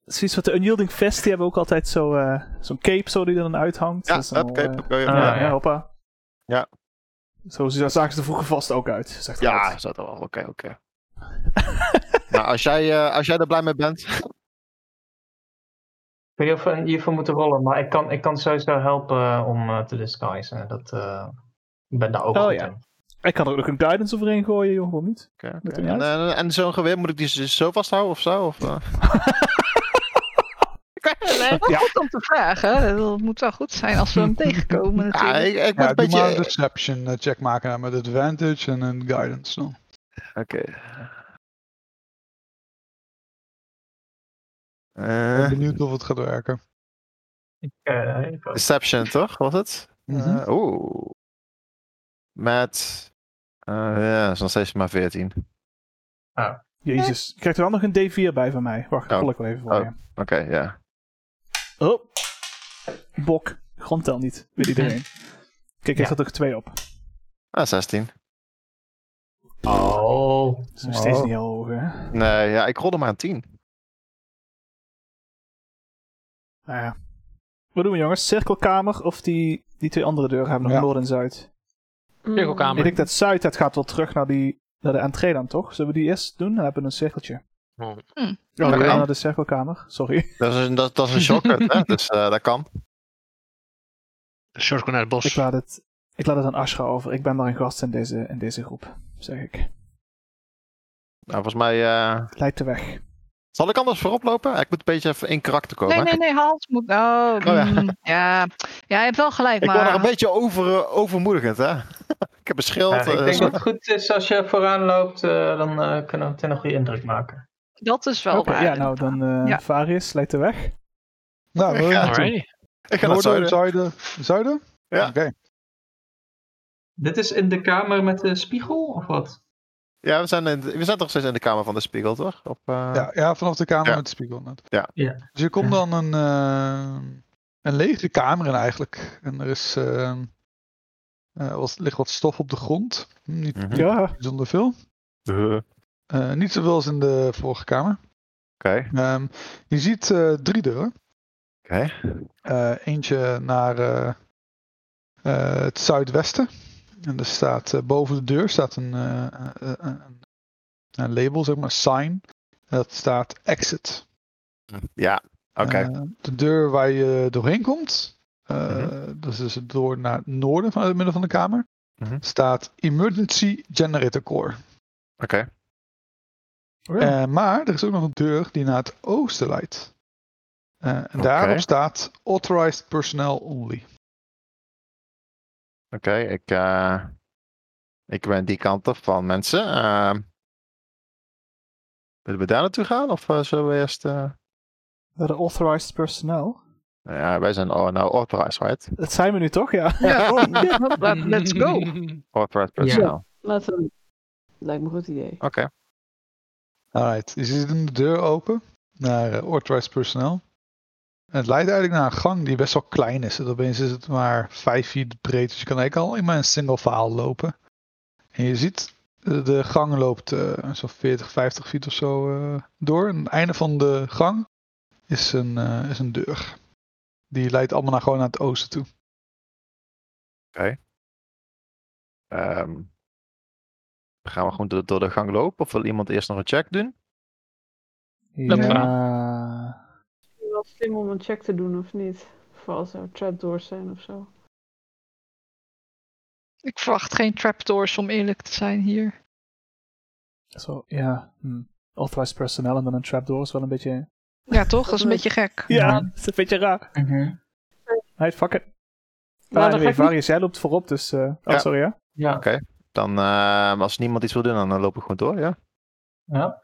zoiets wat de Unyielding Fest, die hebben ook altijd zo, eh, zo'n cape zo die er dan uithangt.
Ja,
Dat is dan
hup,
wel,
cape,
eh,
hup, ja, ja.
ja,
Ah,
ja,
ja.
hoppa.
Ja.
Zo zie- daar zagen ze er vroeger vast ook uit, zegt
Ja,
Ralf.
is dat wel. Oké, oké. nou, als jij, eh, als jij er blij mee bent.
Ik weet niet of we hiervoor moeten rollen, maar ik kan, ik kan sowieso helpen eh, om eh, te disguisen. Dat, eh, ik ben daar ook
Oh,
goed
ja.
in.
Ik kan er ook een guidance overheen gooien, joh, waarom niet?
Oké, oké.
Moet er niet
En, eh, en zo'n geweer, moet ik die z- zo vasthouden of zo? Of, eh?
Wat goed om te vragen. Dat moet wel goed zijn als we hem tegenkomen
Ja,
natuurlijk.
ik, ik ben
Ja,
een
doe maar een
beetje...
deception eh, check maken hè, met advantage en een guidance dan.
Oké.
Ik ben
Eh,
benieuwd of het gaat werken.
Eh, ik ook.
deception, toch? Was het?
Mhm.
Eh, Oeh. Met... eh, ja, dat is nog steeds maar 14.
Jezus. Je krijgt er wel nog een D4 bij van mij. Wacht,
Oh.
ik rol ik wel even voor
Oh.
je.
Oké, ja.
Oh. Bok. Grondtel niet. Weet iedereen. Kijk, ik zat er twee op.
Ah, 16.
Oh,
Dat is nog steeds
Oh.
niet heel hoog, hè? Nou
Nee, ja, ik rolde maar een 10.
Ah, ja. Wat doen we, jongens? Cirkelkamer of die, die twee andere deuren hebben nog
Ja.
Noord en Zuid? Mm.
Cirkelkamer.
Ik denk dat Zuid, dat gaat wel terug naar, die, naar de entree dan, toch? Zullen we die eerst doen? Dan hebben we een cirkeltje.
Oh.
Hm.
Oh,
Oké.
naar de cirkelkamer. Sorry.
Dat is een, dat, dat is een shocker, hè? Dus eh, dat kan.
De cirkel naar het
Ik
bos.
laat het, ik laat het aan Ashra over. Ik ben maar een gast in deze, in deze groep, zeg ik.
Nou, volgens mij... eh,
Leidt de weg.
Zal ik anders voorop lopen? Ik moet een beetje even in karakter komen.
Nee,
hè?
nee, nee, Hans moet... Oh,
ja.
mm, ja. ja, je hebt wel gelijk,
Ik
maar...
word nog een beetje over, eh, overmoedigend, hè? ik heb een schild.
Ja, ik
eh,
denk
zo-
dat het goed is als je vooraan loopt, eh, dan eh, kunnen we meteen een goede indruk maken.
Dat is wel
Oké,
waar.
ja, nou dan eh
Ja.
Varius, leidt de weg.
Nou, we
Ja.
gaan naartoe.
Alrighty.
Ik ga naar het
Noorden,
zuiden.
zuiden. Zuiden?
Ja.
Oké.
Dit is in de kamer met de spiegel, Oh, of wat?
Ja, we zijn, in de- we zijn toch steeds in de kamer van de spiegel, toch? Op, eh,
Ja, ja, vanaf de kamer
Ja.
met de spiegel. net.
Ja.
Ja.
Dus je komt
Ja.
dan een, eh, een lege kamer in eigenlijk. En er is, eh, eh, wat, ligt wat stof op de grond. Hm, Niet
Mhm.
Ja.
bijzonder veel.
Eh, Oké.
Eh, niet zoveel als in de vorige kamer. Ehm, je ziet eh, drie deuren.
Oké.
Eh, eentje naar eh, eh, het zuidwesten. En er staat eh, boven de deur staat een, eh, eh, eh, een- een label, zeg maar, een sign. Dat staat exit.
Ja, oké.
Eh, de deur waar je doorheen komt, eh, dat is dus door naar het noorden van het midden van de kamer,
Mhm.
staat Emergency Generator Core.
Oké.
Oh ja.
Eh, maar er is ook nog een deur die naar het oosten leidt. Eh, en daarop
Oké.
staat Authorized Personnel Only.
Oké, ik, eh, ik ben die kant op van mensen. Ehm, willen we daar naartoe gaan? Of eh, zullen we eerst... eh,
Naar de authorized personnel.
Ja, wij zijn oh, nou authorized, right?
Dat zijn we nu toch, ja?
oh,
Oh,
Let- Let's go.
Authorized personnel.
Laten we. Lijkt me een goed idee.
Oké.
Alright, dus je ziet een deur open naar eh, Authorized Personnel. En het leidt eigenlijk naar een gang die best wel klein is. En opeens is het maar 5 feet breed, dus je kan eigenlijk al in maar een single file lopen. En je ziet, eh, de gang loopt eh, zo'n 40, 50 feet of zo eh, door. En aan het einde van de gang is een, eh, is een deur. Die leidt allemaal naar, gewoon naar het oosten toe.
Ehm, gaan we gewoon door, door de gang lopen of wil iemand eerst nog een check doen?
me
Eh,
ja.
Misschien wel slim om een check te doen of niet. Vooral als er trapdoors zijn of zo.
Ik verwacht geen trapdoors om eerlijk te zijn hier.
Zo, ja. hm. Authorized personnel en dan een trapdoor is wel een beetje...
Ja, toch? Dat is een beetje gek.
Ja, dat is een beetje raar. Nee, fuck it.
Nou,
Ah,
dan
anyway,
ga ik
Varius, jij loopt voorop, dus... eh oh,
Ja.
sorry, ja?
Ja.
Oké. Dan, ehm, als niemand iets wil doen, dan, eh, loop ik gewoon door, ja?
ja.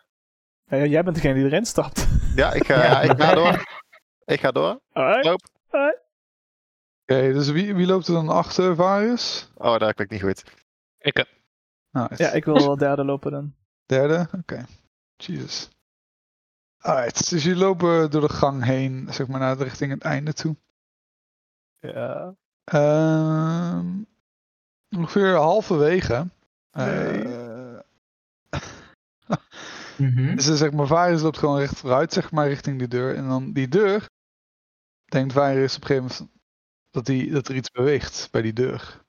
Ja, ja, Jij bent degene die erin stapt.
Ja, ik, eh,
Ja.
ik ga door. Ik ga door.
Alright.
Loop.
Oké, dus wie, wie loopt er dan achter, Varius?
Oh, dat klinkt niet goed.
Ik, eh,
Alright.
Ja, ik wil wel derde lopen dan.
Derde? Oké. Jesus. Alright, dus jullie lopen door de gang heen, zeg maar, naar de richting het einde toe.
Ja.
Ehm, ongeveer halverwege. eh,
Mhm.
Dus dan zegt maar, Varys loopt gewoon recht vooruit, zeg maar, richting die deur. En dan die deur, denkt Varys op een gegeven moment dat, die, dat er iets beweegt bij die deur.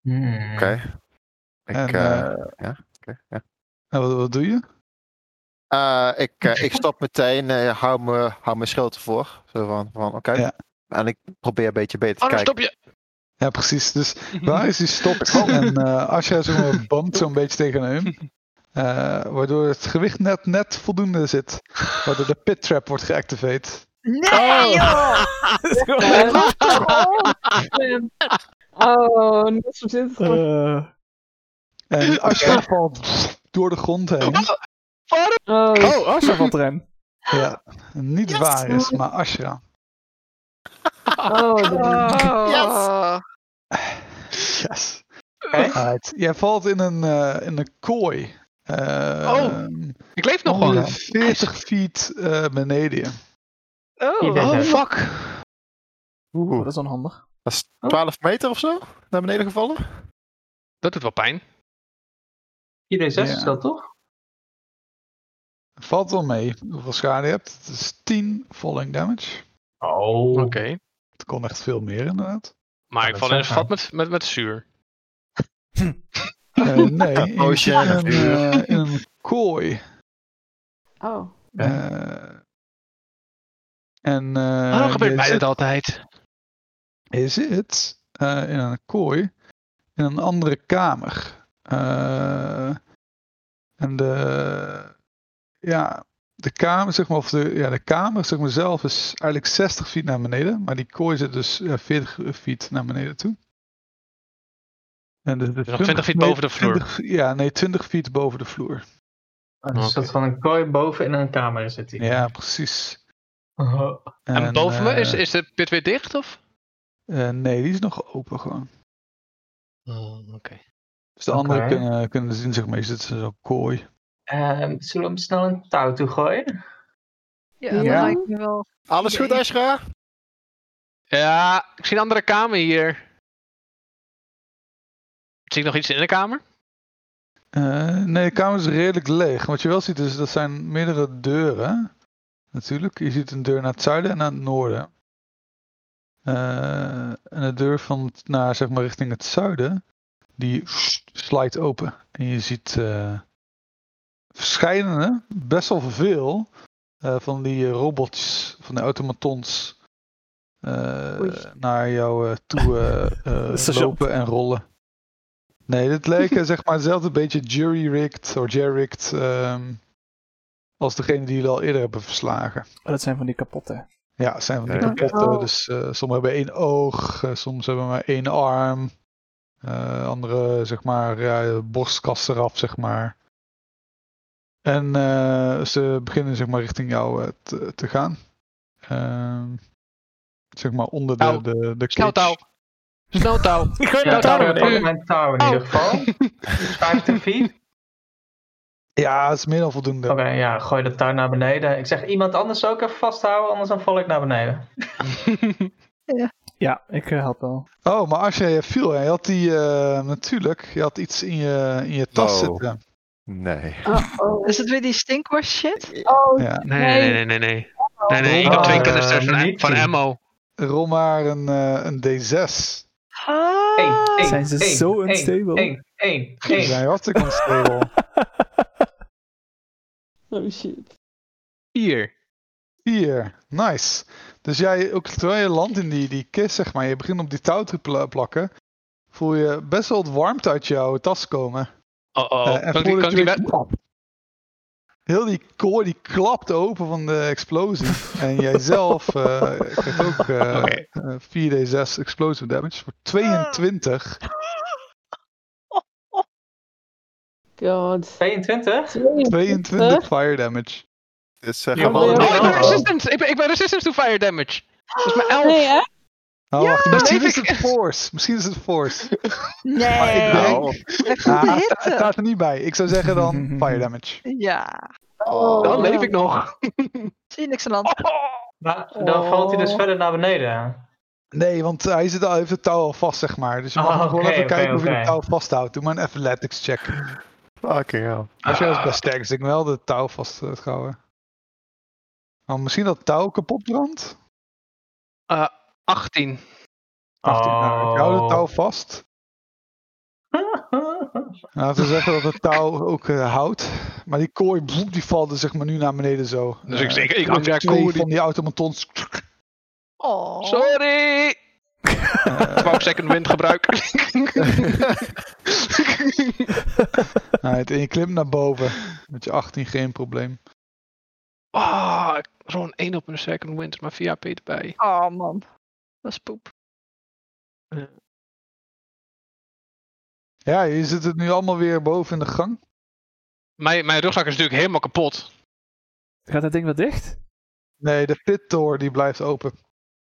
Hmm.
Oké. Ik,
En,
eh, ja, oké, ja.
En wat, wat doe je?
Eh, ik, eh, ik stop meteen, eh, hou, me, hou mijn schild ervoor. Zo van, van oké.
Ja.
En ik probeer een beetje beter te
Anders
kijken.
stop je.
Ja, precies. Dus
Mhm.
Varys die stopt en eh Asha zeg maar, bampt zo'n beetje tegen hem. eh, waardoor het gewicht net, net voldoende zit. Waardoor de pit trap wordt geactiveerd.
Nee, joh!
Oh, dat soort dit.
Eh,
En Asha valt door de grond heen.
Oh,
oh, Asha valt erin.
Ja, niet waar is, maar Ashra.
oh, dat-
Oh.
Yes.
Oké.
Alright. Jij valt in een, eh, in een kooi.
Oh, Ik leef nog
gewoon
gewoon.
40 feet eh, beneden. je.
Oh.
Oh,
Nice.
fuck.
Oh,
Oeh,
dat is onhandig.
dat is
Oh.
12 meter of zo? Naar beneden gevallen?
Dat doet wel pijn.
4D6
Ja.
is dat toch?
Valt wel mee hoeveel schade je hebt. Het is 10 falling damage.
Oh.
Oké.
Het kon echt veel meer inderdaad.
Maar ik
dat
val in een
zou
vat met, met, met zuur.
Eh, nee, je
Oh,
zit in, een,
ja.
eh, in een kooi.
oh.
Eh, en eh,
Waarom Oh, gebeurt
je
mij
zit-
dat altijd?
Je zit eh, in een kooi in een andere kamer. Eh, en de, ja, de kamer, zeg maar, of de, ja, de kamer zeg maar zelf is eigenlijk 60 feet naar beneden. Maar die kooi zit dus ja, 40 feet naar beneden toe. En dus,
nog 20 feet boven de vloer.
ja, nee, 20 feet boven de vloer.
Een soort Oh, van een kooi boven in een kamer zit hij.
Ja, precies.
Oh.
En, boven me,
eh,
is, is de pit weer dicht of?
eh, nee, die is nog open gewoon.
Oh, oké.
Dus de
Oké.
anderen kunnen, kunnen zien, zeg maar, je zit in zo'n kooi.
Ehm, zullen we hem snel een touw toegooien?
Ja, dat
Ja.
lijkt me wel.
Alles goed,
Nee.
Ashra?
Ja, ik zie een andere kamer hier. Zie ik nog iets in de kamer?
Eh, nee, de kamer is redelijk leeg. Wat je wel ziet is, dat zijn meerdere deuren. Natuurlijk. Je ziet een deur naar het zuiden en naar het noorden. Eh, en de deur van het- naar, zeg maar, richting het zuiden, die slijt open. En je ziet eh, verschillende, best wel veel, eh, van die eh, robotjes, van de automatons, eh,
Oei.
naar jou eh, toe eh, eh,
Sergeant.
lopen en rollen. Nee, dit lijken zeg maar hetzelfde beetje jury-rigged of jerry-rigged ehm, als degene die jullie al eerder hebben verslagen.
Oh, dat zijn van die kapotte.
Ja, het zijn van die
Ja.
kapotten,
Oh.
dus eh sommigen hebben één oog, eh, soms hebben maar één arm, eh andere zeg maar ja, borstkast eraf, zeg maar. En eh, ze beginnen zeg maar richting jou eh, te, te gaan. Ehm, zeg maar onder de,
Touw.
de, de
Snel touw.
cage.
Snel touw.
Gooi
Ja,
dat
touw,
touw
ik pak
erin.
mijn touw in ieder
Oh.
geval. 50 feet.
Ja, het is meer dan voldoende.
Oké, ja, gooi dat touw naar beneden. Ik zeg iemand anders ook even vasthouden, anders dan val ik naar beneden.
Ja, ik eh, help wel.
Oh, maar als jij viel, hè, je had die eh, natuurlijk, je had iets in je, in je tas
Wow.
zitten.
Nee.
Oh, oh.
Is het weer die stinkworst shit?
Oh,
Ja.
Nee, nee, nee, nee, nee. Nee, nee, ik heb twee
Oh,
kanisters
eh,
van,
niet.
van ammo.
Rol maar een, eh, een D6.
Ah.
Eén, één,
Zijn ze
één,
zo
één,
unstable?
één, één,
Die
één.
zijn hartstikke onstable.
oh shit.
Hier.
Hier, nice. Dus jij, ook terwijl je landt in die, die kist, zeg maar, je begint op die touw te pla- plakken, voel je best wel wat warmte uit jouw tas komen.
Oh, oh.
Eh,
kan ik die, kan ik die
voordat je
weg-
weet- Heel die kooi die klapt open van de explosie. en jijzelf eh, krijgt ook eh,
Oké. Ah.
eh, 4d6 explosive damage voor 22.
God.
22?
22 fire damage.
Dit is eh,
Ja,
gewoon
maar-
een
Oh, ik ben
Oh.
resistance. Ik ben, ik ben resistance to fire damage. Dat is mijn elf.
Nee, hè?
Nou, wacht, misschien
leef
is
ik.
het force. Misschien is het force. Maar ik
Nee,
denk-
Nou,
hij voelt
Ah,
de
het sta- het
hitte.
staat er niet bij. Ik zou zeggen dan fire damage.
Ja,
Oh.
Dan
ja.
leef ik nog.
zie niks aan de hand.
Maar dan valt hij dus
Oh.
verder naar beneden.
Nee, want hij zit al, heeft het touw al vast, zeg maar. Dus je mag
Oh,
nog gewoon
oké,
even
oké,
kijken of je
oké.
het touw vasthoudt. Doe maar een athletics check.
Fucking hell.
Als jij als bij sterk ik wel de touw vast eh, het houden. Maar misschien dat touw kapot brandt?
Eh, 18.
18, nou, ik hou het touw vast. Laten we zeggen dat het touw ook eh, houdt. Maar die kooi, boep, die valt er zeg maar nu naar beneden zo.
Dus ik
Eh,
zeg, ik
ook
hang daar
twee
kooi.
van die automatons.
Oh.
Sorry! 12 second wind gebruik.
Right, en je klimt naar boven. Met je 18 geen probleem.
Ah, gewoon 1 op een second wind, maar via P erbij.
Oh man, dat is poep.
Ja, je zit het nu allemaal weer boven in de gang.
Mijn, mijn rugzak is natuurlijk helemaal kapot.
Gaat dat ding weer dicht?
Nee, de pitdoor die blijft open.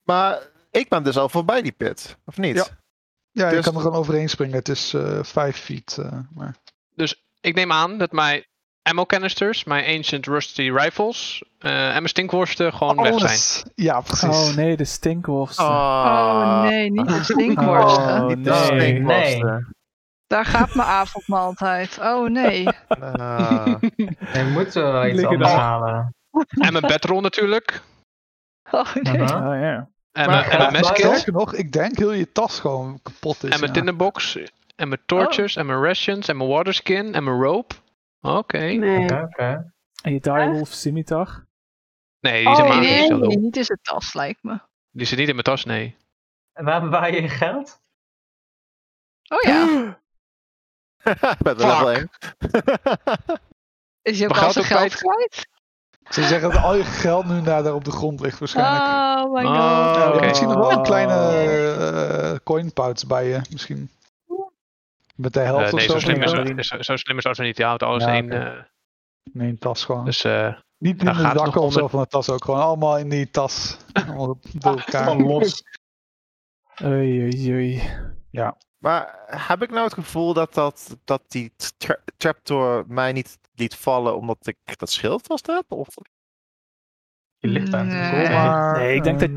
Maar ik ben dus al voorbij die pit, of niet?
Ja. Ja, je
Dus-
kan er gewoon overheen springen. Het is eh 5 feet. eh, maar...
Dus Ik neem aan dat mijn ammo canisters, mijn ancient rusty rifles eh, en mijn stinkworsten gewoon weg zijn.
Alles. Ja, precies.
Oh nee, de stinkworsten.
Oh nee, niet de stinkworsten.
Oh,
Niet de
nee.
stinkworsten.
Daar gaat mijn avondmaaltijd. Oh nee.
Ah.
Je moet er wel iets
Liggen
anders
daar.
halen.
En mijn bedroll natuurlijk.
Oh nee.
Uh-huh.
Oh ja.
En mijn, en
Maar
mijn
graag
meskills.
Sterker nog, ik denk heel je tas gewoon kapot is.
En mijn
Dus ja.
tinderbox. En mijn torches. En mijn rations. En mijn waterskin. En mijn rope. Oké.
Nee.
Oké, oké.
En je direwolf scimitar.
Nee, die zijn
Oh,
magisch.
nee,
nee.
hallo.
niet in zijn tas lijkt me.
Die zit niet in mijn tas, nee.
En Waar bewaar je je geld?
Oh ja,
Ik ben er wel
Fuck.
één.
is je ook
Maar
al
geld
zijn
ook
geld kwijt?
Ze zeggen dat al je geld nu daar, daar op de grond ligt waarschijnlijk.
Oh my god.
Oh,
Ja,
oké.
Misschien nog wel een kleine
Oh.
eh coin pouch bij je, misschien. Met de helft
Eh,
of
nee,
zo.
zo
van
slim,
je tas.
is, zo, zo slim is dat niet. Die houdt alles
Ja,
in.
oké.
eh,
Nee, een tas gewoon.
dus eh,
niet in
daar
de
gaat het
zakken
nog
of zo
onder.
van de tas ook. Gewoon allemaal in die tas. Allemaal door elkaar.
Allemaal los.
Oei, oei, oei.
Maar heb ik nou het gevoel dat, dat, dat die tra- trapdoor mij niet liet vallen omdat ik dat schild vast heb? Of...
Je ligt aan
Nee.
het
Kom maar,
Nee, ik denk dat-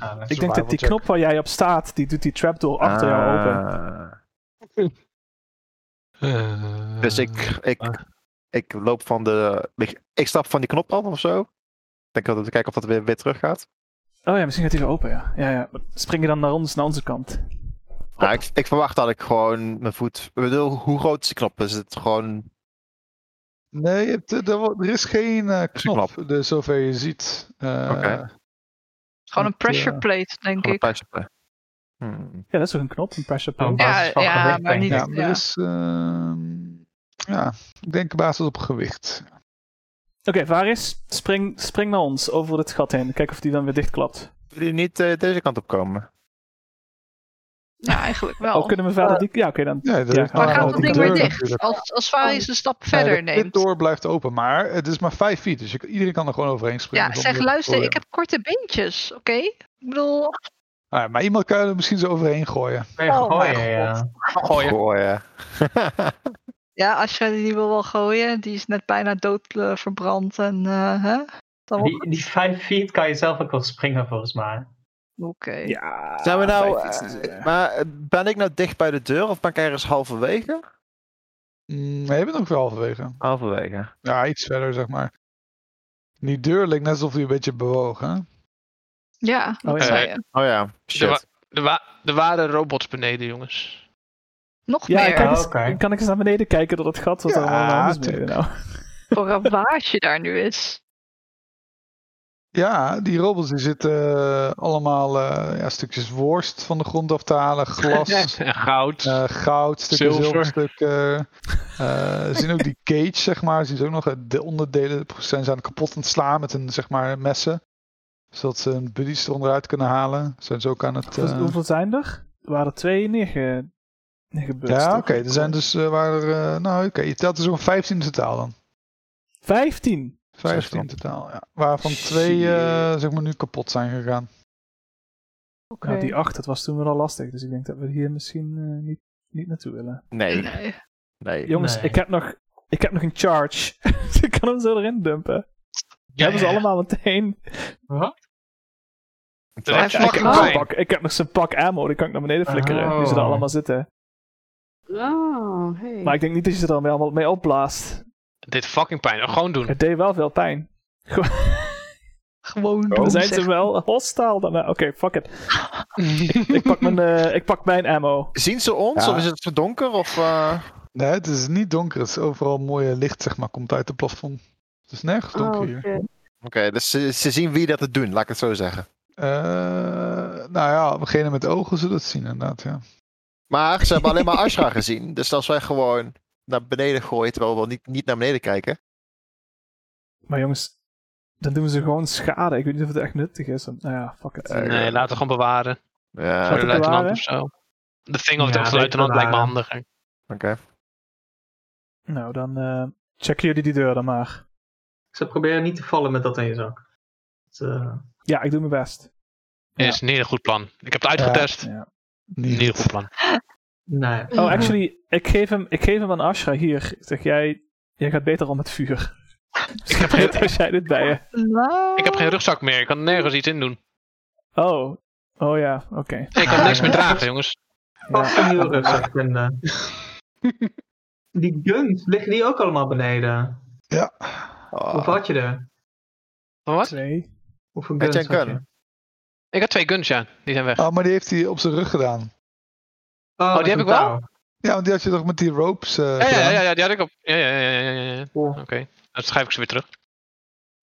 ehm,
Ik denk dat die
check.
knop waar jij op staat, die doet die trapdoor achter jou open.
Ah. Dus ik, ik, ik loop van de. Ik, ik stap van die knop af of zo. Ik denk dat we kijken of dat weer, weer terug gaat.
Oh ja, misschien gaat hij weer open, ja. ja, ja. Spring je dan naar ons, naar onze kant.
Nou, ik, ik verwacht dat ik gewoon mijn voet. Ik bedoel, hoe groot is die knop? Is het gewoon.
Nee, je hebt, er, er is geen eh,
Is een
knop, dus zover je ziet. Eh,
Oké.
Gewoon een
want,
pressure
eh,
plate, denk
gewoon een
ik.
pijltje? Hmm.
Ja, dat is toch een knop, een pressure
Oh,
Op
point.
Ja,
basis van
ja,
gewicht,
maar
denk
niet-
ik.
Ja, maar er is. ehm, ja, ik denk basis op gewicht.
Oké, Varis, spring, spring naar ons, over het gat heen. Kijk of die dan weer dichtklapt.
Wil je niet eh, deze kant op komen?
Ja, eigenlijk wel.
Oh, kunnen we verder die... Ja, oké, dan...
Ja, dat
Ja,
is
maar
Maar
maar
Ah,
gaat dat
een
die
ding
Oh.
weer
deur
dicht?
natuurlijk.
Als, als Faris een stap
Nee,
verder
de pit
neemt.
door blijft open, maar het is maar 5 feet, dus je, iedereen kan er gewoon overheen springen.
Ja,
zonder
zeg luister, ik
probleem.
heb korte beentjes, oké? Ik bedoel,
Ah, ja, maar iemand kan er misschien zo overheen gooien.
Kun je
Oh mijn
gooien, ja.
Gooien.
Oh, ja.
ja, als je die wil wel gooien, die is net bijna dood eh, verbrand en eh, hè? Dan wel-
Die, die vijf feet kan je zelf ook wel springen, volgens mij.
Oké.
Ja,
Zijn we nou.
Ah, vijf fietsen,
eh,
eh.
maar eh, ben ik nou dicht bij de deur of ben ik ergens halverwege?
Mm, nee, je bent nog wel halverwege.
Halverwege.
Ja, iets verder zeg maar. Die deur leek net alsof hij een beetje bewoog, hè?
Oh, Ja, dat
Eh,
ja.
zei je.
Oh ja.
Er,
Shit.
wa- er, wa- er waren robots beneden, jongens.
Nog
Ja,
meer.
kijk eens,
Oké.
kan ik eens naar beneden kijken door dat gat wat
Ja,
er allemaal anders beneden
tuurlijk.
nou?
Voor een waasje daar nu is.
Ja, die robots die zitten eh, allemaal eh, ja, stukjes worst van de grond af te halen, glas,
En goud.
eh, goud, stukken
Zilver.
zilverstukken. Eh zien ook die cage, zeg maar. Zien ze ook nog eh, de onderdelen zijn ze aan het kapot aan het slaan met hun zeg maar, messen. Zodat ze hun buddies eronderuit kunnen halen. Zijn ze ook aan het...
Hoeveel-
eh,
nou. Hoeveel zijn er? Er waren er twee neerge... neergebeurd.
ja, oké.
toch?
er zijn dus... eh, waren er, eh, nou, oké. Je telt er zo'n 15 in totaal dan.
Vijftien!
15 in totaal, ja. Waarvan twee
Shit.
eh, zeg maar, nu kapot zijn gegaan.
Ja, Nou, die acht, dat was toen wel al lastig. Dus ik denk dat we hier misschien eh, niet, niet naartoe willen.
Nee,
Nee.
nee.
Jongens,
Nee.
ik, heb nog, ik heb nog een charge. ik kan hem zo erin dumpen. Die hebben ze allemaal meteen.
Dat heeft
Hij
fucking
Ik
mag
heb, nog
pijn.
een pak, ik heb nog zijn pak ammo, die kan ik naar beneden flikkeren. Nu ze er
Oh.
allemaal zitten.
Oh, hey.
Maar ik denk niet dat je ze er dan wel allemaal mee opblaast.
Dit fucking pijn. Oh, Gewoon doen.
Het deed wel veel pijn.
Gewoon
Dan
doen.
zijn
zeg.
ze wel hostile daarna. Oké, fuck it. ik, ik, pak mijn, eh, ik pak mijn ammo.
Zien ze ons
Ja.
of is het zo donker? Of, eh,
Nee, het is niet donker. Het is overal mooie licht, zeg maar, komt uit het plafond. Het is nergens
Oh,
donker hier.
shit.
Oké, dus ze, ze zien wie dat het doen, laat ik het zo zeggen.
Eh, nou ja, degene met ogen zullen het zien, inderdaad. Ja.
Maar ze hebben alleen maar Ashra gezien. Dus als wij gewoon naar beneden gooien, terwijl we wel niet, niet naar beneden kijken.
Maar jongens, dan doen ze gewoon schade. Ik weet niet of het echt nuttig is. want- nou ja, fuck it.
Eh,
Nee, laten we gewoon bewaren.
Ja,
Voor de
Laten we
luitenant
bewaren.
of zo. De thing of
Ja,
de luitenant lijkt me
bewaren.
handiger.
oké.
Nou, dan eh, checken jullie die deur dan maar.
Ze proberen niet te vallen met dat in je zak. Het, eh,
Ja, ik doe mijn best. Ja.
Is niet een goed plan. Ik heb het uitgetest.
Ja.
Niet een goed plan.
nee.
Oh, actually, ik geef hem, ik geef hem aan Ashra hier. Ik Zeg jij, jij gaat beter om het vuur. Ik heb
geen-
beter als jij dit bij je.
Nou,
Ik heb geen rugzak meer. Ik kan nergens iets in doen.
Oh, oh ja, oké.
Ik kan niks meer dragen, jongens.
Pas een nieuwe rugzak vinden. Die guns, liggen die ook allemaal beneden?
Ja.
Oh,
Hoeveel had je er?
Ah. Wat?
Twee.
Hoeveel
Had
guns
jij
had
een
je?
gun?
Ik had twee guns, ja. Die zijn weg.
Oh, maar die heeft hij op zijn rug gedaan.
Oh,
die
met
heb
een
ik wel.
touw.
Ja, want die had je toch met die ropes eh,
ja, ja,
gedaan?
ja, ja, die had ik op. Ja, ja, ja, ja, ja, ja.
Cool.
Oké. Dan schrijf ik ze weer terug.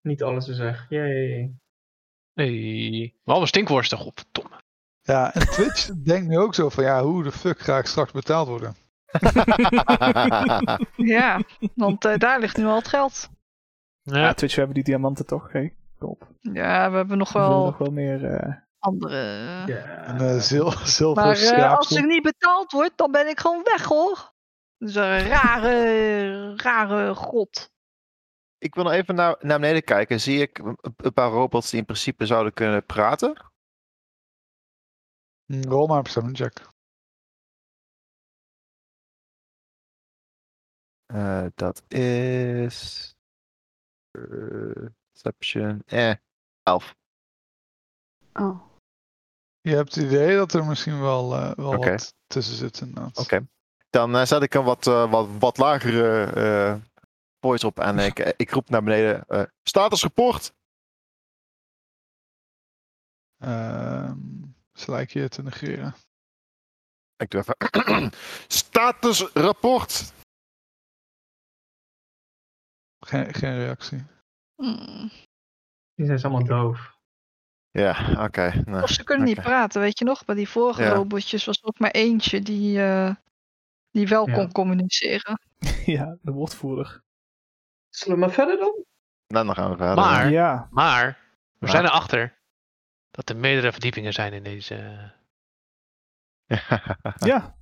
Niet alles te zeggen. Jee.
Hey. Maar allemaal stinkworsten op. Tom.
Ja, en Twitch denkt nu ook zo van, ja, hoe de fuck ga ik straks betaald worden?
ja, want eh, daar ligt nu al het geld.
Ja,
Ja.
Twitch, we hebben die diamanten toch? Hey, kom op. We
Ja, we hebben nog
willen
wel
nog wel meer... eh,
andere.
Ja.
Een eh, zil zilver
Maar eh, als
schaapsel.
ik niet betaald word, dan ben ik gewoon weg hoor. Dat is een rare, rare god.
ik wil nog even naar, naar beneden kijken. Zie ik een, een paar robots die in principe zouden kunnen praten?
Mm, Rol maar een perception check.
Eh, dat is. eh, Perception. Eh, 11.
Oh.
Je hebt het idee dat er misschien wel, eh, wel
Oké.
wat tussen zit eh. inderdaad.
Oké. Dan eh, zet ik een wat, eh, wat, wat lagere eh voice op en ik, ik roep naar beneden. eh status rapport!
Ehm, ze lijken je te negeren.
Ik doe even. status rapport!
Geen, geen reactie.
Hmm.
Die zijn allemaal doof.
Ja, oké. nou,
Of ze kunnen niet
oké.
praten, weet je nog? Bij die vorige
Ja.
robotjes was er ook maar eentje die, eh, die wel
Ja.
kon communiceren.
ja, de woordvoerder.
Zullen we maar verder dan?
Nou, dan gaan we verder.
Maar-
Ja,
Maar we
Maar-
zijn erachter dat er meerdere verdiepingen zijn in deze.
ja,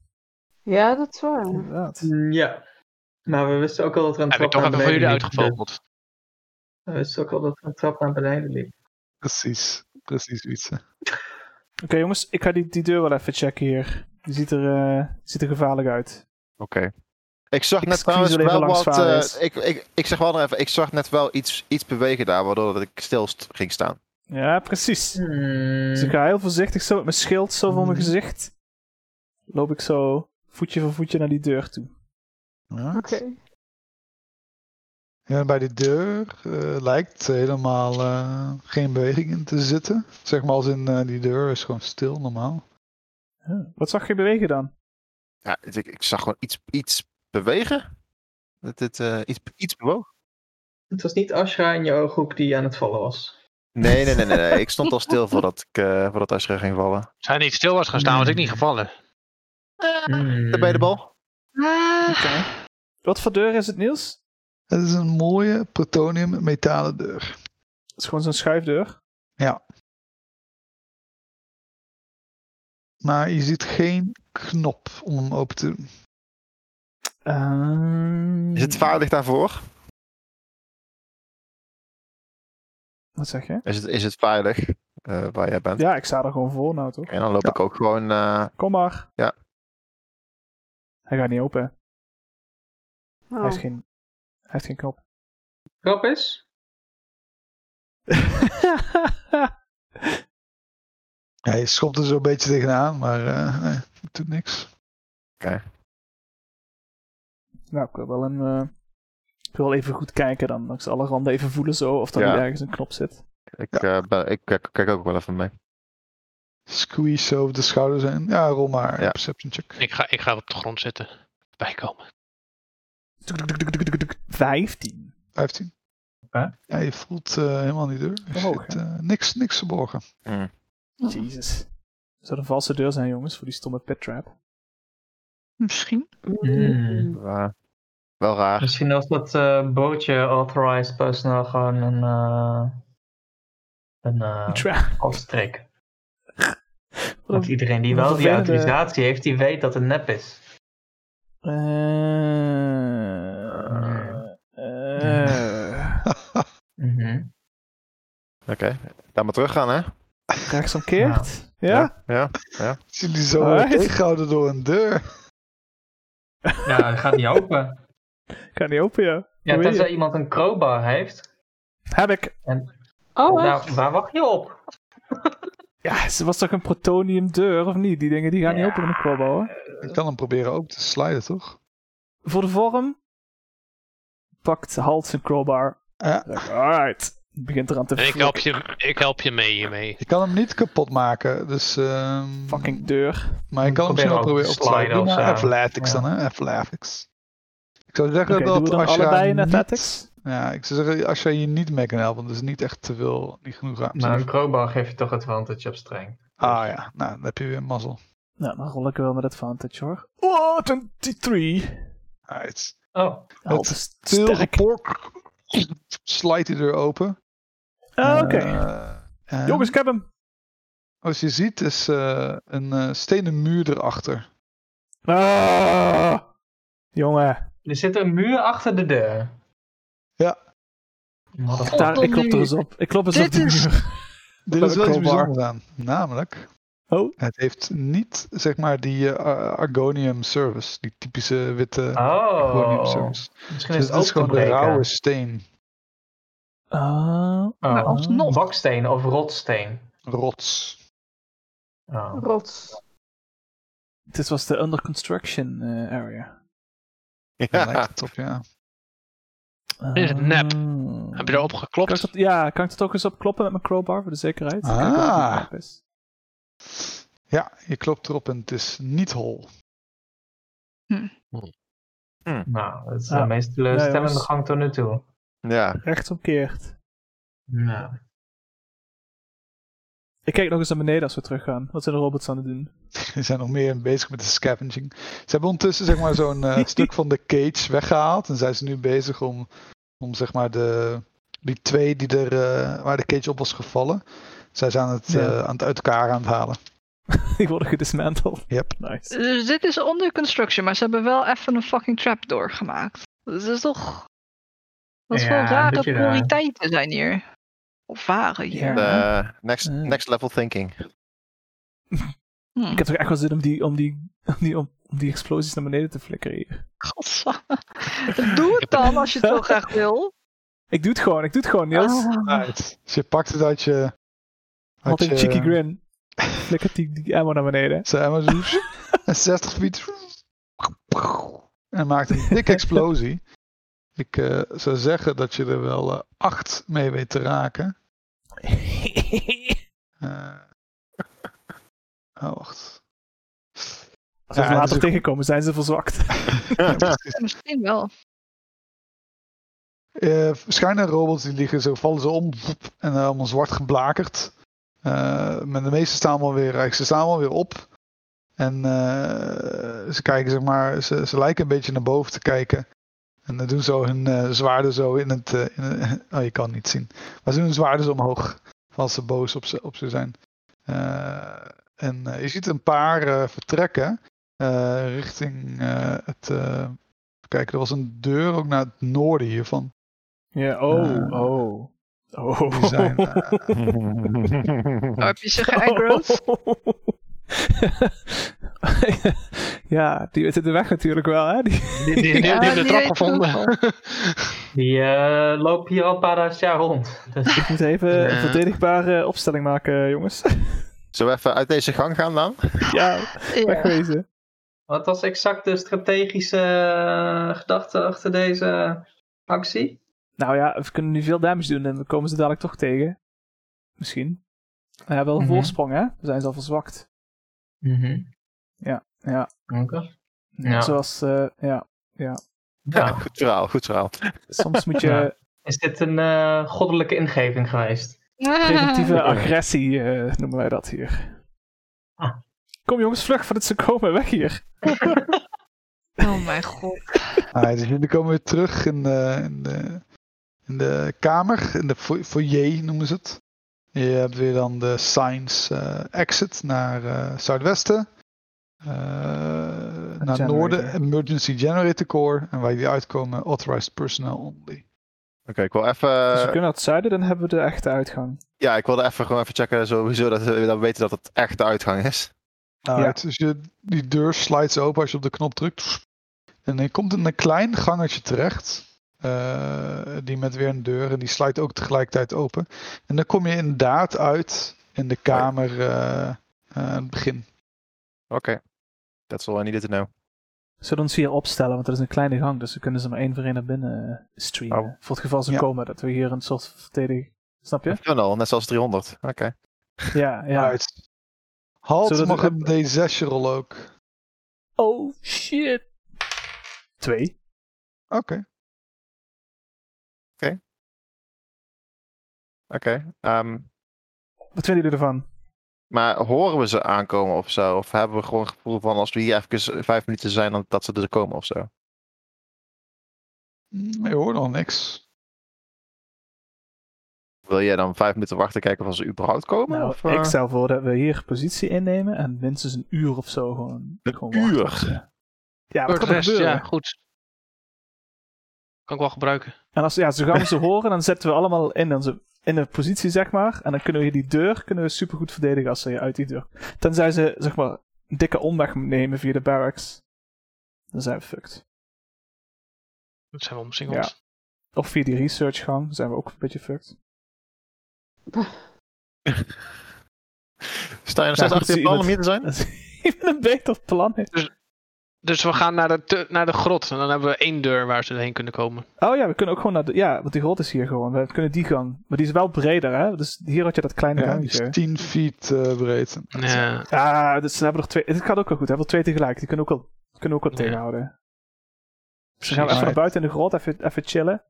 Ja, dat is waar.
inderdaad.
Mm, Ja. Maar we wisten ook al dat er een
Heb ik
trap
toch
naar
even voor
beneden
jullie
liep, dus
uitgevogeld.
We wisten ook al dat er een trap naar beneden liep.
Precies. Precies, Wietse.
Oké jongens, ik ga die, die deur wel even checken hier. Die ziet er, eh, ziet er gevaarlijk uit.
Oké. Ik zag
Ik
net
squeeze
trouwens
er even
wel
langs
wat.
varen
eh,
is.
ik, ik, ik zeg wel nog even. Ik zag net wel iets, iets bewegen daar, waardoor dat ik stil st- ging staan.
Ja, precies.
Hmm.
Dus ik ga heel voorzichtig zo met mijn schild zo voor mijn gezicht. Loop ik zo voetje voor voetje naar die deur toe.
Ja.
Oké.
Ja, en bij die deur eh, lijkt helemaal eh, geen beweging in te zitten. Zeg maar als in eh, die deur is gewoon stil, normaal.
Ja. Wat zag je bewegen dan?
Ja, dus ik, ik zag gewoon iets, iets bewegen. Dat het eh, iets, iets bewoog.
Het was niet Ashra in je ooghoek die aan het vallen was.
Nee, nee, nee, nee. nee. ik stond al stil voordat, ik, eh voordat Ashra ging vallen.
Zijn niet stil was gaan staan, was ik niet gevallen.
Hmm.
Bij de bal?
Ah,
Wat voor deur is het, Niels?
Het is een mooie plutonium metalen deur.
Het is gewoon zo'n schuifdeur.
Maar je ziet geen knop om hem open te doen.
Ehm,
Is het
Hmm.
vaardig daarvoor?
Wat zeg je?
Is het, is het veilig eh, waar jij bent?
Ja, ik sta er gewoon voor nou toch?
En dan loop
Ja.
ik ook gewoon. eh,
Kom maar.
Ja.
Hij gaat niet open. hè? Hij,
Oh.
heeft geen, hij heeft geen knop.
Trap is?
Ja, je schopt er zo'n beetje tegenaan, maar eh, nee, het doet niks.
Nou, ik wil wel een. eh, ik wil even goed kijken dan. Langs alle randen even voelen zo of er
Ja.
niet ergens een knop zit.
Ik, eh, ben- ik kijk, kijk ook wel even mee.
Squeeze zo over de schouders heen. Ja, rol maar.
Ja.
Perception check.
Ik ga, ik ga op de grond zitten. Bijkomen.
Tuk, tuk, tuk, tuk, tuk, tuk, tuk. 15.
15.
Oké.
Ja, je voelt eh, helemaal niet deur. Er
Omhoog,
zit, eh, niks, niks verborgen.
Mm.
Oh.
Jezus. Zou een valse deur zijn, jongens, voor die stomme pet trap?
Misschien.
Hmm.
Eh, wel raar.
Misschien was dat eh, bootje authorized personeel gewoon een. eh een eh,
Trap.
afstrik.
Wat
Want
een-
iedereen die
wat
wel
een
die
vervelende-
autorisatie heeft, die weet dat het nep is.
Eh, eh,
Oké, laat maar teruggaan, hè?
Rechts omkeerd? Nou, Ja?
Ja?
Zien die zo
Alright.
worden tegengehouden door een deur.
Ja, hij gaat niet open.
Kan niet open, ja.
Ja,
Hoe weet
tenzij iemand een crowbar heeft.
Heb ik.
Oh, echt?
Nou, waar wacht je op?
Ja, ze was toch een protoniumdeur, of niet? Die dingen die gaan niet open in de kwabba, hoor.
Ik kan hem proberen ook te sliden, toch?
Voor de vorm pakt Halt zijn crowbar.
Ja.
Zegt, Alright. Begint eraan te
En ik help je, ik help je mee hiermee.
Je kan hem niet kapot maken, dus... ehm,
Fucking deur.
Maar ik kan hem misschien
Probeer
wel
ook
proberen
te
op te sliden.
sliden
Doe
of
maar
zo.
athletics
Ja.
dan, hè? Athletics. Ik zou zeggen
Oké, doen
dat
we dan
als je haar
allebei in
niet-
athletics?
Ja, ik zou zeggen, als jij je niet mee kan helpen, dus niet echt te veel, niet genoeg ruimte.
Maar een crowbar geeft je toch advantage op streng.
Ah ja, nou, dan heb je weer mazzel.
Nou, dan rol ik wel met advantage, hoor. Oh, 23.
Alright.
Oh,
Halt is
Veel
sterk.
gepork. Slijt die deur open.
Ah, Oké.
Eh, en
Jongens, ik heb hem.
Als je ziet, is eh, een eh, stenen muur erachter.
Ah. Jongen.
er zit een muur achter de deur.
Ja.
Motherfucker.
Daar, ik klop er eens op. Ik klop eens
Dit
op die
is-
muur.
Dit
Met
is
een
wel iets
crowbar.
bijzonders aan. Namelijk,
Oh.
het heeft niet, zeg maar, die eh, Ar- Argonium service. Die typische witte Argonium
Oh,
service.
misschien is
Dus het
het
is
ook
gewoon
te
de rauwe
breken.
steen.
Ah.
Oh.
Maar alsnog.
Baksteen of rotsteen.
Rots.
Oh.
Nou, Rots.
Dit was de under construction eh, area.
Ja.
Ja.
Lijkt het op, ja.
Is het nep?
Ah.
Heb je erop geklopt?
Kan ik dat, ja, kan ik dat ook eens op kloppen met mijn crowbar voor de zekerheid?
Ah.
Kijken of het niet nep is.
Ja, je klopt erop en het is niet hol.
Nou, dat is
Ja.
de meest
Ja,
teleurstellende
jongens.
gang tot nu toe.
ja.
Rechtsomkeerd.
Nou.
Ik kijk nog eens naar beneden als we teruggaan. Wat zijn de robots aan het doen?
Ze zijn nog meer bezig met de scavenging. Ze hebben ondertussen zeg maar zo'n eh, stuk van de cage weggehaald. En zijn ze nu bezig om, om zeg maar de, die twee die er, eh, waar de cage op was gevallen. Zijn ze aan het,
Ja.
eh, aan het uit elkaar aan het halen.
Die worden gedismanteld.
Yep.
Nice.
Dus dit is onder construction, maar ze hebben wel even een fucking trapdoor gemaakt. Dat is toch. Wat
Ja,
voor
een
rare
beetje raar.
prioriteiten zijn hier. Of waren hier.
Ja.
Eh, next,
Ja.
next level thinking.
Hm,
Ik heb toch echt wel zin om die, om die, om die, om, om die explosies naar beneden te flikkeren hier.
godsamme. Doe het dan als je het zo graag wil.
Ik doe het gewoon, ik doe het gewoon, Niels.
Ah,
Right. Dus je pakt het uit je...
Had een
je-
cheeky grin. Flikkert die, die ammo naar beneden.
Zo, en maar zo- en 60 feet. En maakt een dikke explosie. Ik eh, zou zeggen dat je er wel eh, acht mee weet te raken. Eh, oh, wacht.
Als
Ja,
we
dus- dat
ze
is
later
ook-
tegenkomen, zijn ze verzwakt.
Misschien wel.
Eh schijnen robots die liggen zo, vallen ze om voep, en eh, allemaal zwart geblakerd. Eh, maar de meeste staan allemaal weer, eh, ze staan allemaal weer op. En eh, ze kijken, zeg maar, ze, ze lijken een beetje naar boven te kijken. En dan doen zo hun eh, zwaarden zo in het, eh, in het- Oh, je kan het niet zien. Maar ze doen hun zwaarden zo omhoog. Als ze boos op ze, op ze zijn. Eh, en eh, je ziet een paar eh, vertrekken. eh, richting eh, het. eh, Kijk, er was een deur ook naar het noorden hiervan.
Ja,
oh,
oh. Oh.
Die zijn, eh,
Nou, heb je ze geaggroed?
ja, die weten de weg natuurlijk wel, hè? Die...
Die, die, die, die
Ja,
hebben de
die
trap
weet het ook
gevonden.
Die eh, loopt hier al een paar duizend jaar rond. Dus
Ik moet even
Ja.
een verdedigbare opstelling maken, jongens.
Zullen we even uit deze gang gaan dan?
ja,
Ja.
wegwezen.
Wat was exact de strategische eh, gedachte achter deze actie?
Nou ja, we kunnen nu veel damage doen en we komen ze dadelijk toch tegen. Misschien. We hebben wel een
Mhm.
voorsprong, hè? We zijn ze al verzwakt. Ja,
Oké. Ja.
zoals... eh, ja.
Ja, goed verhaal, goed verhaal.
Soms moet je
Ja. Is dit een eh, goddelijke ingeving geweest?
preventieve agressie, eh, noemen wij dat hier.
Ah.
Kom jongens, vlug voordat ze komen, weg hier.
Oh mijn god.
Ah, dus jullie komen weer terug in de, in de, in de kamer, in de fo- foyer noemen ze het. Je hebt weer dan de signs eh, exit naar eh, zuidwesten. eh, naar
generator.
noorden, emergency generator core. En waar jullie uitkomen, authorized personnel only.
Oké, ik wil even...
Als Dus we kunnen naar het zuiden, dan hebben we de echte uitgang.
Ja, ik wilde even gewoon even checken sowieso dat we, dat we weten dat het echt de uitgang is.
Nou,
Ja.
het- dus je, die deur slides open als je op de knop drukt. En je komt in een klein gangetje terecht. eh, die met weer een deur en die slijt ook tegelijkertijd open. En dan kom je inderdaad uit in de kamer eh, eh, aan het begin.
Oké. That's all I needed to know.
Ze Zullen we ons hier opstellen, want dat is een kleine gang, dus we kunnen ze maar één voor één naar binnen eh, streamen.
Oh.
Voor het geval ze
Ja.
komen, dat we hier een soort verdedig... Snap je?
Tunnel, net zoals 300. Oké.
Ja, ja.
Uit. Halt
Zodat
mag
we-
een D6 rollen ook. Oké.
Oh shit. Twee.
Oké. ehm,
Wat vinden jullie ervan?
maar horen we ze aankomen of zo? Of hebben we gewoon het gevoel van als we hier even vijf minuten zijn, dan dat ze er komen of zo?
Mm, Je hoort nog niks.
Wil jij dan vijf minuten wachten kijken of ze überhaupt komen?
Nou,
of, eh,
ik stel voor dat we hier positie innemen en minstens een uur of zo gewoon.
Een
gewoon wachten
uur?
op ze. Ja,
Voor
wat
de
kan er
rest,
gebeuren?
ja, goed. Kan ik wel gebruiken.
En als ja, zo gaan we ze horen, dan zetten we allemaal in onze in een positie, zeg maar. En dan kunnen we hier die deur kunnen we supergoed verdedigen als ze hier uit die deur. Tenzij ze, zeg maar, een dikke omweg nemen via de barracks. Dan zijn we fucked.
Dat zijn we omsingeld.
Of via die researchgang zijn we ook een beetje fucked.
Sta je nog
Ja,
steeds
goed,
achter je
zie
plan om
iemand-
hier te zijn?
Ik ben een beter plan.
Dus we gaan naar de, tu- naar de grot. En dan hebben we één deur waar ze heen kunnen komen.
Oh ja, we kunnen ook gewoon naar de... Ja, want die grot is hier gewoon. We kunnen die gang. Maar die is wel breder, hè? Dus hier had je dat kleine
Ja, die
gangetje.
is 10 feet eh, breed.
Ja.
Ah, dus ze hebben er twee... Het gaat ook wel goed. We hebben er twee tegelijk. Die kunnen ook wel, kunnen ook wel
Ja.
tegenhouden. Dus dan gaan we
Alright.
even naar buiten in de grot. Even, even chillen.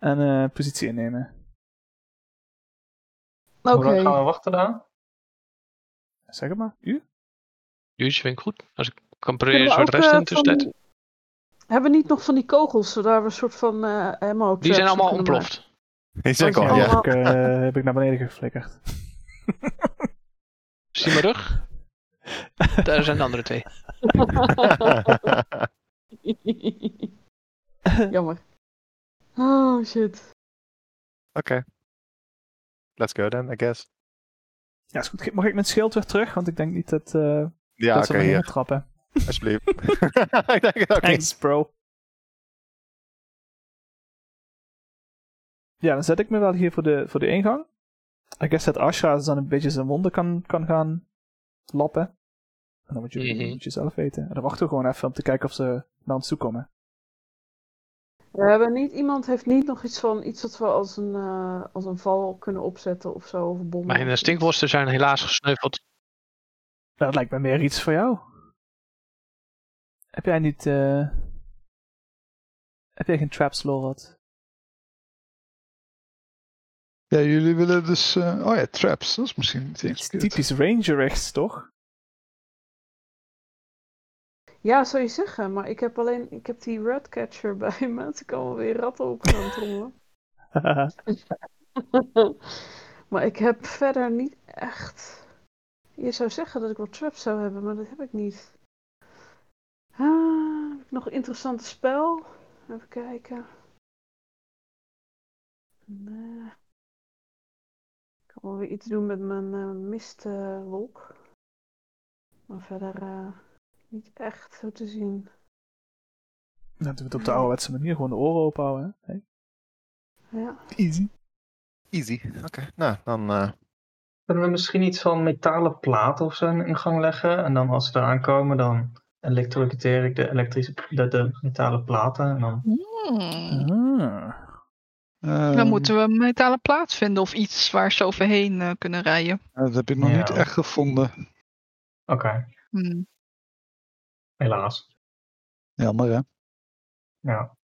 En eh, positie innemen.
Oké.
Hoe lang gaan we wachten dan?
Zeg het maar. U?
Uurtje vind ik goed. Als ik kan
Kunnen
proberen
we
voor de
ook,
rest
eh,
in de tussentijd.
van- Hebben we niet nog van die kogels, zodat we een soort van eh ammo
Die zijn
traps
allemaal
kunnen maken?
ontploft.
Ik zeg
Die
al,
heb,
ja.
ik, eh, heb ik naar beneden geflikkerd.
Zie mijn rug. Daar zijn de andere twee.
Jammer. Oh shit.
Oké. Let's go then, I guess.
Ja, is goed. Mag ik mijn schild weer terug? Want ik denk niet dat, eh
Ja,
dat
oké,
ze erin
hier.
gaan trappen.
Alsjeblieft. ik denk het ook niet.
Thanks, bro. Ja, dan zet ik me wel hier voor de, voor de ingang. I guess dat Ashra dan een beetje zijn wonden kan, kan gaan lappen. En dan moet je,
Mhm.
moet je zelf weten. En dan wachten we gewoon even om te kijken of ze naar ons toe komen.
We hebben niet, iemand heeft niet nog iets van iets dat we als een, eh, als een val kunnen opzetten of zo. Of een bom.
Mijn eh,
of iets.
stinkworsten zijn helaas gesneuveld.
Nou, dat lijkt me meer iets voor jou. Heb jij niet... eh, Heb jij geen traps, Lorad?
Ja, jullie willen dus... eh, oh ja, traps. Dat is misschien niet eens verkeerd.
Typisch ranger-rechts, toch?
Ja, zou je zeggen, maar ik heb alleen ik heb die ratcatcher bij me. Dus ik kan wel weer ratten op gaan trommelen. maar ik heb verder niet echt. Je zou zeggen dat ik wat traps zou hebben, maar dat heb ik niet. Ah, heb ik nog een interessante spel? Even kijken. Nee. Ik kan wel weer iets doen met mijn eh, mistwolk. maar verder eh, niet echt zo te zien.
Dan doen we het op de ouderwetse manier. Gewoon de oren openhouden. hè? Hey,
Ja.
Easy.
Easy. Oké. Nou, dan... eh,
Kunnen we misschien iets van metalen platen of zo in de ingang leggen? En dan als ze eraan komen, dan electrocuteer ik de, elektrische, de, de metalen platen. En dan
Hmm.
Ah. Ehm,
Dan moeten we een metalen plaat vinden of iets waar ze overheen eh, kunnen rijden.
Dat heb ik nog
Ja.
niet echt gevonden.
Oké,
Hmm.
helaas.
Jammer, hè?
Ja.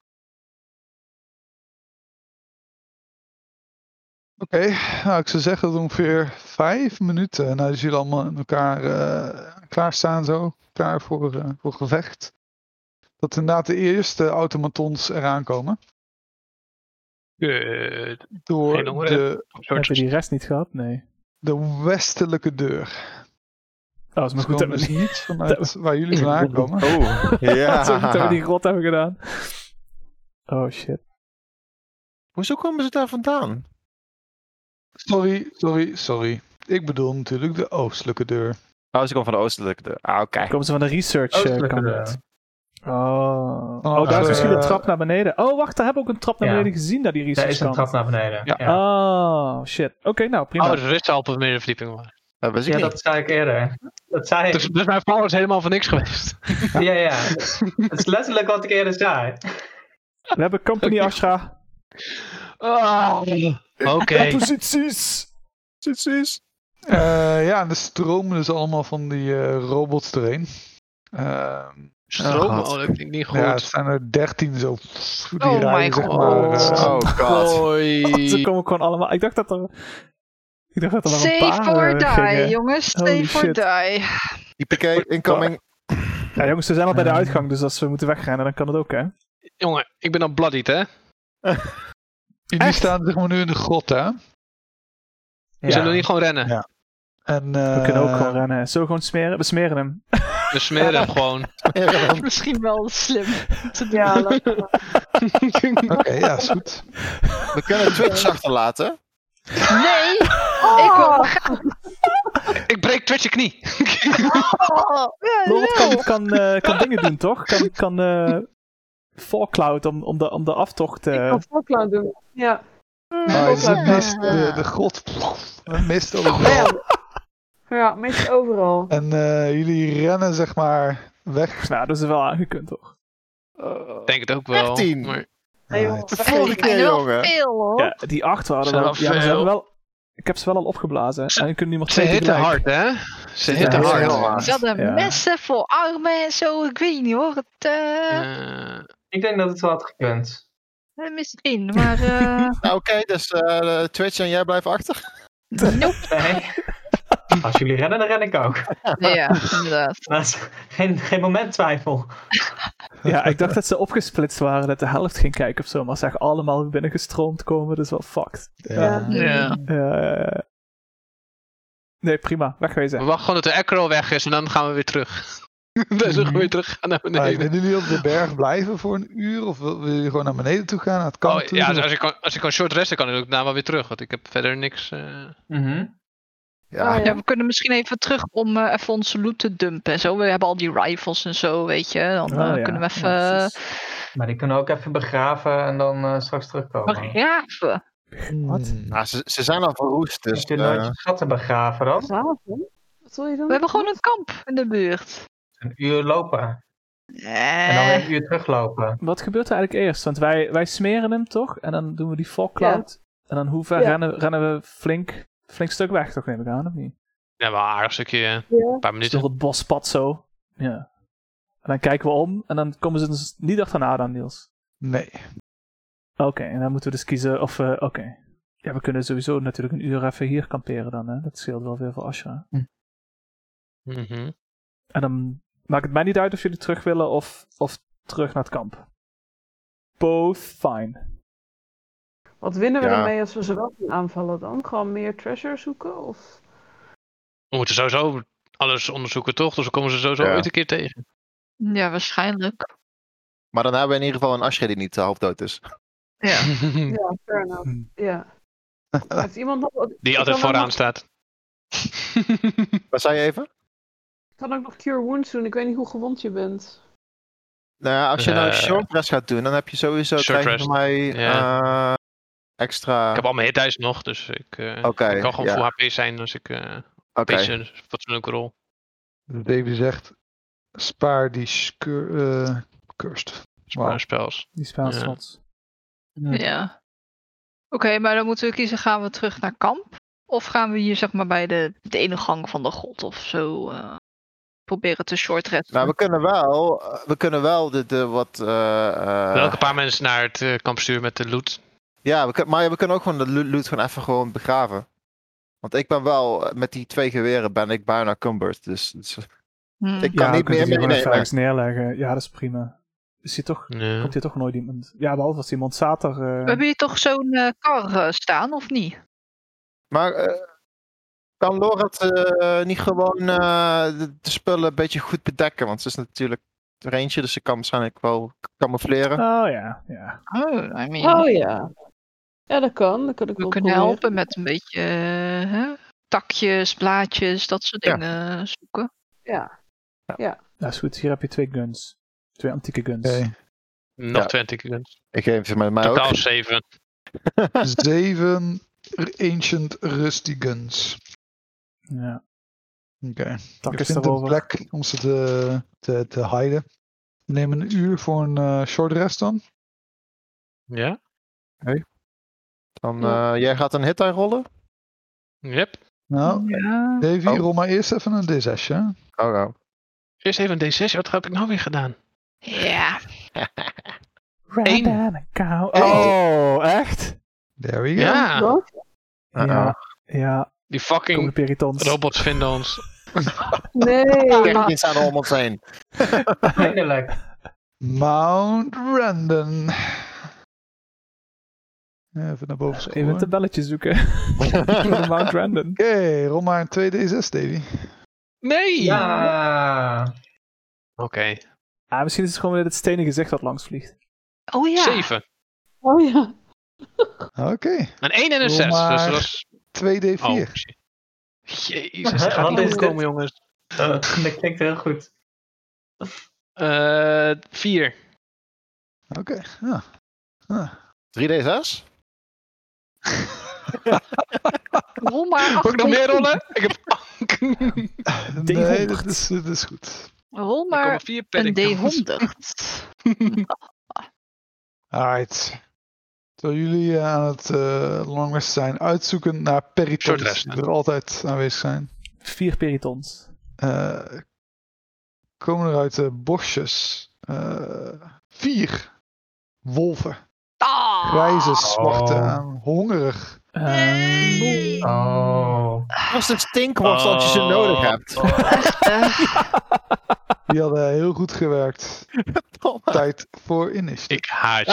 Oké, nou ik zou zeggen dat ongeveer vijf minuten nadat jullie allemaal in elkaar eh, klaarstaan zo, klaar voor, eh, voor gevecht. Dat inderdaad de eerste automatons eraan komen.
Good.
Door
Geen honger,
de,
Heb
Soort
je die rest niet gehad? Nee.
de westelijke deur.
Oh, is maar
Ze
goed dat
komen
we
dus
die,
niet vanuit waar jullie vandaan komen.
Oh, ja.
dat is ook goed dat we die grot hebben gedaan. Oh shit.
Hoezo komen ze daar vandaan?
Sorry, sorry, sorry. Ik bedoel natuurlijk de oostelijke deur.
Oh, ze komen van de oostelijke deur. Ah, oké.
Komen ze van de research eh,
Oostelijke
kabinet?
deur.
Oh.
Oh,
oh, daar is
eh,
misschien een trap naar beneden. Oh, wacht, daar hebben we ook een trap naar
Ja.
beneden gezien, naar die
Daar
research
is een trap naar beneden.
Ja.
Ja, ja.
Oh, shit. Oké, nou prima.
Oh, de rust al op de middenverdieping. man.
Dat wist ik niet.
dat zei ik eerder. Dat zei
Dus,
ik.
dus mijn power is helemaal voor niks geweest.
Ja, ja. Het is letterlijk wat ik eerder zei.
We hebben company Ashra.
Ah, Oké.
Posities.
Precies.
Eh, ja, en er stromen dus allemaal van die eh, robots erheen. Ehm,
Stroom,
Oh,
oh,
God.
dat heb ik niet
Ja, het
gehoord.
zijn er 13 zo. pff, Die
Oh
rijden,
my
zeg
god.
maar, eh,
Oh god.
Hoi.
Ze komen gewoon allemaal. Ik dacht dat er. Ik dacht dat er nog een
Save
paar
for
eh,
die,
gingen.
jongens.
Holy
Save for
shit.
die.
IPK incoming.
Ja, jongens, we zijn al bij de uitgang, dus als we moeten wegrennen, dan kan het ook, hè?
Jongen, ik ben dan bloodied, hè?
jullie staan zeg maar nu in de grot, hè?
We zullen niet gewoon rennen.
Ja. En,
We kunnen ook
eh,
gewoon rennen. hè. Zo gewoon smeren. We smeren hem.
We smeren hem gewoon.
Misschien wel slim te doen.
Ja, laat maar.
Oké, ja, is goed.
We kunnen Twitch achterlaten.
Nee, ik wil
ik breek Twitch je knie.
Oh, ja,
Robot
lul.
kan, kan, eh, kan dingen doen, toch? Kan, kan eh Fallcloud om, om, de, om de aftocht. eh, Oh,
Ik kan Falkland doen. Ja.
Maar
ook
het Ah, is een
lekker.
mist, eh? de,
eh,
de grot. pff, een Mist
Oh,
overal.
Ja. Ja, meestal overal.
En eh, jullie rennen zeg maar weg.
nou, dat is wel aangekund, toch?
Oh.
Ik denk het ook wel.
13.
Maar
Hey,
Ah,
Ja,
jongens,
de volgende
hey,
Ik ben
keer,
wel
jongen.
veel hoor.
Ja, die acht waren
Zijn
wel,
er
ja, maar ze
veel?
hebben wel. Ik heb ze wel al opgeblazen. En ik kunnen nu maar
ze
twee
hitten
tegelijk.
hard, hè? Ze
Ja,
hitten
heel
hard.
erg.
Ze hadden
Ja.
messen voor armen en zo, ik weet niet hoor. Het, eh,
Eh,
Ik denk dat het wel had gekund.
Misschien, maar eh
Nou oké, dus eh, Twitch en jij blijven achter.
Nee. Als jullie rennen, dan ren ik ook.
ja, inderdaad.
Dat is geen, geen moment twijfel.
Ja, ik dacht dat ze opgesplitst waren, dat de helft ging kijken of zo. Maar ze echt allemaal binnengestroomd komen, dus wel fucked.
Ja.
ja.
Eh, nee, prima.
We
Wegwezen.
wachten gewoon dat de acro weg is en dan gaan we weer terug. dan zullen
Mhm.
we weer terug gaan naar
Maar
beneden.
willen jullie op de berg blijven voor een uur? Of wil- willen jullie gewoon naar beneden toe gaan? Naar het kamp
Oh,
toe?
ja, dus als ik, kan, als ik kan short resten, kan ik ook daarna wel weer terug. Want ik heb verder niks. eh,
Mhm.
Ja.
Ah,
oh Ja, we kunnen misschien even terug om eh, even onze loot te dumpen en zo. We hebben al die rifles en zo, weet je. Dan eh,
Oh, ja.
kunnen we even
Ja,
eh,
precies.
Maar die kunnen ook even begraven en dan eh, straks terugkomen.
begraven.
Wat?
Nou, ze, ze zijn al verroest,
Dus
dus...
je
eh,
nooit je schatten begraven, dat is
Graven? Wat wil je dan?
We hebben gewoon een kamp in de buurt.
een uur lopen. En dan weer
Eh,
een uur teruglopen.
Wat gebeurt er eigenlijk eerst? Want wij, wij smeren hem toch? En dan doen we die Falkcloud. En dan hoe ver
Ja.
rennen, rennen we flink, flink stuk weg, toch neem ik aan, of niet?
ja, wel een aardig stukje. eh,
Ja.
Een paar
Dus
minuten.
door het bospad zo. Ja. En dan kijken we om en dan komen ze dus niet achterna dan, Niels.
Nee.
Oké, en dan moeten we dus kiezen of we... Oké. Ja, we kunnen sowieso natuurlijk een uur even hier kamperen dan, hè. Dat scheelt wel veel voor Ashra.
Mhm.
En dan maakt het mij niet uit of jullie terug willen of, of terug naar het kamp. Both fine.
Wat winnen we
Ja.
ermee als we ze wel gaan aanvallen dan? Gewoon meer treasure zoeken? Of...
We moeten sowieso alles onderzoeken, toch? Dus we komen ze sowieso
Ja.
ooit een keer tegen.
ja, waarschijnlijk.
Maar dan hebben we in ieder geval een Ashra die niet eh, halfdood is.
Ja.
Ja, fair enough.
Hmm.
Ja. Heeft iemand nog... wat-
Die
ik
altijd
kan ook
vooraan
nog-
staat.
Wat zei je even?
Ik kan ook nog Cure Wounds doen. Ik weet niet hoe gewond je bent.
Nou ja, als je nou
Eh.
short rest gaat doen, dan heb je sowieso...
Short
krijg je
rest.
van mij eh, extra...
Ik heb al mijn hitdice nog, dus ik, eh,
Oké,
ik kan gewoon
ja.
full HP zijn als ik eh, een
Oké.
beetje een fatsoenlijke rol.
De baby zegt: Spaar die scur- eh, cursed. Wauw.
Spaar spells.
Die spelslots.
Hm.
Ja. Oké, maar dan moeten we kiezen: gaan we terug naar kamp? Of gaan we hier zeg maar bij de, de ene gang van de god of zo eh, proberen te shortretten?
Nou, we kunnen wel, eh, we kunnen wel de, de wat. eh, eh,
Welke paar mensen naar het eh, kamp sturen met de loot.
Ja, we kun- maar we kunnen ook gewoon de lo- loot gewoon even gewoon begraven. Want ik ben wel, eh, met die twee geweren ben ik bijna cumbered. Dus, dus
Hmm.
ik kan
we
niet meer
kunnen dus die gewoon even
meenemen.
ergens neerleggen. Ja, dat is prima. Is hier toch,
Nee.
komt hier toch nooit iemand? Ja, behalve als iemand zater... eh,
We hebben hier toch zo'n eh, kar eh, staan, of niet?
Maar eh, kan Lorat eh, niet gewoon eh, de, de spullen een beetje goed bedekken? Want ze is natuurlijk range, dus ze kan waarschijnlijk wel k- camoufleren.
Oh ja, ja.
Oh, I mean,
Oh ja. Ja, dat kan. Dat kan ik
we
wel
kunnen
proberen.
helpen met een beetje eh, hè, takjes, blaadjes, dat soort
Ja.
dingen eh, zoeken.
Dat is goed. Hier heb je twee guns. Twee antieke guns.
Oké.
Nog
Ja.
20 guns.
Ik geef ze met mij ook.
Totaal 7.
Zeven Ancient Rusty Guns.
Ja.
Oké.
Tak
Je
is
vindt een
daarover.
plek om ze te, te, te hiden. Neem een uur voor een eh, short rest dan.
Ja?
Dan, eh, jij gaat een hit aan rollen?
Yep.
Nou,
Ja.
Davy,
Oh.
rol maar eerst even een D6, hè?
Oh, nou.
Eerst even een D6. Wat heb ik nou weer gedaan?
ja.
Rabbit
Eén.
and a cow.
Oh.
Oh, echt?
There we go.
Ja.
Wat?
Uh-oh.
Ja. Ja,
Die
kom
fucking
op irritants.
robots vinden ons.
Nee.
Kijk, die staan er om ons heen.
Eindelijk.
Mount Randon. Even naar boven scrollen.
Even een
Oké,
tabelletje zoeken. Voor de Mount Random.
rol maar een 2D6, Davy.
Nee!
Ja.
Oké.
Ah, misschien is het gewoon weer het stenen gezicht dat langs vliegt.
Oh ja.
7.
Oh ja.
Oké,
Een 1 en een
Doe
6. Dus
maar.
dat was...
2D4.
Oh, shit. Jezus, dat gaat
Wat
niet
is
goed komen,
dit?
jongens.
Eh, dat klinkt heel goed.
Eh 4.
Oké, ja.
3D6?
Rol maar
Mag ik nog
18.
meer rollen? Ik heb...
Nee,
D100.
dat is, dat is goed.
Rol maar
4
een D100.
Alright. Terwijl jullie eh, aan het eh long rest zijn, uitzoeken naar
Short
peritons
rest,
die
hè?
er altijd aanwezig zijn.
Vier peritons.
Eh, komen er uit de bosjes eh, vier wolven.
Ah.
Grijze, zwarte,
Oh.
en hongerig.
Ehm,
Nee.
Oh.
Dat is de stinkworst als je
Oh.
ze nodig hebt.
Die hadden heel goed gewerkt.
Verdomme.
Tijd voor initiative.
Ik haat je.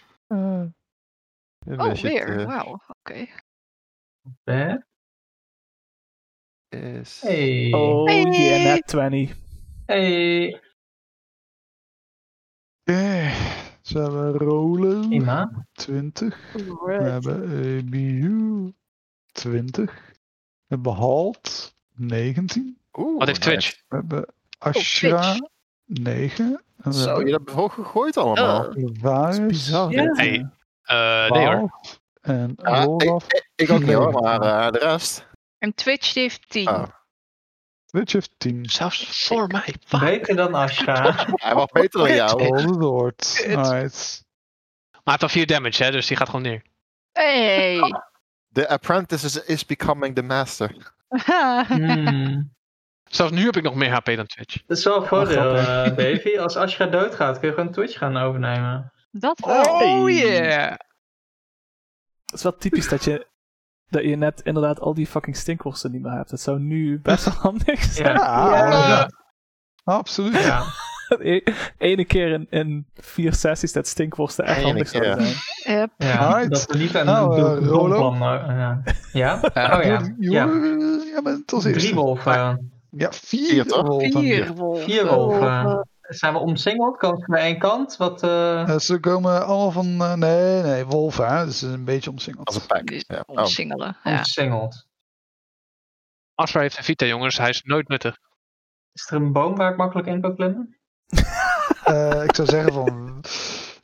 Ah.
Hey.
Dan
Oh,
wist je het,
weer.
eh,
Wauw. Oké.
Hè?
is-
Hey.
Oh yeah,
Hey.
net 20.
Hey.
Oké, Ze hebben Eh, rollen
Ima.
20. We
Alright.
hebben E EBU 20. We hebben Halt 19.
Oeh,
Wat heeft
nice.
Twitch?
We hebben Ashra 9. En we
Zo,
hebben
je hebt hoog gegooid allemaal.
Varus,
Dat is bizar.
Ja.
dit, eh.
Hey. Eh nee hoor.
12. En
Ah,
Rolaf.
Ik ook niet hoor,
Nee.
maar eh, de rest.
En Twitch die heeft 10.
Oh.
Twitch heeft 10.
Zelfs voor mij. Fuck.
Beter dan Ashra.
Hij was beter dan jou.
Rolde doort.
Shit.
Alright.
Maar hij heeft al 4 damage, hè, dus die gaat gewoon neer.
Hey.
The apprentice is, is becoming the master.
Ah.
Hmm.
Zelfs nu heb ik nog meer HP dan Twitch.
Dat is wel een voordeel,
grappig.
eh, Davy. Als Ashra doodgaat, kun je gewoon Twitch gaan overnemen.
dat
Oh,
wel.
yeah!
Het is wel typisch dat je, dat je net inderdaad al die fucking stinkworsten niet meer hebt. Dat zou nu best wel handig zijn.
Ja.
Ja, absoluut.
Ja.
E- Ene keer in, in vier sessies dat stinkworsten echt
Ene
handig zouden
keer.
zijn.
Yep.
Ja,
Alright.
dat we niet aan
Nou,
een
eh,
doel-
Rolo?
doelplan, eh, ja. ja? Oh ja.
Je,
ja.
je- je bent als
Drie
eerste.
wolven.
Ja,
Vier,
vier
toch?
rollen.
Vier wolven.
Vier wolven. Zijn we omsingeld? Komen ze naar één kant? Wat, eh,
Eh, ze komen allemaal van. eh, nee, nee, wolven. Hè? Dus een beetje omsingeld.
Als een pack.
Dus
Ja. Oh.
Omsingelen. Ja.
Omsingeld.
Asra heeft een Vita, jongens. Hij is nooit nuttig.
Is er een boom waar ik makkelijk in kan klimmen?
Eh, ik zou zeggen van.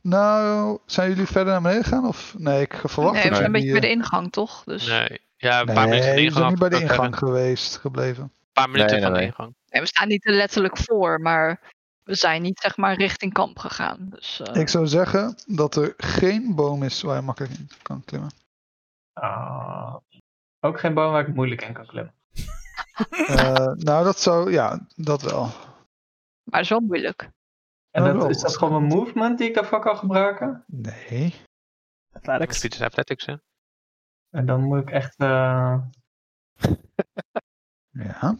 Nou, zijn jullie verder naar beneden gegaan? Of nee, ik nou verwacht
Nee, we
dat
zijn een
jullie,
beetje bij de ingang, toch? Dus...
Nee. Ja, een
eh,
paar mensen
nee,
in de
jullie zijn
ingang.
niet bij de
gehangen.
ingang geweest gebleven.
paar minuten
nee,
van de
nee.
ingang.
Nee, we staan niet er letterlijk voor, maar we zijn niet zeg maar richting kamp gegaan. Dus, eh,
Ik zou zeggen dat er geen boom is waar je makkelijk in kan klimmen.
Ah, ook geen boom waar ik moeilijk in kan klimmen.
Eh, nou, dat zou, ja, dat wel.
Maar is wel moeilijk.
En
Oh,
dat,
wow.
is dat gewoon mijn movement die ik daarvoor kan gebruiken?
Nee.
Athletics.
Dit is athletics, hè?
En dan moet ik echt... eh,
Ja.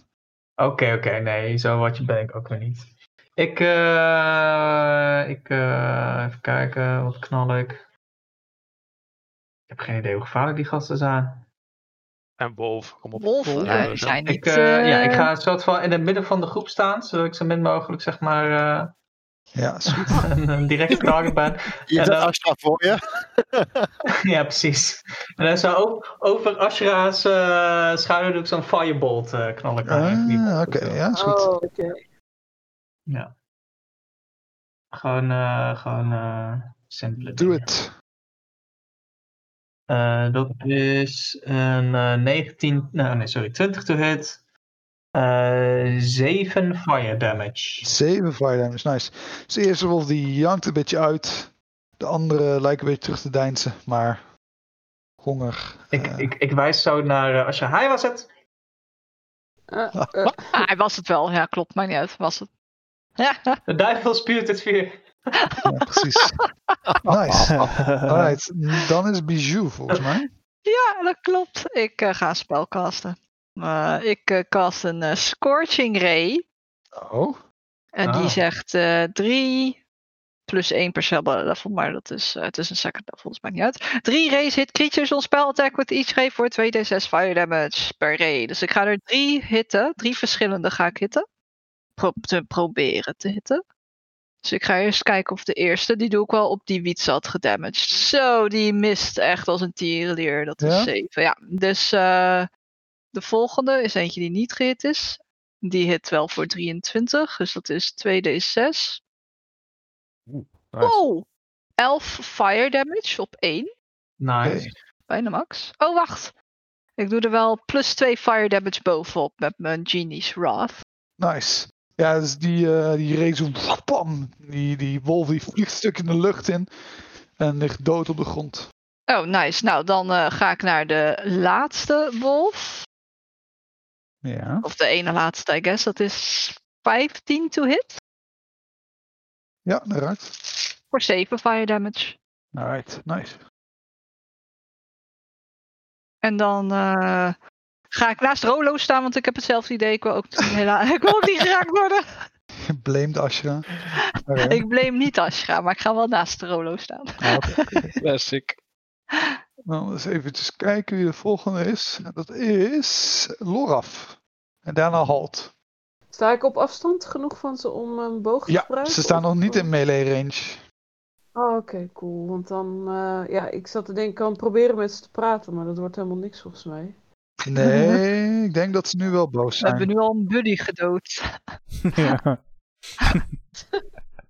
Oké, oké, nee, zo wat je ben ik ook weer niet. Ik, eh, ik, eh, even kijken, wat knal ik? Ik heb geen idee hoe gevaarlijk die gasten zijn.
En wolf, kom op.
Wolven
Wolven,
eh,
ja.
zijn niet...
Ik, eh, ja,
eh,
ik ga een soort van in het midden van de groep staan, zodat ik zo min mogelijk zeg maar eh,
Ja, is goed.
een, een directe target ben.
Je
En
zet
dan-
Ashra voor je.
ja, precies. En dan zou ook over Ashra's eh, schouder doe ik zo'n firebolt eh knal ik dan in die
Ah,
bocht
Oké,
of zo.
ja, is goed.
Oh, oké.
Gewoon, eh, gewoon eh simpele
Do
dingen.
it.
Eh, dat is een eh 19, nou, nee, sorry, 20 to hit. Eh 7 fire damage.
7 fire damage, nice. Dus de eerste wolf die jankt een beetje uit. De andere lijkt een beetje terug te deinzen, maar honger.
Ik,
eh,
ik, ik wijs zo naar eh, Ashra. Hij was het!
Eh, eh,
ah, hij was het wel, ja klopt, maar niet uit, was het. Ja,
De duivel spuurt het vuur.
ja, precies. Nice. Alright, dan is Bijou volgens mij.
ja dat klopt. Ik eh, ga een spel casten. Eh, ik eh, cast een eh, Scorching Ray.
Oh,
En die
Ah.
zegt eh 3 plus 1 per cel level, maar dat is, eh, het is een second level, dus maakt niet uit. 3 rays hit creatures on spell attack with each ray voor 2d6 fire damage per ray. Dus ik ga er 3 hitten, 3 verschillende ga ik hitten. Pro- te proberen te hitten. Dus ik ga eerst kijken of de eerste, die doe ik wel op die wiets had gedamaged. Zo, die mist echt als een tierenleer. Dat is
Ja?
7. Ja, dus eh, de volgende is eentje die niet gehit is. Die hit wel voor 23, dus dat is 2d6. Wow! 11 fire damage op 1,
Nice.
bijna max. Oh, wacht! Ik doe er wel plus 2 fire damage bovenop met mijn Genie's Wrath.
nice. Ja, dus die, eh, die reed zo wapam. Die, die wolf die vliegt een stuk in de lucht in. En ligt dood op de grond.
Oh, nice. Nou, dan eh, ga ik naar de laatste wolf.
Ja.
Of de ene laatste, I guess. Dat is 15 to hit
Ja, dat raakt.
voor 7 fire damage.
Alright, nice.
En dan eh, ga ik naast Rolo staan, want ik heb hetzelfde idee. Ik wil ook, hela- ik wil ook niet geraakt worden.
Blamed Ashra. Oké.
Ik blame niet Ashra, maar ik ga wel naast de Rolo staan.
Ah, oké.
Classic.
Dan Nou, eens eventjes kijken wie de volgende is. En Dat is Loraf. En daarna Halt.
sta ik op afstand genoeg van ze om een boog te
Ja,
gebruiken?
ze staan
Of-
nog niet in melee range.
Oh, oké, cool. Want dan, eh, ja, ik zat te denken, ik kan proberen met ze te praten, maar dat wordt helemaal niks volgens mij.
Nee, ik denk dat ze nu wel boos
We hebben
zijn.
nu al een buddy gedood.
ja.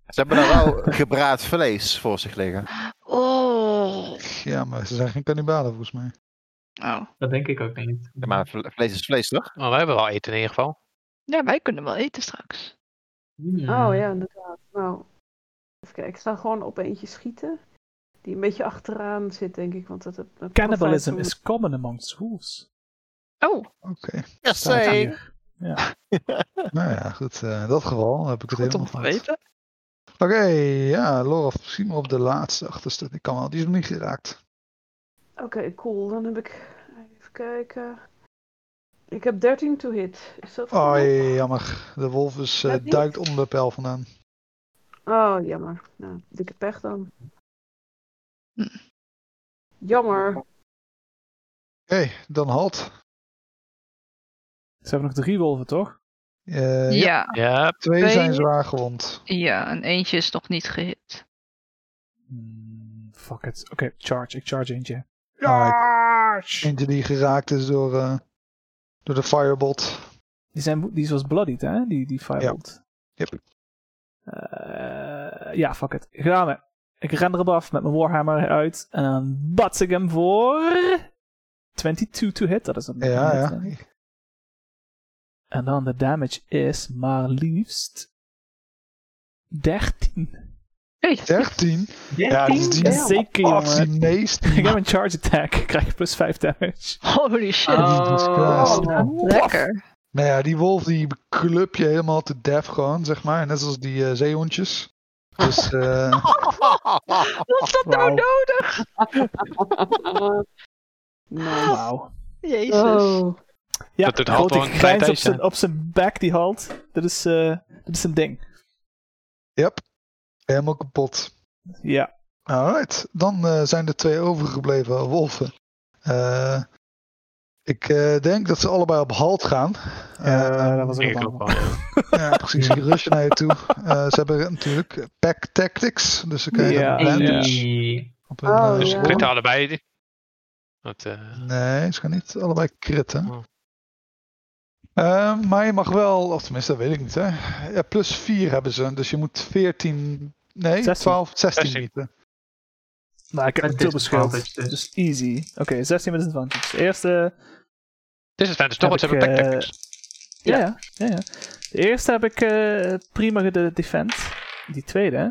Ze hebben daar wel gebraad vlees voor zich liggen.
Oh.
Ja, maar ze zijn geen kannibalen volgens mij.
Dat denk ik ook niet.
Ja, maar vle- vlees is vlees, toch?
Maar Oh, wij hebben wel eten in ieder geval.
Ja, wij kunnen wel eten straks.
Hmm.
Oh ja, inderdaad. Nou, even kijken. Ik sta gewoon op eentje schieten. Die een beetje achteraan zit, denk ik. Want dat, dat dat-
Cannibalism
dat-
is common amongst wolves.
Oh,
Oké.
Yes,
Staat
hey.
hier.
Nou ja, goed. eh, in dat geval heb ik het
goed om
helemaal
te
goed.
weten.
Oké, ja, Loraf. Misschien wel op de laatste achterste. Die kan wel. Die is nog niet geraakt.
Oké, cool. Dan heb ik... Even kijken. Ik heb 13 to hit. Is dat
Oh,
genoeg?
jammer. De wolf is, eh,
Dat niet?
duikt onder de pijl vandaan.
Oh, jammer. Nou, dikke pech dan.
Hm.
Jammer.
Oké,
Eh,
dan Halt.
Ze hebben nog drie wolven, toch?
Eh, ja.
ja,
Ja,
Twee
Twee.
zijn zwaar gewond.
ja, en eentje is nog niet gehit.
Hmm, fuck it. Oké, charge. Ik charge eentje.
Alright. Eentje die geraakt is door, eh, door de firebolt.
Die, zijn, die was bloodied, hè? Die, die firebolt.
Yep.
Eh, ja, fuck it. Gaan we. Ik ren erop af met mijn Warhammer uit. En dan bats ik hem voor... 22 to hit. Dat is een
Ja,
hit,
ja.
denk ik. En dan de damage is maar liefst 13.
Hey,
13? Ja, dat is die,
Ja.
Zeker,
oh, dat is
jongen.
die meest.
Ik heb een charge attack. Ik krijg plus 5 damage.
Holy shit.
Oh,
Oh,
Jesus Christ.
Lekker.
Nou ja, die wolf die club je helemaal te def gewoon, zeg maar. Net als die eh, zeehondjes. Dus eh,
Wat is dat nou
Wauw.
nodig?
nice.
Wauw.
Jezus.
Oh.
Ja,
Dat doet
grote
halt wel een klein
grijns op
tijdje.
zijn, op zijn bek, die halt. Dat is, eh, dat is een ding.
yep. Helemaal kapot.
Ja.
Alright, dan eh, zijn er twee overgebleven wolven. Eh, ik eh, denk dat ze allebei op halt gaan.
Eh,
Eh,
dat was ook
Ik
wel
loop wel.
ja, precies. Die rushen naar je toe. Eh, ze hebben natuurlijk pack tactics, dus ze krijgen
Ja.
advantage op hun,
Oh,
eh,
Dus
Ja.
kritten allebei. Wat, eh,
Nee, ze gaan niet allebei kritten.
Oh.
Eh, maar je mag wel, of tenminste, dat weet ik niet. Hè. Ja, plus 4 hebben ze, dus je moet 14, nee,
16.
12, 16,
16.
bieden.
Nou, ik heb
Met
een turbo
disadvantage
schild.
dus.
Dus easy. Oké, 16 met disadvantage. Dus De eerste
Dit is het toch, want ze
Heb
hebben
ik, eh,
tactics.
Ja, ja. ja, ja. De eerste heb ik eh, prima gede- defend. Die tweede, hè?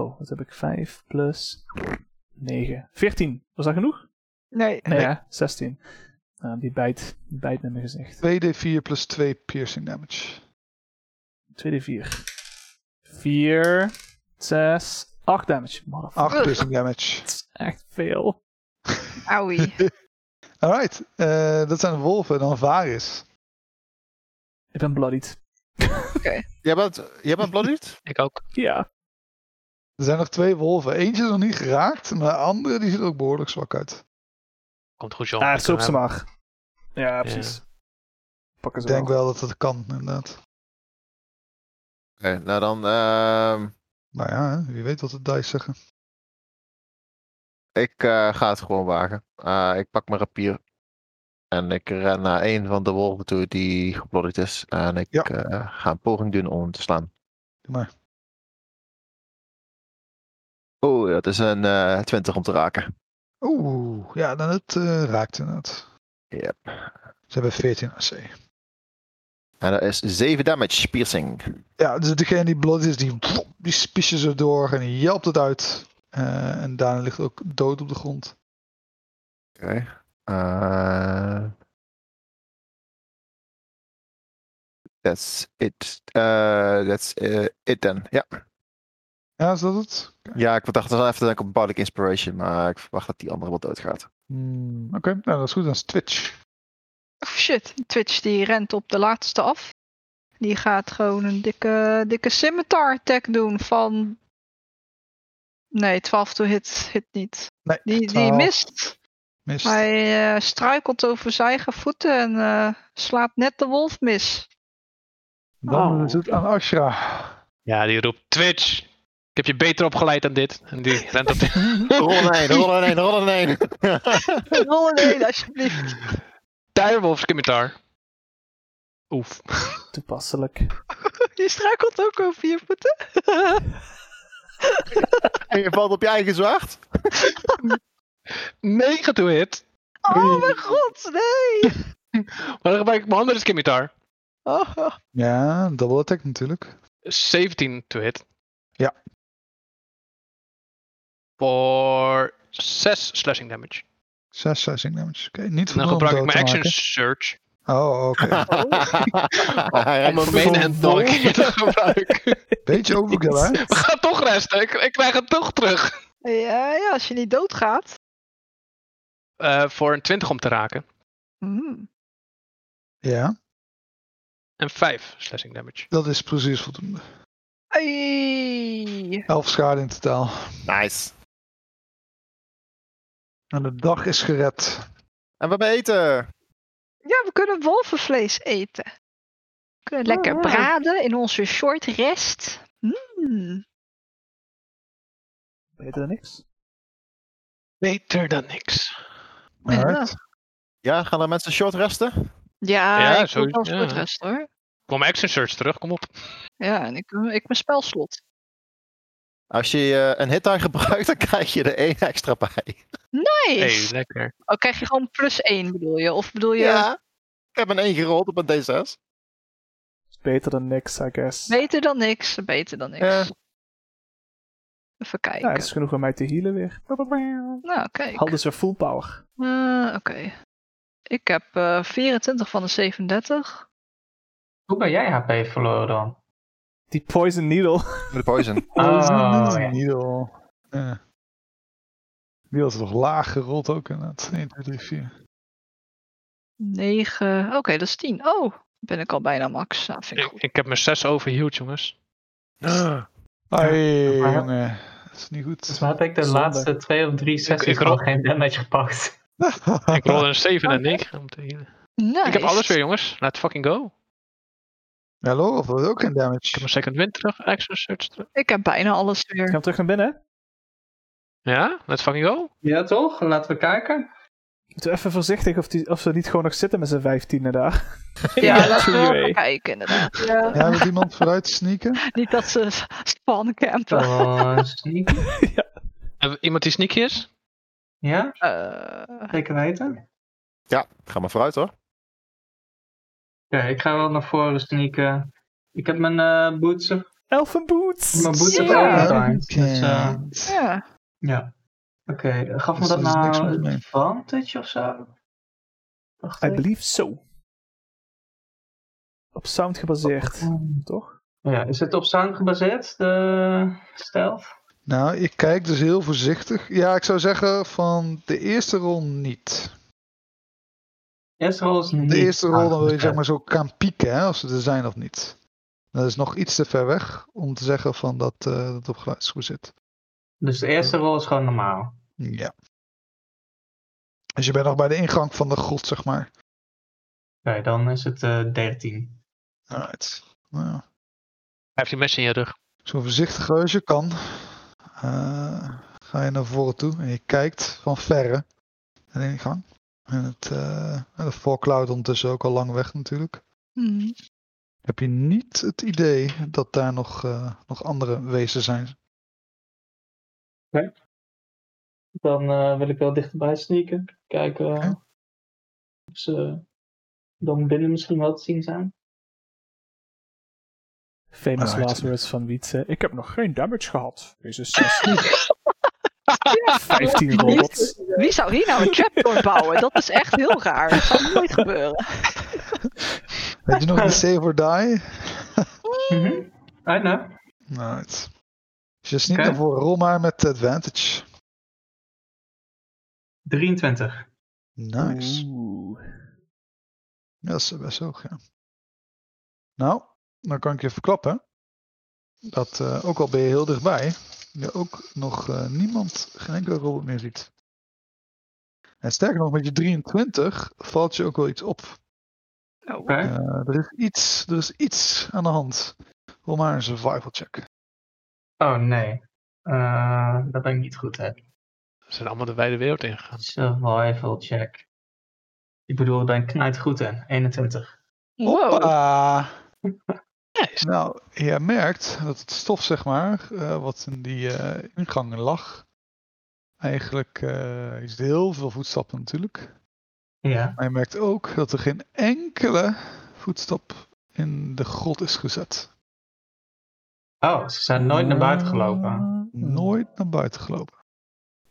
Oh, wat heb ik? 5 plus 9. 14. Was dat genoeg?
Nee.
Nee, hè? 16. Nou, die bijt, die bijt in mijn gezicht.
2d4 plus 2 piercing damage.
2d4. 4, 6, 8 damage. Motherfucker.
8 piercing damage.
Dat is echt veel.
Auwie.
Alright, eh, dat zijn de wolven, dan Varus.
Ik ben bloodied.
Jij bent, jij bent bloodied?
Ik ook.
Ja.
Er zijn nog twee wolven. Eentje is nog niet geraakt, maar de andere die ziet er ook behoorlijk zwak uit.
Komt goed, John.
Ah,
Ik
het is op
kan
zijn
hem.
mag. Ja, precies. Pakken
Ik
ze
denk
wel.
wel dat dat kan, inderdaad.
Oké, nou dan. ehm,
Nou ja, hè, wie weet wat de dice zeggen.
ik eh, ga het gewoon wagen. Eh, ik pak mijn rapier. En ik ren naar een van de wolven toe die geblodderd is. En ik
Ja.
eh, ga een poging doen om hem te slaan.
Doe maar.
Oeh, dat is een eh 20 om te raken.
Oeh, ja, dan het eh, raakt inderdaad.
Yep.
Ze hebben 14 AC.
En dat is 7 damage, piercing.
Ja, dus degene die bloed is, die, die spiesje ze door en die jelpt het uit. Eh, en daarna ligt ook dood op de grond.
Oké. Eh, that's it. Eh, that's eh, it then. Ja.
Ja, is dat het?
ja, ik dacht wel even dat ik op Bardic Inspiration, maar ik verwacht dat die andere wel doodgaat.
Hmm, Oké, nou dat is goed, dan is Twitch.
Oh shit, Twitch die rent op de laatste af. Die gaat gewoon een dikke, dikke scimitar attack doen van... Nee, 12 to hit, hit niet.
Nee,
Die, die
12
mist.
mist.
Hij eh, struikelt over zijn eigen voeten en eh, slaat net de wolf mis.
Dan
Oh.
is het aan Ashra.
Ja, die roept Twitch. Ik heb je beter opgeleid dan dit. En die rent op de...
Rollen een, rollen een, rollen een.
Rol een één, alsjeblieft.
Direwolf Scimitar. Oef.
Toepasselijk.
Die struikelt ook over je voeten.
en je valt op je eigen zwaard.
9 to hit.
Oh mijn god, nee!
Maar dan gebruik ik mijn andere Scimitar.
Oh, oh.
Ja, double attack natuurlijk.
17 to hit.
Ja.
Voor 6 slashing damage.
6 slashing damage. Oké, niet
En dan
Oh,
voldoende om
Nou, gebruik ik
dood
mijn
te
action
maken.
search.
Oh, oké.
Hij
Om
rijdt
mijn main
voor-
hand nog een keer te gebruiken.
Beetje overkill, hè?
We gaan toch resten. Ik, ik krijg het toch terug.
Ja, ja, als je niet doodgaat.
Eh, voor een 20 om te raken.
Mm.
Hmm.
Ja,
En 5 slashing damage.
dat is precies voldoende.
Ai.
11 schade in totaal.
Nice.
En de dag is gered.
En we hebben eten.
Ja, we kunnen wolvenvlees eten. We kunnen lekker
Oh,
ja.
braden in onze short rest. Mm.
Beter dan niks.
Beter dan niks.
Alright.
Ja, gaan er mensen short resten?
Ja,
Ja,
ik doe
sowieso,
wel short
ja.
rest hoor.
Kom action search terug, kom op.
Ja, en ik, eh, ik mijn spelslot.
Als je eh, een hit daar gebruikt, dan krijg je er één extra bij.
Nice!
Hey, lekker.
Oh, krijg je gewoon plus 1 bedoel je? Of bedoel je...
Ik heb een 1 gerold op een D6.
beter dan niks, I guess.
Beter dan niks, beter dan niks.
Ja.
Eh.
Even
Ja,
kijken.
het is genoeg om mij te healen weer.
Nou, kijk.
Had dus weer full power.
Eh, Oké. Ik heb eh, 24 van de 37.
Hoe ben jij HP verloren dan?
Die poison needle.
Met de poison.
Oh, ja.
Needle. Ja. Die was nog laag gerold ook inderdaad. 1, 2, 3, 4.
9. Oké, dat is 10. Oh, ben ik al bijna max. Nou, vind ik
Ik,
goed.
ik heb mijn zes overhield, jongens.
Ai,
maar-
jongen. Dat is niet goed.
Dus maar heb ik de
Zonde.
laatste twee of drie
ik
sessies
rol-
nog geen damage gepakt.
Ik rolde een 7 en 9 om te healen. Ik heb
Nice.
alles weer, jongens. Let's fucking go.
Ja, Lorel was ook een
Ik heb
damage.
mijn second win terug, action search terug.
Ik heb bijna alles
Ik
weer.
ga hem terug naar binnen.
Ja, let's fucking go.
Ja, toch? Laten we kijken.
Moeten we even voorzichtig of, die, of ze niet gewoon nog zitten met z'n vijftienen daar.
Ja, laten we wel
Three-way.
even kijken inderdaad.
Ja, moet iemand vooruit sneaken?
Niet dat ze spawn campen.
Oh, sneak.
Hebben we iemand die sneaky is?
Ja,
Eh,
zeker weten. Oké,
Ja, ga maar vooruit hoor.
ik ga wel naar voren sneaken. Ik heb mijn eh boots, mijn
Elfen boots!
boots
Ja.
op overtimes. Dus, eh,
ja.
ja. Oké, gaf me
Dus
dat
er is niks
nou
mis mee.
advantage of zo? Dacht
I
ik.
believe so. Op sound gebaseerd,
Hmm.
toch?
Ja, is het op sound gebaseerd, de stealth?
Nou, ik kijk dus heel voorzichtig. Ja, ik zou zeggen van de eerste rol niet.
De eerste rol is niet. Ah,
De eerste rol dan wil je
aangepaard.
zeg maar zo gaan pieken, hè, als ze er zijn of niet. Dat is nog iets te ver weg om te zeggen van dat eh, dat het op geluidsgroep zit.
Dus de eerste rol is gewoon normaal.
Ja. Dus je bent nog bij de ingang van de grot, zeg maar.
Oké, dan is het eh 13.
Alright. Nou, ja.
Hij heeft die mes in je rug.
zo voorzichtig als je kan. eh, ga je naar voren toe en je kijkt van verre naar de ingang. En, het, eh, en de voorcloud ondertussen ook al lang weg natuurlijk.
Mm.
Hm.
Heb je niet het idee dat daar nog, eh, nog andere wezen zijn?
Dan eh, wil ik wel dichterbij sneaken. Kijken eh,
Oké.
of ze dan binnen misschien wel te zien zijn.
Famous
Alright.
last words van Wietse. Ik heb nog geen damage gehad. Jezus, zes. 15 robots.
Wie zou hier nou een trapdoor bouwen? Dat is echt heel raar. Dat zou nooit gebeuren.
Weet je nog die save or die?
Mhm. I know.
Alright. Als je sneakt
Oké.
naar voren, rol maar met advantage.
23.
Nice.
Oeh.
Ja, dat is best hoog, ja. Nou, dan kan ik je verklappen. Dat eh, ook al ben je heel dichtbij, je ook nog eh, niemand, geen enkele robot meer ziet. En sterker nog, met je 23 valt je ook wel iets op.
Oh.
Oké.
Eh, er, is iets, er is iets aan de hand. Rol maar een survival check.
Oh nee. Eh dat ben ik niet goed, hè.
Ze zijn allemaal de wijde wereld ingegaan.
Survival check. Ik bedoel, daar ben ik knijt goed in. 21.
Wow.
Hoppa.
Nice.
Nou, je merkt dat het stof, zeg maar, eh, wat in die eh, ingang lag, eigenlijk eh, is er heel veel voetstappen natuurlijk.
Ja.
Maar je merkt ook dat er geen enkele voetstap in de grot is gezet.
Oh, ze zijn nooit naar buiten gelopen.
Nooit naar buiten gelopen.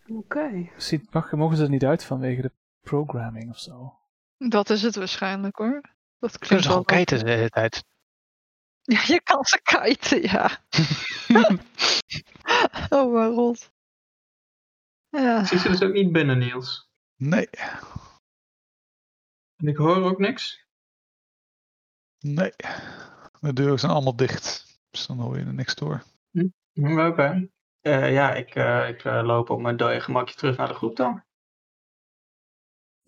Oké.
Misschien mag- mogen ze er niet uit vanwege de programming of zo.
Dat is het waarschijnlijk hoor. Dat
Kunnen
klinkt
ze
wel
gewoon kijken de hele tijd?
Ja, je kan ze kiten, ja. oh mijn god. Ja.
Zie ze dus ook niet binnen, Niels.
Nee,
En ik hoor ook niks.
nee. De deuren zijn allemaal dicht. Dus dan hoor je er niks door.
Hm, Oké. Eh, ja, ik, eh, ik eh, loop op mijn dode gemakje terug naar de groep dan.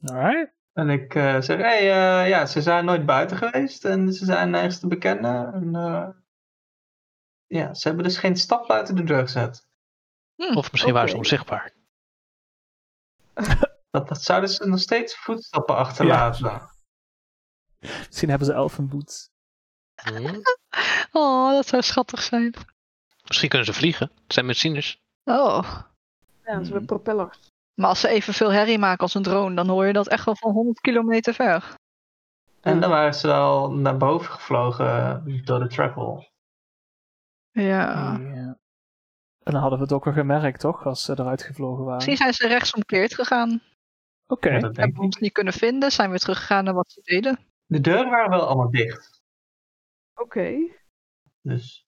Alright.
En ik eh, zeg, hé, hey, eh, ja, ze zijn nooit buiten geweest en ze zijn nergens te bekennen. En, eh, ja, ze hebben dus geen stap buiten de deur gezet.
Of misschien waren ze onzichtbaar.
Dat, dat zouden ze nog steeds voetstappen achterlaten.
Misschien hebben ze elfenboots.
Hm?
Oh, dat zou schattig zijn.
Misschien kunnen ze vliegen. Het zijn machines.
Oh.
Ja, ze hebben propellers.
Maar als ze evenveel herrie maken als een drone, dan hoor je dat echt wel van 100 kilometer ver.
En dan waren ze wel naar boven gevlogen door de travel.
Ja.
Ah.
Hmm. En dan hadden we het ook al gemerkt, toch? Als ze eruit gevlogen waren.
Misschien zijn ze rechtsomkeerd gegaan.
Oké.
Ja, dat denk
Hebben we
ik.
ons niet kunnen vinden. Zijn we teruggegaan naar wat ze deden.
De deuren waren wel allemaal dicht.
Oké.
Dus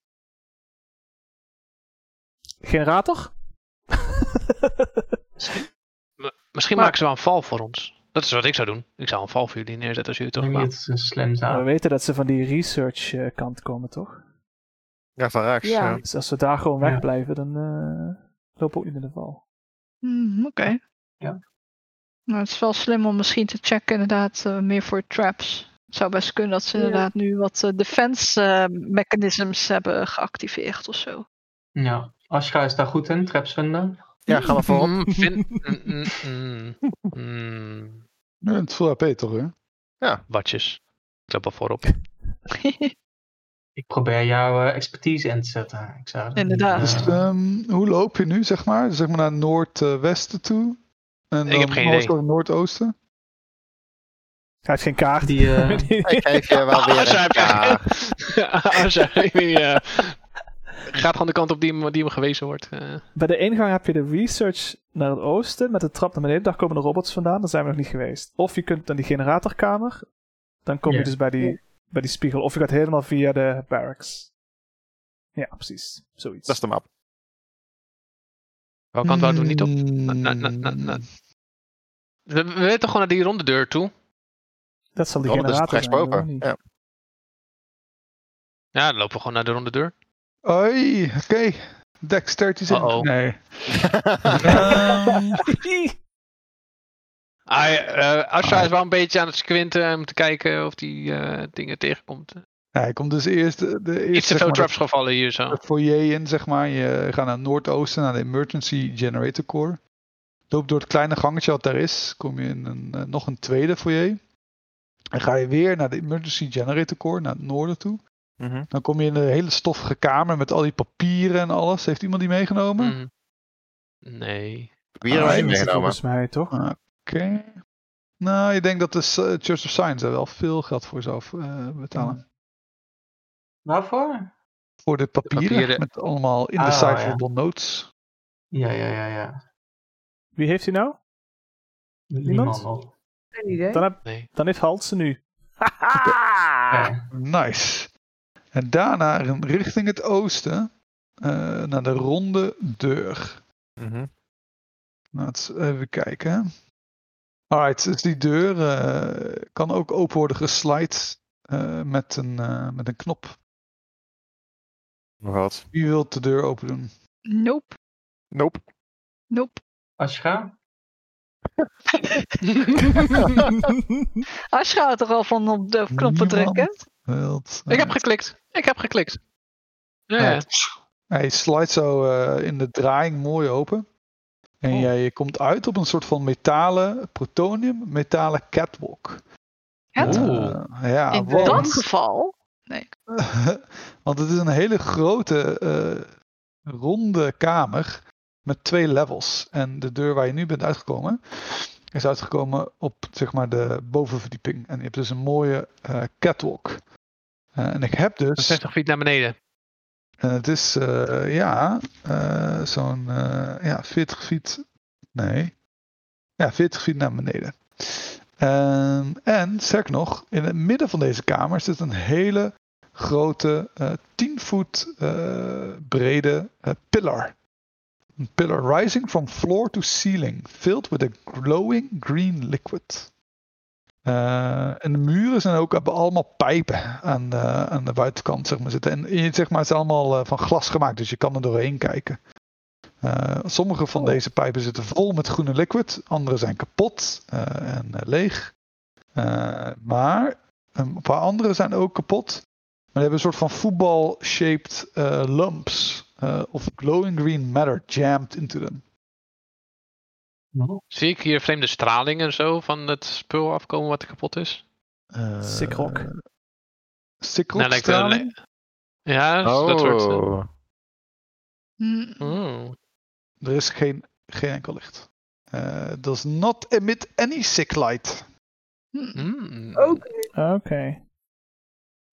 Generator?
Misschien
Maar-
maken ze wel een val voor ons. Dat is wat ik zou doen. Ik zou een val voor jullie neerzetten als jullie
ik denk
terugkwamen.
niet dat ze slim
Maar
zijn.
we weten dat ze van die research eh, kant komen, toch?
Ja, van Rax.
Ja.
ja.
Dus als we daar gewoon
Ja.
wegblijven, dan eh, lopen we ook niet in de val.
Hmm, Oké.
Ja.
Nou, het is wel slim om misschien te checken inderdaad eh, meer voor traps. Het zou best kunnen dat ze
Ja.
inderdaad nu wat eh, defense eh, mechanisms hebben geactiveerd of zo.
Ja. Ashka is daar goed in, traps vinden.
Ja, ga maar voorop.
Mm, vin- mm, mm, mm, mm.
Ja, het is veel AP toch, hè?
Watjes. Ik loop al voorop.
Ik probeer jouw eh, expertise in te zetten. Ik zou dat
Inderdaad.
niet,
Dus,
eh,
ehm, hoe loop je nu, zeg maar? Dus Zeg maar naar noordwesten toe? En
Ik heb
dan
geen idee.
noord- Noordoosten?
Hij heeft geen kaart.
die, eh,
Ik geef je wel weer
Ah, Als hij
een kaart.
Als hij weer, eh, gaat gewoon de kant op die hem, die hem gewezen wordt. eh.
Bij de ingang heb je de research naar het oosten. Met de trap naar beneden. Daar komen de robots vandaan. Daar zijn we nog niet geweest. Of je kunt naar die generatorkamer. Dan kom
Ja.
je dus bij die, bij die spiegel. Of je gaat helemaal via de barracks. Ja, precies. Zoiets.
Dat is de map.
Welke kant wouden we niet op?
Hmm.
Na,
na- na- na- na- We, we willen toch gewoon naar die ronde deur toe?
Dat zal die
Oh, dat is
generator
rechts
zijn. hoor,
boven.
niet?
Ja.
Ja, dan lopen we gewoon naar de ronde deur.
Oei, oké. Dexterity zin.
Uh-oh.
Nee. Ehm,
Ah, ja, eh, Asha
Ah.
is wel een beetje aan het squinten om te kijken of die eh, dingen tegenkomt.
hij komt dus eerst de, de
Iets
eerste
te
zeg
veel
maar,
traps gevallen hier zo.
de foyer in, zeg maar. Je gaat naar noordoosten, naar de Emergency Generator Core. Loop door het kleine gangetje wat daar is. Kom je in een, eh, nog een tweede foyer. En ga je weer naar de Emergency Generator Core, naar het noorden toe.
Mhm.
Dan kom je in een hele stoffige kamer met al die papieren en alles. Heeft iemand die meegenomen?
Mhm.
Mm. Nee.
Wie hebben we niet
Ah, hij is
meegenomen?
Volgens mij toch?
Oké. Nou, ik denk dat de S- eh, Church of Science daar wel veel geld voor zou eh, betalen.
Waarvoor?
Voor de papieren,
papieren.
met allemaal indecipherable notes.
Ja, ja, ja, ja.
Wie heeft hij nou?
Niemand nog.
Geen idee.
Dan, heb,
Nee.
dan heeft Halt ze nu.
Ja.
Nice. En daarna rin- richting het oosten eh, naar de ronde deur.
Mhm.
Laten we even kijken. Alright, dus die deur eh, kan ook open worden geslijd eh, met, een, eh, met een knop.
Nog wat.
Wie wil de deur open doen?
Nope,
Nope.
nope.
Ashka?
Als gaat er al van op de knoppen
Niemand.
drukken.
Wilt,
Ik
eh,
heb geklikt. Ik heb geklikt. Ja,
Ja.
ja.
Hij slijt zo eh, in de draaiing mooi open. En
Oh.
jij komt uit op een soort van metalen protonium, metalen catwalk.
Het?
Oeh.
Eh, ja,
In
want,
dat geval. Nee,
want het is een hele grote, eh, ronde kamer met twee levels. En de deur waar je nu bent uitgekomen, is uitgekomen op zeg maar, de bovenverdieping. En je hebt dus een mooie eh, catwalk. Eh, en ik heb dus...
60 feet naar beneden.
En het is, eh, ja, eh, zo'n eh, ja, 40 feet. Nee. Ja, 40 feet naar beneden. Ehm, en sterker nog, in het midden van deze kamer zit een hele grote, eh 10 voet eh, brede eh, pillar. Een pillar rising from floor to ceiling, filled with a glowing green liquid. Eh, en de muren zijn ook hebben allemaal pijpen aan de, aan de buitenkant zeg maar, zitten. En in- zeg maar, het is allemaal eh, van glas gemaakt, dus je kan er doorheen kijken. Eh, sommige van deze pijpen zitten vol met groene liquid, andere zijn kapot eh, en eh, leeg. Eh, maar een paar andere zijn ook kapot. Maar die hebben een soort van voetbal-shaped eh, lumps eh, of glowing green matter jammed into them.
Zie ik hier vreemde straling en zo van het spul afkomen wat kapot is?
Eh,
Sick rock.
Sick rock
Nou, lijkt wel
straling?
Ja, dus dat soort... eh,
Oh.
Hm,
oh.
Er is geen, geen enkel licht. Eh does not emit any sick light.
hm.
Mm.
Oké.
Oké.
Het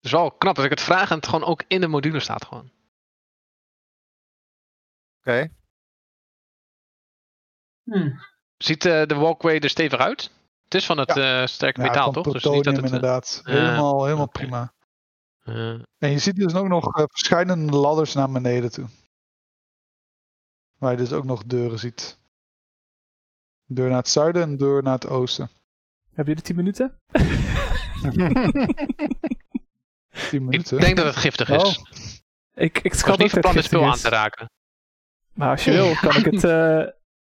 is wel Oh, knap dat ik het vraag en het gewoon ook in de module staat gewoon.
Hm.
Ziet eh, de walkway er stevig uit? Het is van het eh, sterke
Ja, van
metaal, toch? Dus
plutonium
niet dat het, eh,
inderdaad.
ja,
helemaal helemaal
oké.
prima.
eh,
En je ziet dus ook nog eh, verschillende ladders naar beneden toe. Waar je dus ook nog deuren ziet. Een deur naar het zuiden en een deur naar het oosten.
Hebben jullie 10 minuten?
10
ik
minuten.
denk dat het giftig is.
Oh,
Ik, ik
ik was
schat
niet
ook
van
dat
plan dit
het
spul
giftig
aan
is.
te raken.
Maar als je wil, kan ik het, eh,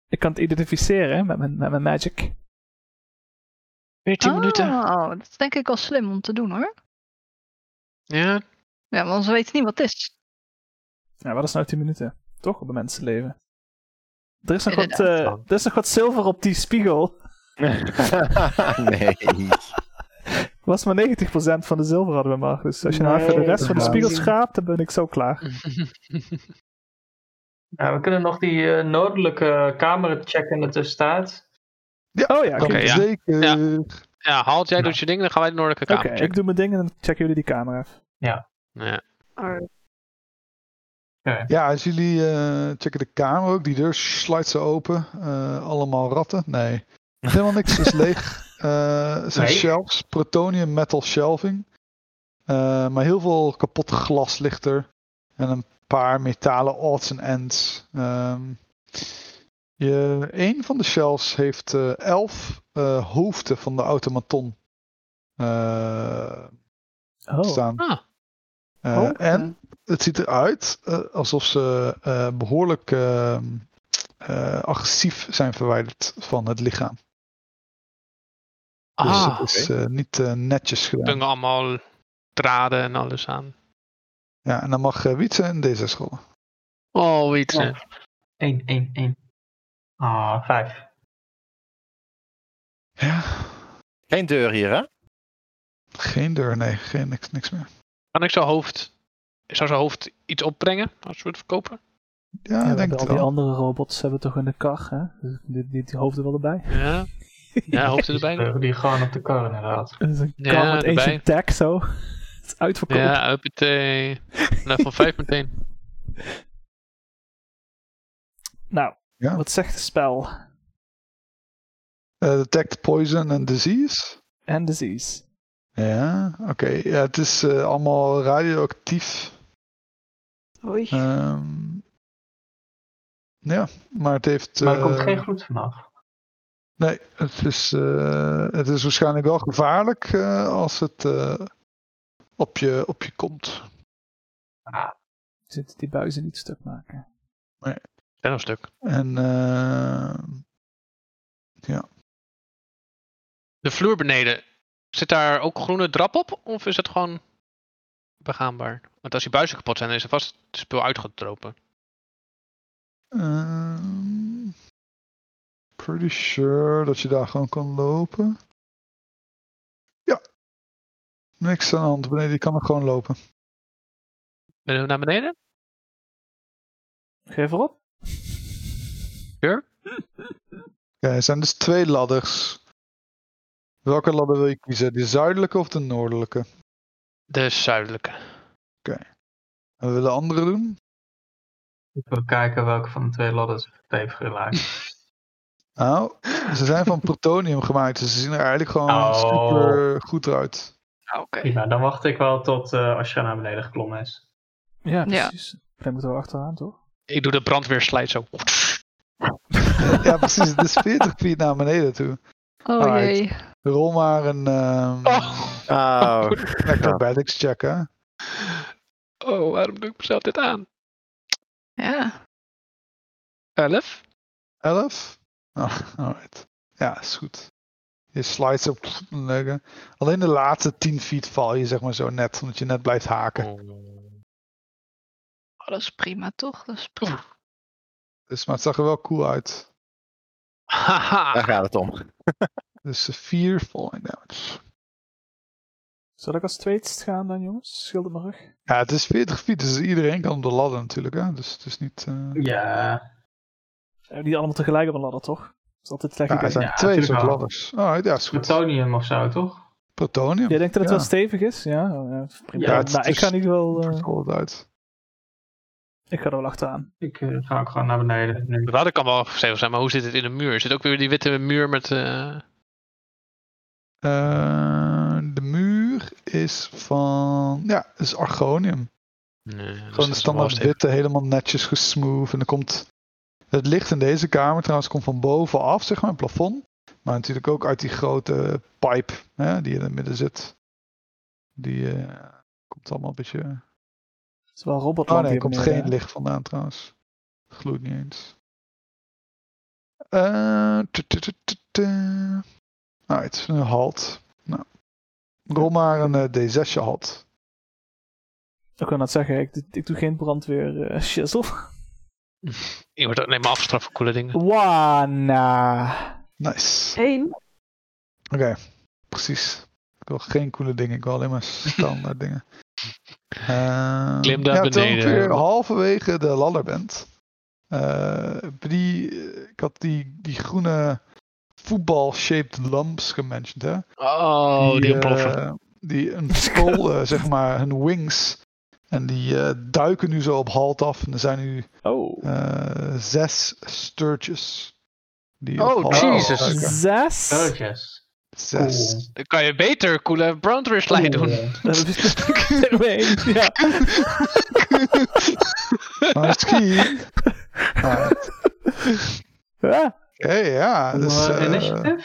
ik kan het identificeren hè, met mijn, met mijn magic.
Weer 10 minuten.
Oh, dat is denk ik wel slim om te doen hoor.
Ja,
Ja, want ze weten niet wat het is.
Ja, wat is nou 10 minuten? Toch op een mensenleven. Er is, nog wat,
Inderdaad.
eh, er is nog wat zilver op die spiegel.
nee.
was maar 90% van de zilver hadden we maar. Dus als je nou even de
Nee,
rest van de
ja.
spiegel schraapt, dan ben ik zo klaar.
Nou, we kunnen nog die eh, noodelijke kamer checken in de tussentijd.
Oh ja, oké.
kan
Oké, ja.
zeker.
ja haalt jij
Nou.
doet je ding, dan gaan wij de noordelijke kamer
Oké, ik
checken.
doe mijn ding en dan checken jullie die camera even.
Ja.
Alright.
Ja, als jullie eh, checken de kamer ook. Die deur sluit ze open. Eh, allemaal ratten? Nee. Helemaal niks is leeg. Eh, het zijn
Nee.
shelves. Protonium metal shelving. Eh, maar heel veel kapot glas ligt er. En een paar metalen odds en ends. Ehm je, een van de shelves heeft eh, elf eh, hoofden van de automaton eh,
Oh,
staan.
Ah,
Eh, En het ziet eruit eh, alsof ze eh, behoorlijk ehm, eh, agressief zijn verwijderd van het lichaam. Dus
ah.
het is eh, niet eh, netjes gedaan.
hangen allemaal draden en alles aan.
Ja, en dan mag eh, Wietse een D6 rollen.
Oh, iets.
Ja. 1, 1, 1. Ah, 5.
Ja,
Geen deur hier, hè?
geen deur, nee, geen, niks, niks meer.
Kan ik zo'n hoofd. Zou zijn hoofd iets opbrengen als we het verkopen?
Ja,
ja,
ik
we
denk
hebben
het
al die
wel.
andere robots hebben toch in de kar, hè? Dus die, die, die hoofden wel erbij.
Ja. Ja, hoofd
Die
erbij.
die gewoon op de kar inderdaad.
Dat is een
Ja,
kar met
erbij.
ancient tech zo. Het is uitverkocht.
Ja, uppatee. Level 5 meteen.
Nou,
Ja.
wat zegt het spel?
Eh, detect poison and disease.
En disease.
Ja, oké. Ja, het is eh, allemaal radioactief.
Oei.
Ehm, ja, maar het heeft...
Maar er komt
eh,
geen gloed vanaf.
Nee, het is, eh, het is waarschijnlijk wel gevaarlijk eh, als het eh, op, je, op je komt.
Zitten Ah, die buizen niet stuk maken?
Zijn een stuk.
En eh,
De vloer beneden. Zit daar ook groene drap op? Of is het gewoon begaanbaar? Want als die buizen kapot zijn, dan is er vast het spul uitgedropen.
ehm, pretty sure dat je daar gewoon kan lopen. Ja. Niks aan de hand. Beneden, die kan er gewoon lopen.
Willen we naar beneden?
Geef erop.
Oké, er zijn dus twee ladders. Welke ladder wil je kiezen? De zuidelijke of de noordelijke?
De zuidelijke.
En we willen andere doen?
Ik wil kijken welke van de twee ladders het heeft geraakt.
Nou, ze zijn van plutonium gemaakt, dus ze zien er eigenlijk gewoon
Oh.
super goed uit.
Ah,
Oké.
Prima, dan wacht ik wel tot eh Ashra naar beneden geklommen is.
Ja,
Ja.
precies. Dan moeten we achteraan, toch?
Ik doe de brandweerslijt zo.
Ja, precies. Het is 40 feet naar beneden toe.
Oh
Alright.
jee.
Rol maar een ehm
Oh.
Oh,
acrobatics check, hè?
Oh, waarom doe ik mezelf dit aan?
Ja.
11?
11? Oh, alright. Ja, is goed. Je slides op leggen. Alleen de laatste 10 feet val je, zeg maar zo net, omdat je net blijft haken.
Oh, dat is prima toch? Dat is prima.
Dus, maar het zag er wel cool uit.
daar
Haha.
gaat het om.
Dus 4 falling damage.
Zal ik als tweede gaan dan, jongens? Schilder mijn rug.
Ja, het is 40 feet, dus iedereen kan op de ladder natuurlijk, hè? Dus het is niet. eh,
Ja,
Eh, Niet allemaal tegelijk op een ladder, toch? Dat is altijd slecht
Ja,
idee.
er zijn
Ja,
twee
natuurlijk
soort
wel.
ladders. Oh, ja, is goed.
plutonium of zo, toch?
Plutonium.
Jij denkt dat het
Ja.
wel stevig is? Ja, oh, ja, prima.
Ja,
het-
nou, ik
het
ga
is-
in ieder geval...
Het
eh,
rolt uit.
ik ga er wel achteraan.
Ik eh, ga ook gewoon naar beneden. Nu.
De water kan wel stevig zijn, maar hoe zit het in de muur? Zit ook weer die witte muur met... eh,
Eh, de muur is van. Ja, is argonium.
Nee, dus dat
Gewoon
is
de
wel
standaard
stevig.
witte, helemaal netjes gesmooth. En dan komt het licht in deze kamer trouwens komt van bovenaf, zeg maar, het plafond. Maar natuurlijk ook uit die grote pipe hè, die in het midden zit. Die eh, komt allemaal een beetje...
Het is wel robot
Oh nee, er komt geen licht vandaan trouwens. Het gloeit niet eens. Eh, tu- tu- tu- tu- tu. Alright, een halt. Nou. Rol maar een eh, D6 halt.
Ik kan dat zeggen, ik, ik doe geen brandweer eh shizzle.
Je wordt ook alleen maar afgestraft voor coole dingen.
Wana.
Nice.
Eén.
Oké, precies. Ik wil geen coole dingen, ik wil alleen maar standaard dingen. Ehm,
Klim daar
ja, Terwijl
beneden.
ik weer halverwege de ladder bent. eh, die, ik had die, die groene voetbal-shaped lumps gementioned, hè?
Oh, die,
eh,
ontploffen.
die ontstolden, zeg maar, hun wings. En die eh, duiken nu zo op halt af. En er zijn nu
Oh.
eh, zes sturges. Die
Oh,
op halt
Jesus.
afduiken.
Zes?
Belletjes.
Oh.
Zes.
Cool.
Dan kan je beter coole brandweer slide doen.
Dat is ermee. Ja.
Maar misschien... Ah,
Ja.
Oké, ja.
Cool,
Dus,
eh,
eh,
initiative?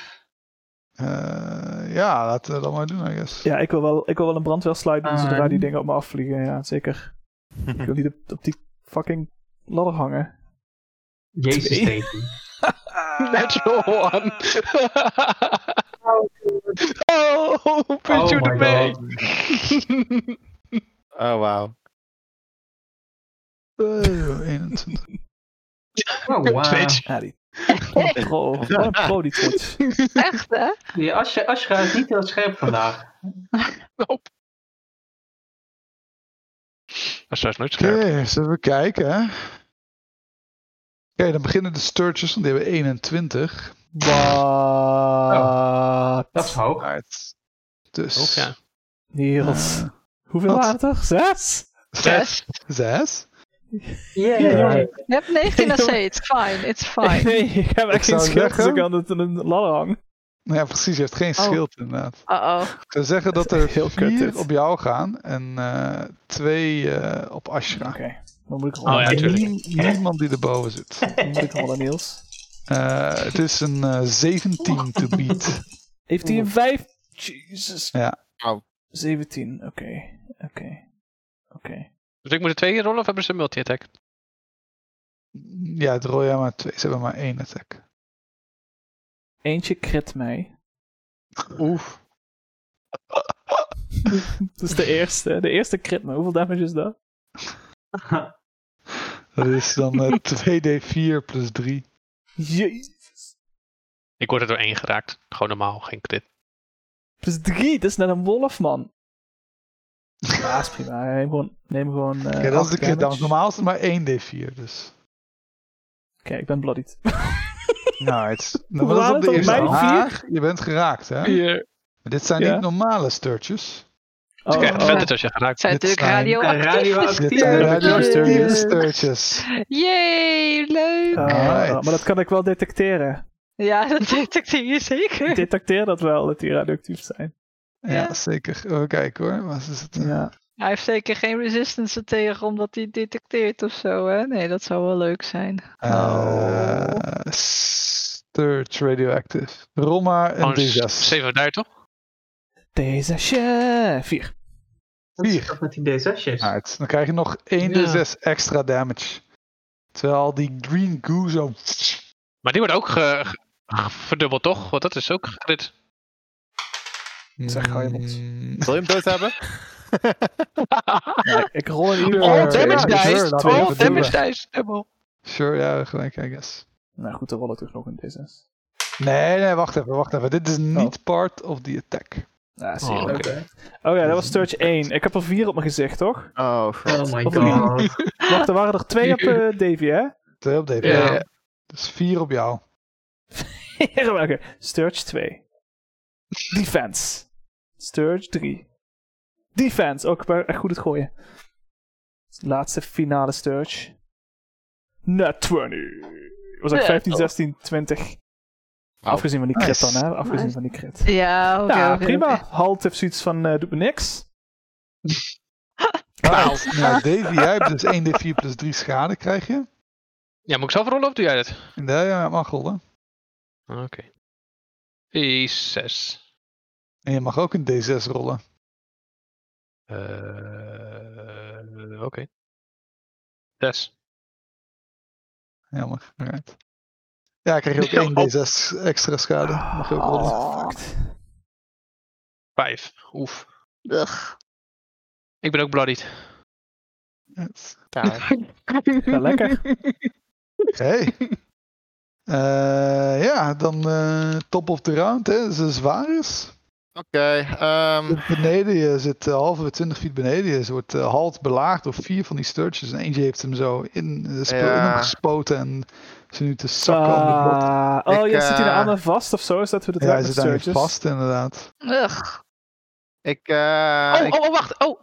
eh, ja, laten we dat maar doen, I guess.
ja, ik wil wel, ik wil wel een brandweer sluiten
Ah,
zodra die
en-
dingen op me afvliegen. Ja, zeker. Ik wil niet op, op die fucking ladder hangen.
Jezus,
twee.
Davy.
Natural one. oh, punt
Oh
je
my
erbij.
god.
Oh, wauw.
Eh, 21.
Oh, wow.
Twitch.
Ja, die. Wat een pro. Wat een pro die Twitch.
Echt, hè?
Die Ashra Ashra is niet heel scherp vandaag.
Dat is trouwens nooit
Oké,
scherp.
eens even kijken, hè. Oké, dan beginnen de Sturges, want die hebben 21.
Wat?
Oh, Dat is hoog.
Right. Dus...
Ook, ja.
Niels.
eh,
Hoeveel
wat?
waren het er? Zes?
Zes.
zes?
Yeah.
Ja, jongen.
Je hebt 19 AC, it's fine, it's fine.
Nee, ik heb
Ik
echt geen
zou
schild als ik
zeggen-
aan het, aan een ladder hang.
Nou ja, precies, je hebt geen
Oh.
schild inderdaad.
Uh-oh.
Ik zou zeggen dat
Dat is
er
heel kut,
vier
dit.
op jou gaan en eh, twee eh, op Ashra.
Oké, dan moet ik
Oh
rollen.
ja, tuurlijk.
Nie- niemand die erboven zit.
Dan moet ik rollen, Niels.
Eh, het is een eh, 17 to beat.
Heeft hij een 5? Jesus.
Ja.
Au.
17, oké. Oké. Oké.
Dus ik moet er twee keer rollen of hebben ze een multi-attack?
Ja, het rol jij maar twee. Ze hebben maar één attack.
Eentje crit mij.
Oef.
Dat is de eerste. De eerste crit mij. Hoeveel damage is dat?
Dat is dan eh, 2d4 plus 3.
Jezus.
Ik word er door één geraakt. Gewoon normaal, geen crit.
Plus 3, Dus dat is net een wolf, man. Ja, is prima. Neem gewoon. Neem gewoon eh,
ja, dat is
acht
de crit
damage.
damage. Normaal is het maar 1d4. Dus.
Oké, ik ben bloodied.
Nou, het is, nou, maar
Hoe
dat is
waren
op de
het
eerste
op mijn vier?
laag. Je bent geraakt, hè?
Vier.
Maar Dit zijn
Ja.
niet normale sturtjes.
Oh,
Je krijgt
oh.
advantage als je geraakt
Zijn
Dit
natuurlijk
zijn
radioactief.
Dit
Radioactief.
zijn
Ja,
radioactieve
ja.
sturtjes.
Yay, leuk!
Oh,
Alright.
oh, maar dat kan ik wel detecteren.
Ja, dat detecteer je
Ik
zeker.
detecteer dat wel, dat die radioactief zijn.
Ja, zeker. Even kijken hoor. Wat is het?
Ja.
Hij heeft zeker geen resistance tegen omdat hij het detecteert of zo, hè? Nee, dat zou wel leuk zijn.
Eh, Sturge radioactive. Rol maar een
Gewoon
D6.
7 daar toch?
Deze shit. 4.
Dat is
Vier.
toch met die D6'jes.
Uit. Dan krijg je nog 1
Ja.
d6 extra damage. Terwijl al die green goo zo...
Maar die wordt ook ge- ge- ge- verdubbeld toch? Want dat is ook crit.
Zeg, ga je bot.
Mm.
Wil je hem dood hebben?
Ik rol in ieder
All
geval.
Ja, damage ja, dice. sure, laten we All even damage
dice. Dubbel.
Sure, ja, gelijk, I guess.
Nou goed, dan rol ik terug nog een D6.
Nee, nee, wacht even, wacht even. Dit is niet part of the attack.
Ah, zie
Oh,
je.
oké.
Oké.
Oké.
Oh ja, dat was Sturge 1. Ik heb er 4 op mijn gezicht, toch?
Oh, god.
Oh my
Wat
god.
Wacht, er waren er 2 op eh, Davy, hè?
2 op DP.
Ja.
Dus 4 op jou.
Oké, Sturge 2. Defense. Sturge 3. Defense, ook wel echt goed het gooien. Laatste finale Sturge. Net 20. Was ook
Ja,
15,
toch.
16, 20.
Wauw.
Afgezien van die crit
Nice.
dan, hè? Afgezien
Nice.
van die crit.
Ja, oké.
ja,
oké,
prima.
oké.
Halt heeft zoiets van, eh, doet me niks.
Nou, Davy, jij hebt dus 1d4 plus 3 schade, krijg je.
Ja, moet ik zelf rollen of doe jij dat?
En daar ja, mag rollen.
Oké. Jezus.
En je mag ook een d6 rollen.
Eh, Oké. Zes.
Jammer. Right. Ja, krijg je
Ja,
ook 1d6 extra schade. Mag je ook rollen.
Oh,
Vijf. Oef.
ugh.
Ik ben ook bloodied.
Yes.
Daar.
Ja, lekker.
Hey. Eh, ja, dan eh, top of the round, hè. Ze zwaar is.
Oké, ehm,
Beneden je zit eh, halve 20 feet beneden je. Ze wordt eh, halt belaagd door vier van die sturges. En eentje heeft hem zo in, eh, spe-
Ja.
in hem gespoten en ze nu te zakken om de grond.
Ah, oh,
Ik,
ja, zit
eh,
hij er aan vast of zo? Is dat hoe dat
Ja, hij
werkt
zit
met
daar
surges?
vast inderdaad.
Ugh.
ik, eh,
oh,
ik-
oh, oh, wacht. Oh.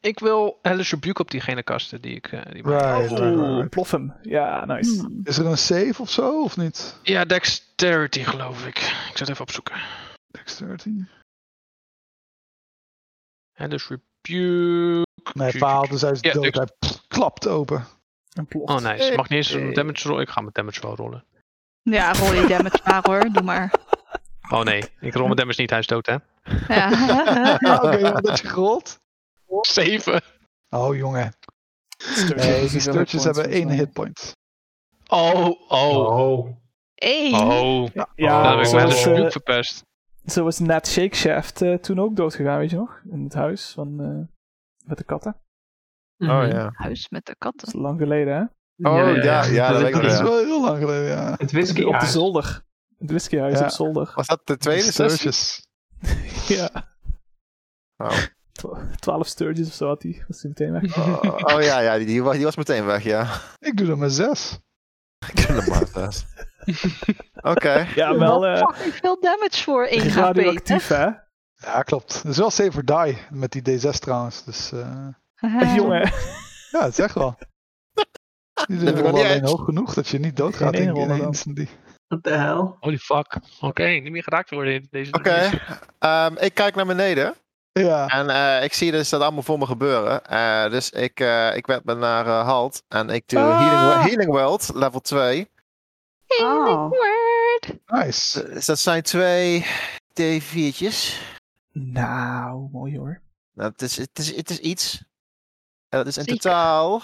Ik wil Hellish Rebuke op diegene kasten die ik... eh, die maak.
Right, right, right,
Oeh,
right.
plof hem. Ja, nice.
Hmm.
Is er een save of zo, of niet?
Ja, Dexterity geloof ik. Ik zal het even opzoeken.
Dexterity?
Hellish dus Rebuke.
Nee, faalt, dus hij is
Ja,
dood.
dex-
Hij pff, klapt open.
Een plof.
Oh, nice. Je mag niet eens
Oké.
een damage roll. Ik ga mijn damage roll rollen.
Ja, rol je damage maar hoor. Doe maar.
Oh nee, ik rol mijn damage niet. Hij is dood, hè?
Ja.
Ja, Oké, ja, dat je gerold.
Zeven.
Oh, jongen.
Sturges
Nee,
is
die
een
sturges
hit
hebben
point,
één
volgens
hitpoint.
Oh, oh,
Oh.
Eén.
oh.
mij.
Oh,
Ja,
Dan heb ik mijn
zoals,
Hellish
eh,
Rebuke verpest.
zo was Nat Shakeshaft eh toen ook doodgegaan, weet je nog? In het huis van, eh, met de katten.
Mhm.
oh ja.
Huis met de
Dat is
katten.
lang geleden, hè?
Oh ja, ja, dat weet ik
Dat
nog,
is
ja.
wel heel lang geleden, ja.
Het whisky
op de
uit.
zolder. Het whiskyhuis
Ja.
op zolder.
Was dat de tweede sessie?
sturges.
ja.
Oh.
Twa- Twaalf sturges of zo had hij. Was hij meteen weg.
Oh, oh ja, ja die, die, was, die was meteen weg, ja.
Ik doe er maar zes.
Kindermaatjes. Oké.
Ja, wel eh
Fucking veel damage voor één HP.
radioactief, hè?
Ja, klopt. Het is wel save or die met die D6 trouwens. Dus eh,
hè?
Jongen,
ja, het is echt wel. Die
heb ik
rollen
nog niet
alleen
eens.
hoog genoeg dat je niet doodgaat
Geen één
in, in
roller dan.
instantly.
What the hell?
Holy fuck. Oké, niet meer geraakt worden in deze...
Oké, ehm, ik kijk naar beneden
Ja,
en eh, ik zie dus dat allemaal voor me gebeuren. Eh, dus ik, eh ik werd me naar eh, Halt en ik doe
Ah.
healing, Wo- healing World, level 2.
Oh.
Word.
nice.
Dus dat zijn twee D4'tjes.
Nou, mooi hoor.
Nou, het, is, het, is, het is iets. En dat is in
Zeker.
totaal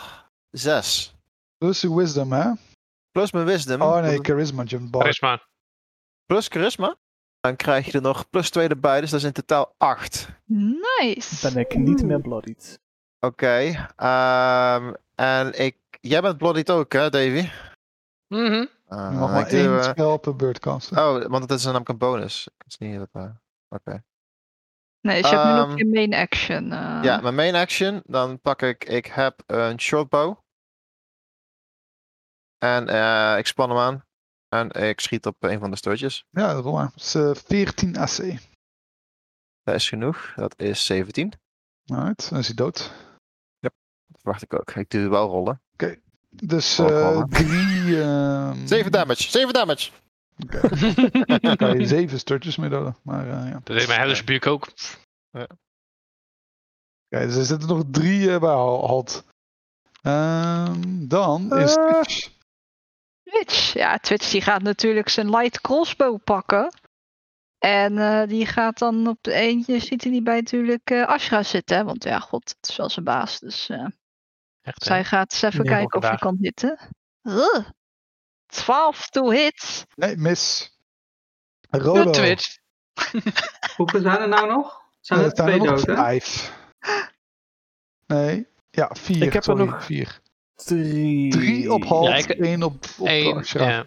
6.
Plus je wisdom, hè?
Plus mijn wisdom.
Oh nee, charisma jump bar.
Charisma.
Plus charisma. Dan krijg je er nog plus 2 erbij, dus dat is in totaal 8.
Nice.
Ben ik niet meer bloodied.
Oké. ehm, en ik. Jij bent bloodied ook, hè, Davy?
Mhm.
Ah,
Je mag maar
ik doe,
één
eh,
spel per beurt casten.
Oh, want het is namelijk een bonus. Ik is niet dat. eh, Oké.
Nee, dus je hebt nu
Ehm,
nog je main action.
Ah.
eh.
Ja, mijn main action. Dan pak ik. Ik heb een shortbow. En eh, ik span hem aan. En ik schiet op een van de stootjes.
Ja, rol maar. Het is eh, 14 AC.
Dat is genoeg. Dat is 17.
Alright, dan is hij dood.
Dat verwacht ik ook. Ik doe wel rollen.
Dus
Oh,
eh,
man.
drie... ehm,
7 damage. 7 damage.
Oké, dan kan je zeven sturtjes mee doden. Maar eh, ja.
Dat deed mijn Hellish Rebuke ook.
Oké, dus er zitten nog drie eh, bij Hal- Halt. Ehm, dan is
Eh.
Twitch.
Twitch. Ja, Twitch die gaat natuurlijk zijn light crossbow pakken. En eh, die gaat dan op de eentje, ziet hij die bij natuurlijk eh Ashra zitten. hè, Want ja, god, het is wel zijn baas. Dus eh,
Echt, hè?
zij gaat eens even
Ja,
kijken of hij
vandaag.
kan hitten. Ugh. 12 to hit.
Nee, mis.
Ja,
Rolo.
Twitch.
Hoeveel zijn er nou nog? Zijn
Eh,
er
het zijn er
twee
nog
dood, hè?
vijf. Nee, ja, vier.
Ik heb er
sorry,
nog-
vier.
Drie.
Drie op Halt,
Ja, ik-
één op, op
Eén,
Ashra.
ja.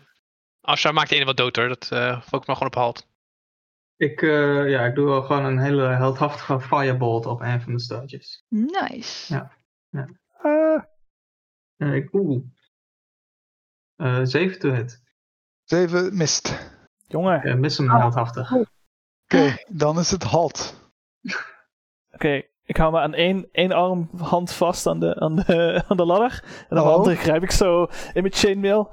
Ashra maakt de ene wat dood hoor. Dat eh focus maar gewoon op halt.
Ik, eh, ja, ik doe wel gewoon een hele heldhaftige firebolt op een van de stootjes.
Nice.
Ja.
Eh.
Ah,
En ik, oeh. Eh 7 to hit.
Zeven mist.
jongen.
Eh, mis hem heldhaftig.
Oké, dan is het halt.
Oké, ik hou me aan één, één arm hand vast aan de, aan de, aan de ladder. En aan de
Oh.
andere grijp ik zo in mijn chainmail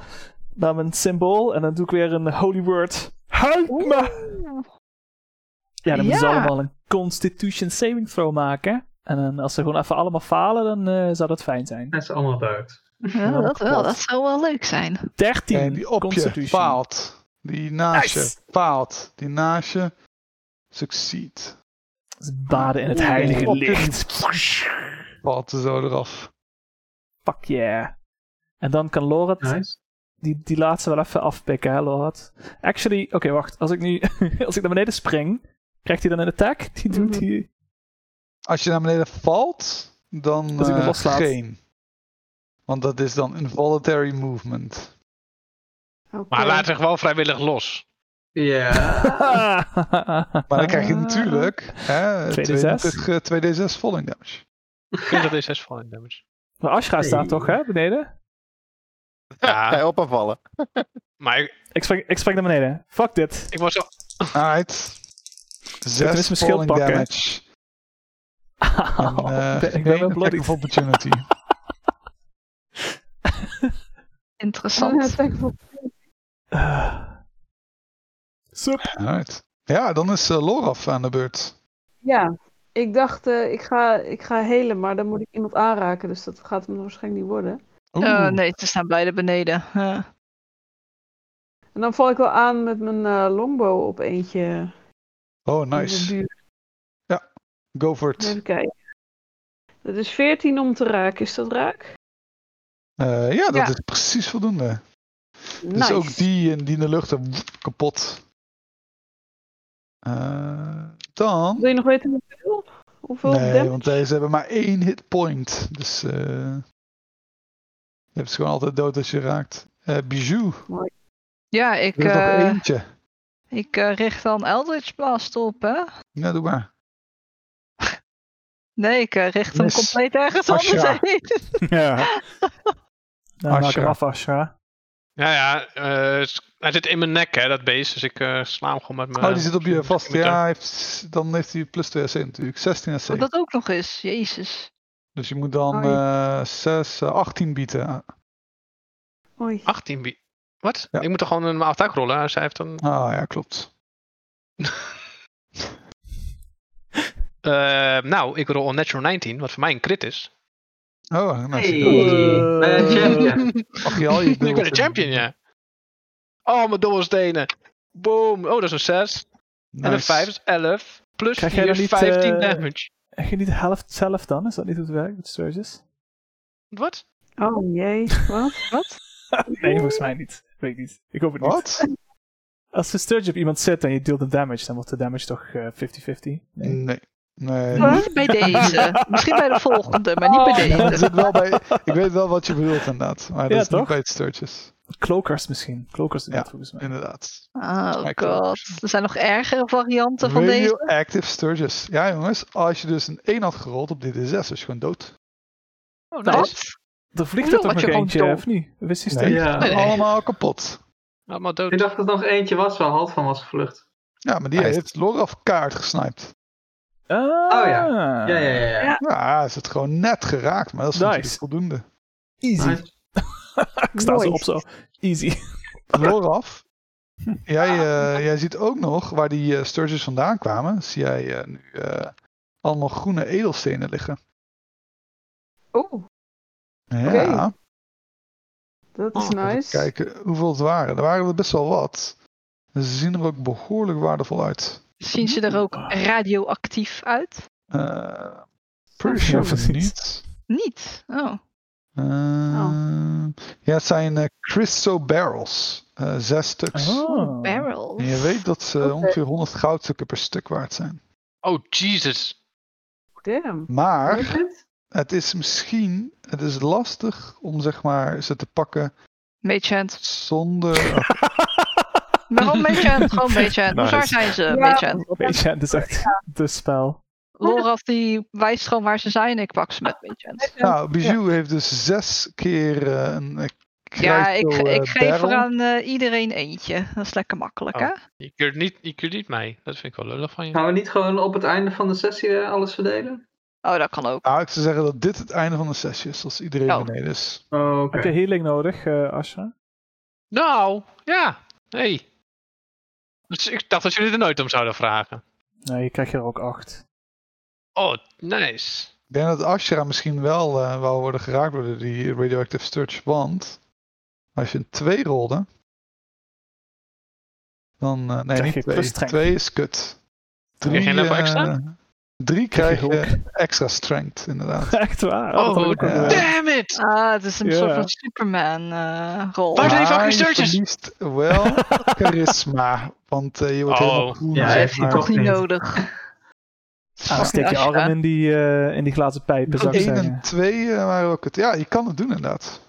naar mijn symbool. En dan doe ik weer een holy word. Help me! Ja, dan moeten ze
Ja.
allemaal een constitution saving throw maken. En dan, als ze gewoon even allemaal falen, dan eh, zou dat fijn zijn.
Dat is allemaal dood.
Ja,
Nou,
dat wel.
klopt.
Dat zou wel leuk zijn.
13
En die op je
constitution.
faalt. Die naast je
Nice.
faalt. Die naast je succeed.
Dus Baden in het
Oeh,
heilige
op je-
licht.
Valt er zo eraf.
Fuck yeah. En dan kan Lorat
Nice.
die, die laatste wel even afpikken, hè, Lorat. Actually, oké, wacht. Als ik nu als ik naar beneden spring, krijgt hij dan een attack? Die doet
Mhm.
hij...
Als je naar beneden valt, dan
Als ik me
eh,
loslaat.
geen. Want dat is dan involuntary movement.
Maar
Oké.
laat zich wel vrijwillig los.
Ja.
Maar dan krijg je
Ah.
natuurlijk hè,
2d6.
22, eh, 2d6 falling damage.
Ik dat is 6 falling damage.
Maar Ashra staat toch, hè, beneden?
Ga
Ja,
je op afvallen?
maar ik,
Ik spring, ik spring naar beneden. Fuck dit.
ik was al...
Alright.
mijn
6
schild
falling
pakken.
damage. En,
Au,
eh,
ben-
geen
ik ben wel
attack
bloody.
of opportunity.
Een
Interessant.
attack voor
Eh. Sup.
Alright. Ja, dan is eh, Loraf aan de beurt.
Ja, ik dacht, eh, ik, ga, ik ga helen, maar dan moet ik iemand aanraken, dus dat gaat hem waarschijnlijk niet worden.
Oeh,
Eh, nee, ze staan beide beneden. Eh,
En dan val ik wel aan met mijn eh, longbow op eentje.
Oh,
in de
nice.
buurt.
Go for it.
Even kijken. Dat is 14 om te raken, is dat raak?
Eh, ja, dat
Ja.
is precies voldoende.
Nice.
Dus ook die, en die in de lucht en woep, kapot. Eh, dan.
Wil je nog weten hoeveel? Hoeveel
Nee,
damage?
want deze hebben maar één hit point. Dus. eh je hebt ze gewoon altijd dood als je raakt. Eh Bijou,
ja, ik,
er is nog
eh,
eentje.
ik eh, richt dan Eldritch Blast op, hè?
Ja, doe maar.
Nee, ik eh, richt hem
Miss
compleet ergens
Asha.
anders heen.
Ja. Nou, maak
Ashra.
hem af, Ashra.
Ja, ja. eh, s- hij zit in mijn nek, hè, dat beest. Dus ik eh, sla hem gewoon met mijn...
oh, die zit op je vast.
met de-
Ja, hij heeft, dan heeft hij plus 2 SC natuurlijk. 16 SC.
Wat Oh, dat ook nog is. Jezus.
Dus je moet dan
Oh,
eh 6, eh, 18 bieden.
Oei.
18 bi- Wat?
Ja.
Ik moet toch gewoon een attack rollen? Dus hij heeft dan...
Ah ja, klopt.
Eh, nou, ik rol een natural 19, wat voor mij een crit is.
Oh, nou,
Hey.
goed.
Eh,
Ben je champion?
Mag je al je
ik ben
dubbels
een
in-
champion, ja. Oh, mijn dobbelstenen. Boom. Oh, dat is een 6. En een
Nice.
5 is 11. Plus
Krijg
4
jij dan
Dus is
niet,
15
eh,
damage.
En je niet de helft zelf dan? Is dat niet hoe het werkt met storages?
Wat?
Oh jee, wat?
Nee, volgens mij niet. Weet ik niet. Ik hoop het niet.
Wat?
Als de Sturge op iemand zit en je deelt de damage, dan wordt de damage toch eh, 50-50? Nee.
Nee. Nee.
Huh?
Niet bij deze. Misschien bij de volgende, maar
Oh.
niet bij
Ja, dat
deze.
zit wel bij, ik weet wel wat je bedoelt inderdaad. Maar dat
Ja,
is
toch?
niet bij het sturtjes.
Klokers misschien. Klokers doen
Ja.
dat volgens mij.
Inderdaad.
Oh
Volgens mij
god. Er zijn nog ergere varianten van deze.
Radioactive sturges. Ja jongens, als je dus een 1 had gerold op DD6, was je gewoon dood.
Oh,
Nou,
nice.
Wat?
Er vliegt
Hoezo
er toch
word
nog
je gewoon
eentje,
doof?
of niet? Wist je
Nee.
steeds?
Ja.
Nee.
Allemaal kapot.
Allemaal
Ik
dood.
dacht dat er nog eentje was waar half van was gevlucht.
Ja, maar die
Hij is-
heeft Loraf kaart gesniped.
Ah,
Oh Ja, ja, ja. ja.
Ja, is het gewoon net geraakt, maar dat is
Nice.
natuurlijk voldoende.
Easy.
Nice.
Ik sta zo op
Mooi.
zo. Easy. Hm.
Loraf, jij, eh, jij ziet ook nog waar die eh, sturges vandaan kwamen. Zie jij eh, nu eh, allemaal groene edelstenen liggen.
Oh,
Ja.
Oké. dat is
Oh, even
nice.
kijken hoeveel het waren. Er waren er best wel wat. Ze zien er ook behoorlijk waardevol uit.
Zien ze er ook radioactief uit?
Eh pretty
Ja,
sure
precies.
niet.
Niet. Oh.
Eh, Ja, het zijn eh Crystal Barrels. Eh, zes stuks.
Oh.
Barrels.
En je weet dat ze
Oké.
ongeveer 100 goudstukken per stuk waard zijn.
Oh, Jesus.
Damn.
Maar het is misschien... Het is lastig om zeg maar, ze te pakken
Magehand.
zonder...
Waarom Magehand? Gewoon Magehand. Hoe
Nice.
zwaar zijn ze?
Ja.
Magehand.
Weet je, het is echt de spel.
Loraf die wijst gewoon waar ze zijn. Ik pak ze met Magehand.
Nou, Bijou heeft dus zes keer eh, een eh,
Ja,
krijgt
ik,
zo,
ge-
eh,
ik geef
barrel.
er aan eh, iedereen eentje. Dat is lekker makkelijk,
Oh.
hè?
Je keurt niet, je keurt niet mij. Dat vind ik wel lullig van je.
Gaan we niet gewoon op het einde van de sessie eh, alles verdelen?
Oh, dat kan ook.
Nou, ik zou zeggen dat dit het einde van de sessie is, als iedereen
Oh.
beneden is.
Oké.
Heb je healing nodig, eh Asha?
Nou, ja. Hey. Dus ik dacht dat jullie er nooit om zouden vragen.
Nee, je krijgt er ook acht.
Oh, nice.
Ik denk dat Ashra misschien wel eh wel worden geraakt door die radioactive sturge, want als je een 2 rolde, dan... eh, nee,
Krijg je
niet 2.
plus strength.
2 is kut.
Krijg je level
eh,
extra?
Drie
Krijg
krijg
je
je extra strength, inderdaad.
Echt waar?
Oh,
dat had ik ook al
eh,
gehoord.
Damn it!
Ah, het is een soort
Ja.
van eh, Superman-rol.
Waar zijn die
Maar
fucking
je
sturges?
verliest wel charisma, want eh, je wordt
Oh.
helemaal groen.
Ja,
dat
zeg
heeft hij
maar.
klopt
toch niet
niet.
nodig.
Ah, steek je
Asha.
arm in die, eh, in die glazen pijpen, zou ik
1 en
zeggen.
2 waren ook het. Ja, je kan het doen inderdaad.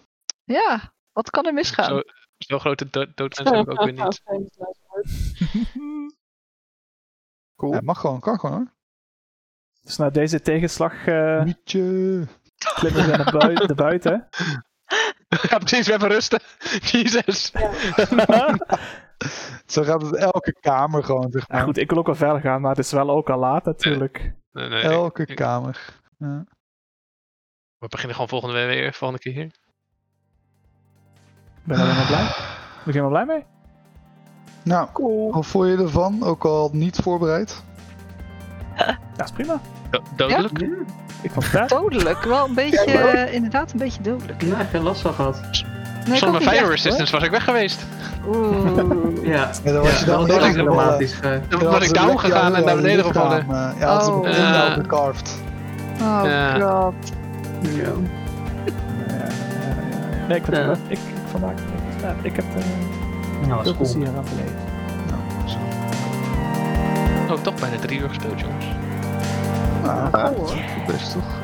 Ja, wat kan er misgaan?
Zo, zo grote dood, doodwens heb ik ook weer niet.
Cool.
Ja, mag gewoon, kan gewoon hoor.
Dus na deze tegenslag eh
Mietje.
klimmen we naar bui- naar buiten.
Ga precies weer even rusten. Jezus.
Zo gaat het elke kamer gewoon, zeg
Ja,
maar.
goed, ik wil ook wel verder gaan, maar het is wel ook al laat natuurlijk.
Nee, nee, ik-
elke
ik-
kamer. Ja.
we beginnen gewoon volgende week weer, volgende keer.
Ik ben er helemaal blij. Ben ik helemaal blij mee?
Nou,
Cool.
hoe voel je ervan? Ook al niet voorbereid.
Ja, is prima.
Do- dodelijk?
Ja,
Ik vond het vet.
Dodelijk, wel een beetje, eh, inderdaad een beetje dodelijk.
ik heb nou geen last van gehad.
Nee, ik ook
Zonder
niet
fire
echt, hoor.
resistance Dus was ik weg geweest.
Oeh.
Ja.
Ja, dan was je
Ja,
dan
dat was
echt
echt
helemaal-
dramatisch. eh.
Dan was ik down gegaan en naar beneden gevallen.
ja, dat is
Oh.
op een uh,
Eh.
gecarved.
Oh
Ja.
god.
Ja.
Nee, ik vond het
Ja.
wel- Ik, ik, vandaag, ik, ja, ik heb eh,
Nou,
veel
dat is cool.
plezier aan beleefd.
Oh, toch bijna drie uur gespeeld, jongens.
Nou,
Ah,
cool, hoor. best toch.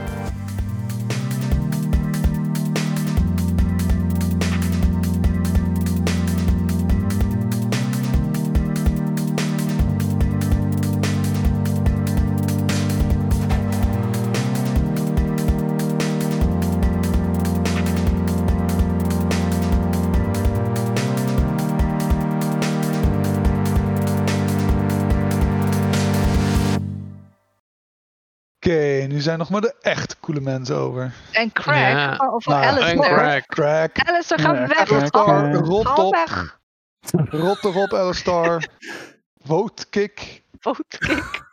Oké, nu zijn nog maar de echt coole mensen over.
En Craig,
Ja.
of
Nou,
Alice
en
daar.
Craig.
Crack.
Alistair, ga
Ja,
weg.
Craig,
Ga
eh,
rot
ga
op.
weg.
Rot erop, Alistair. Vote kick.
Vote kick.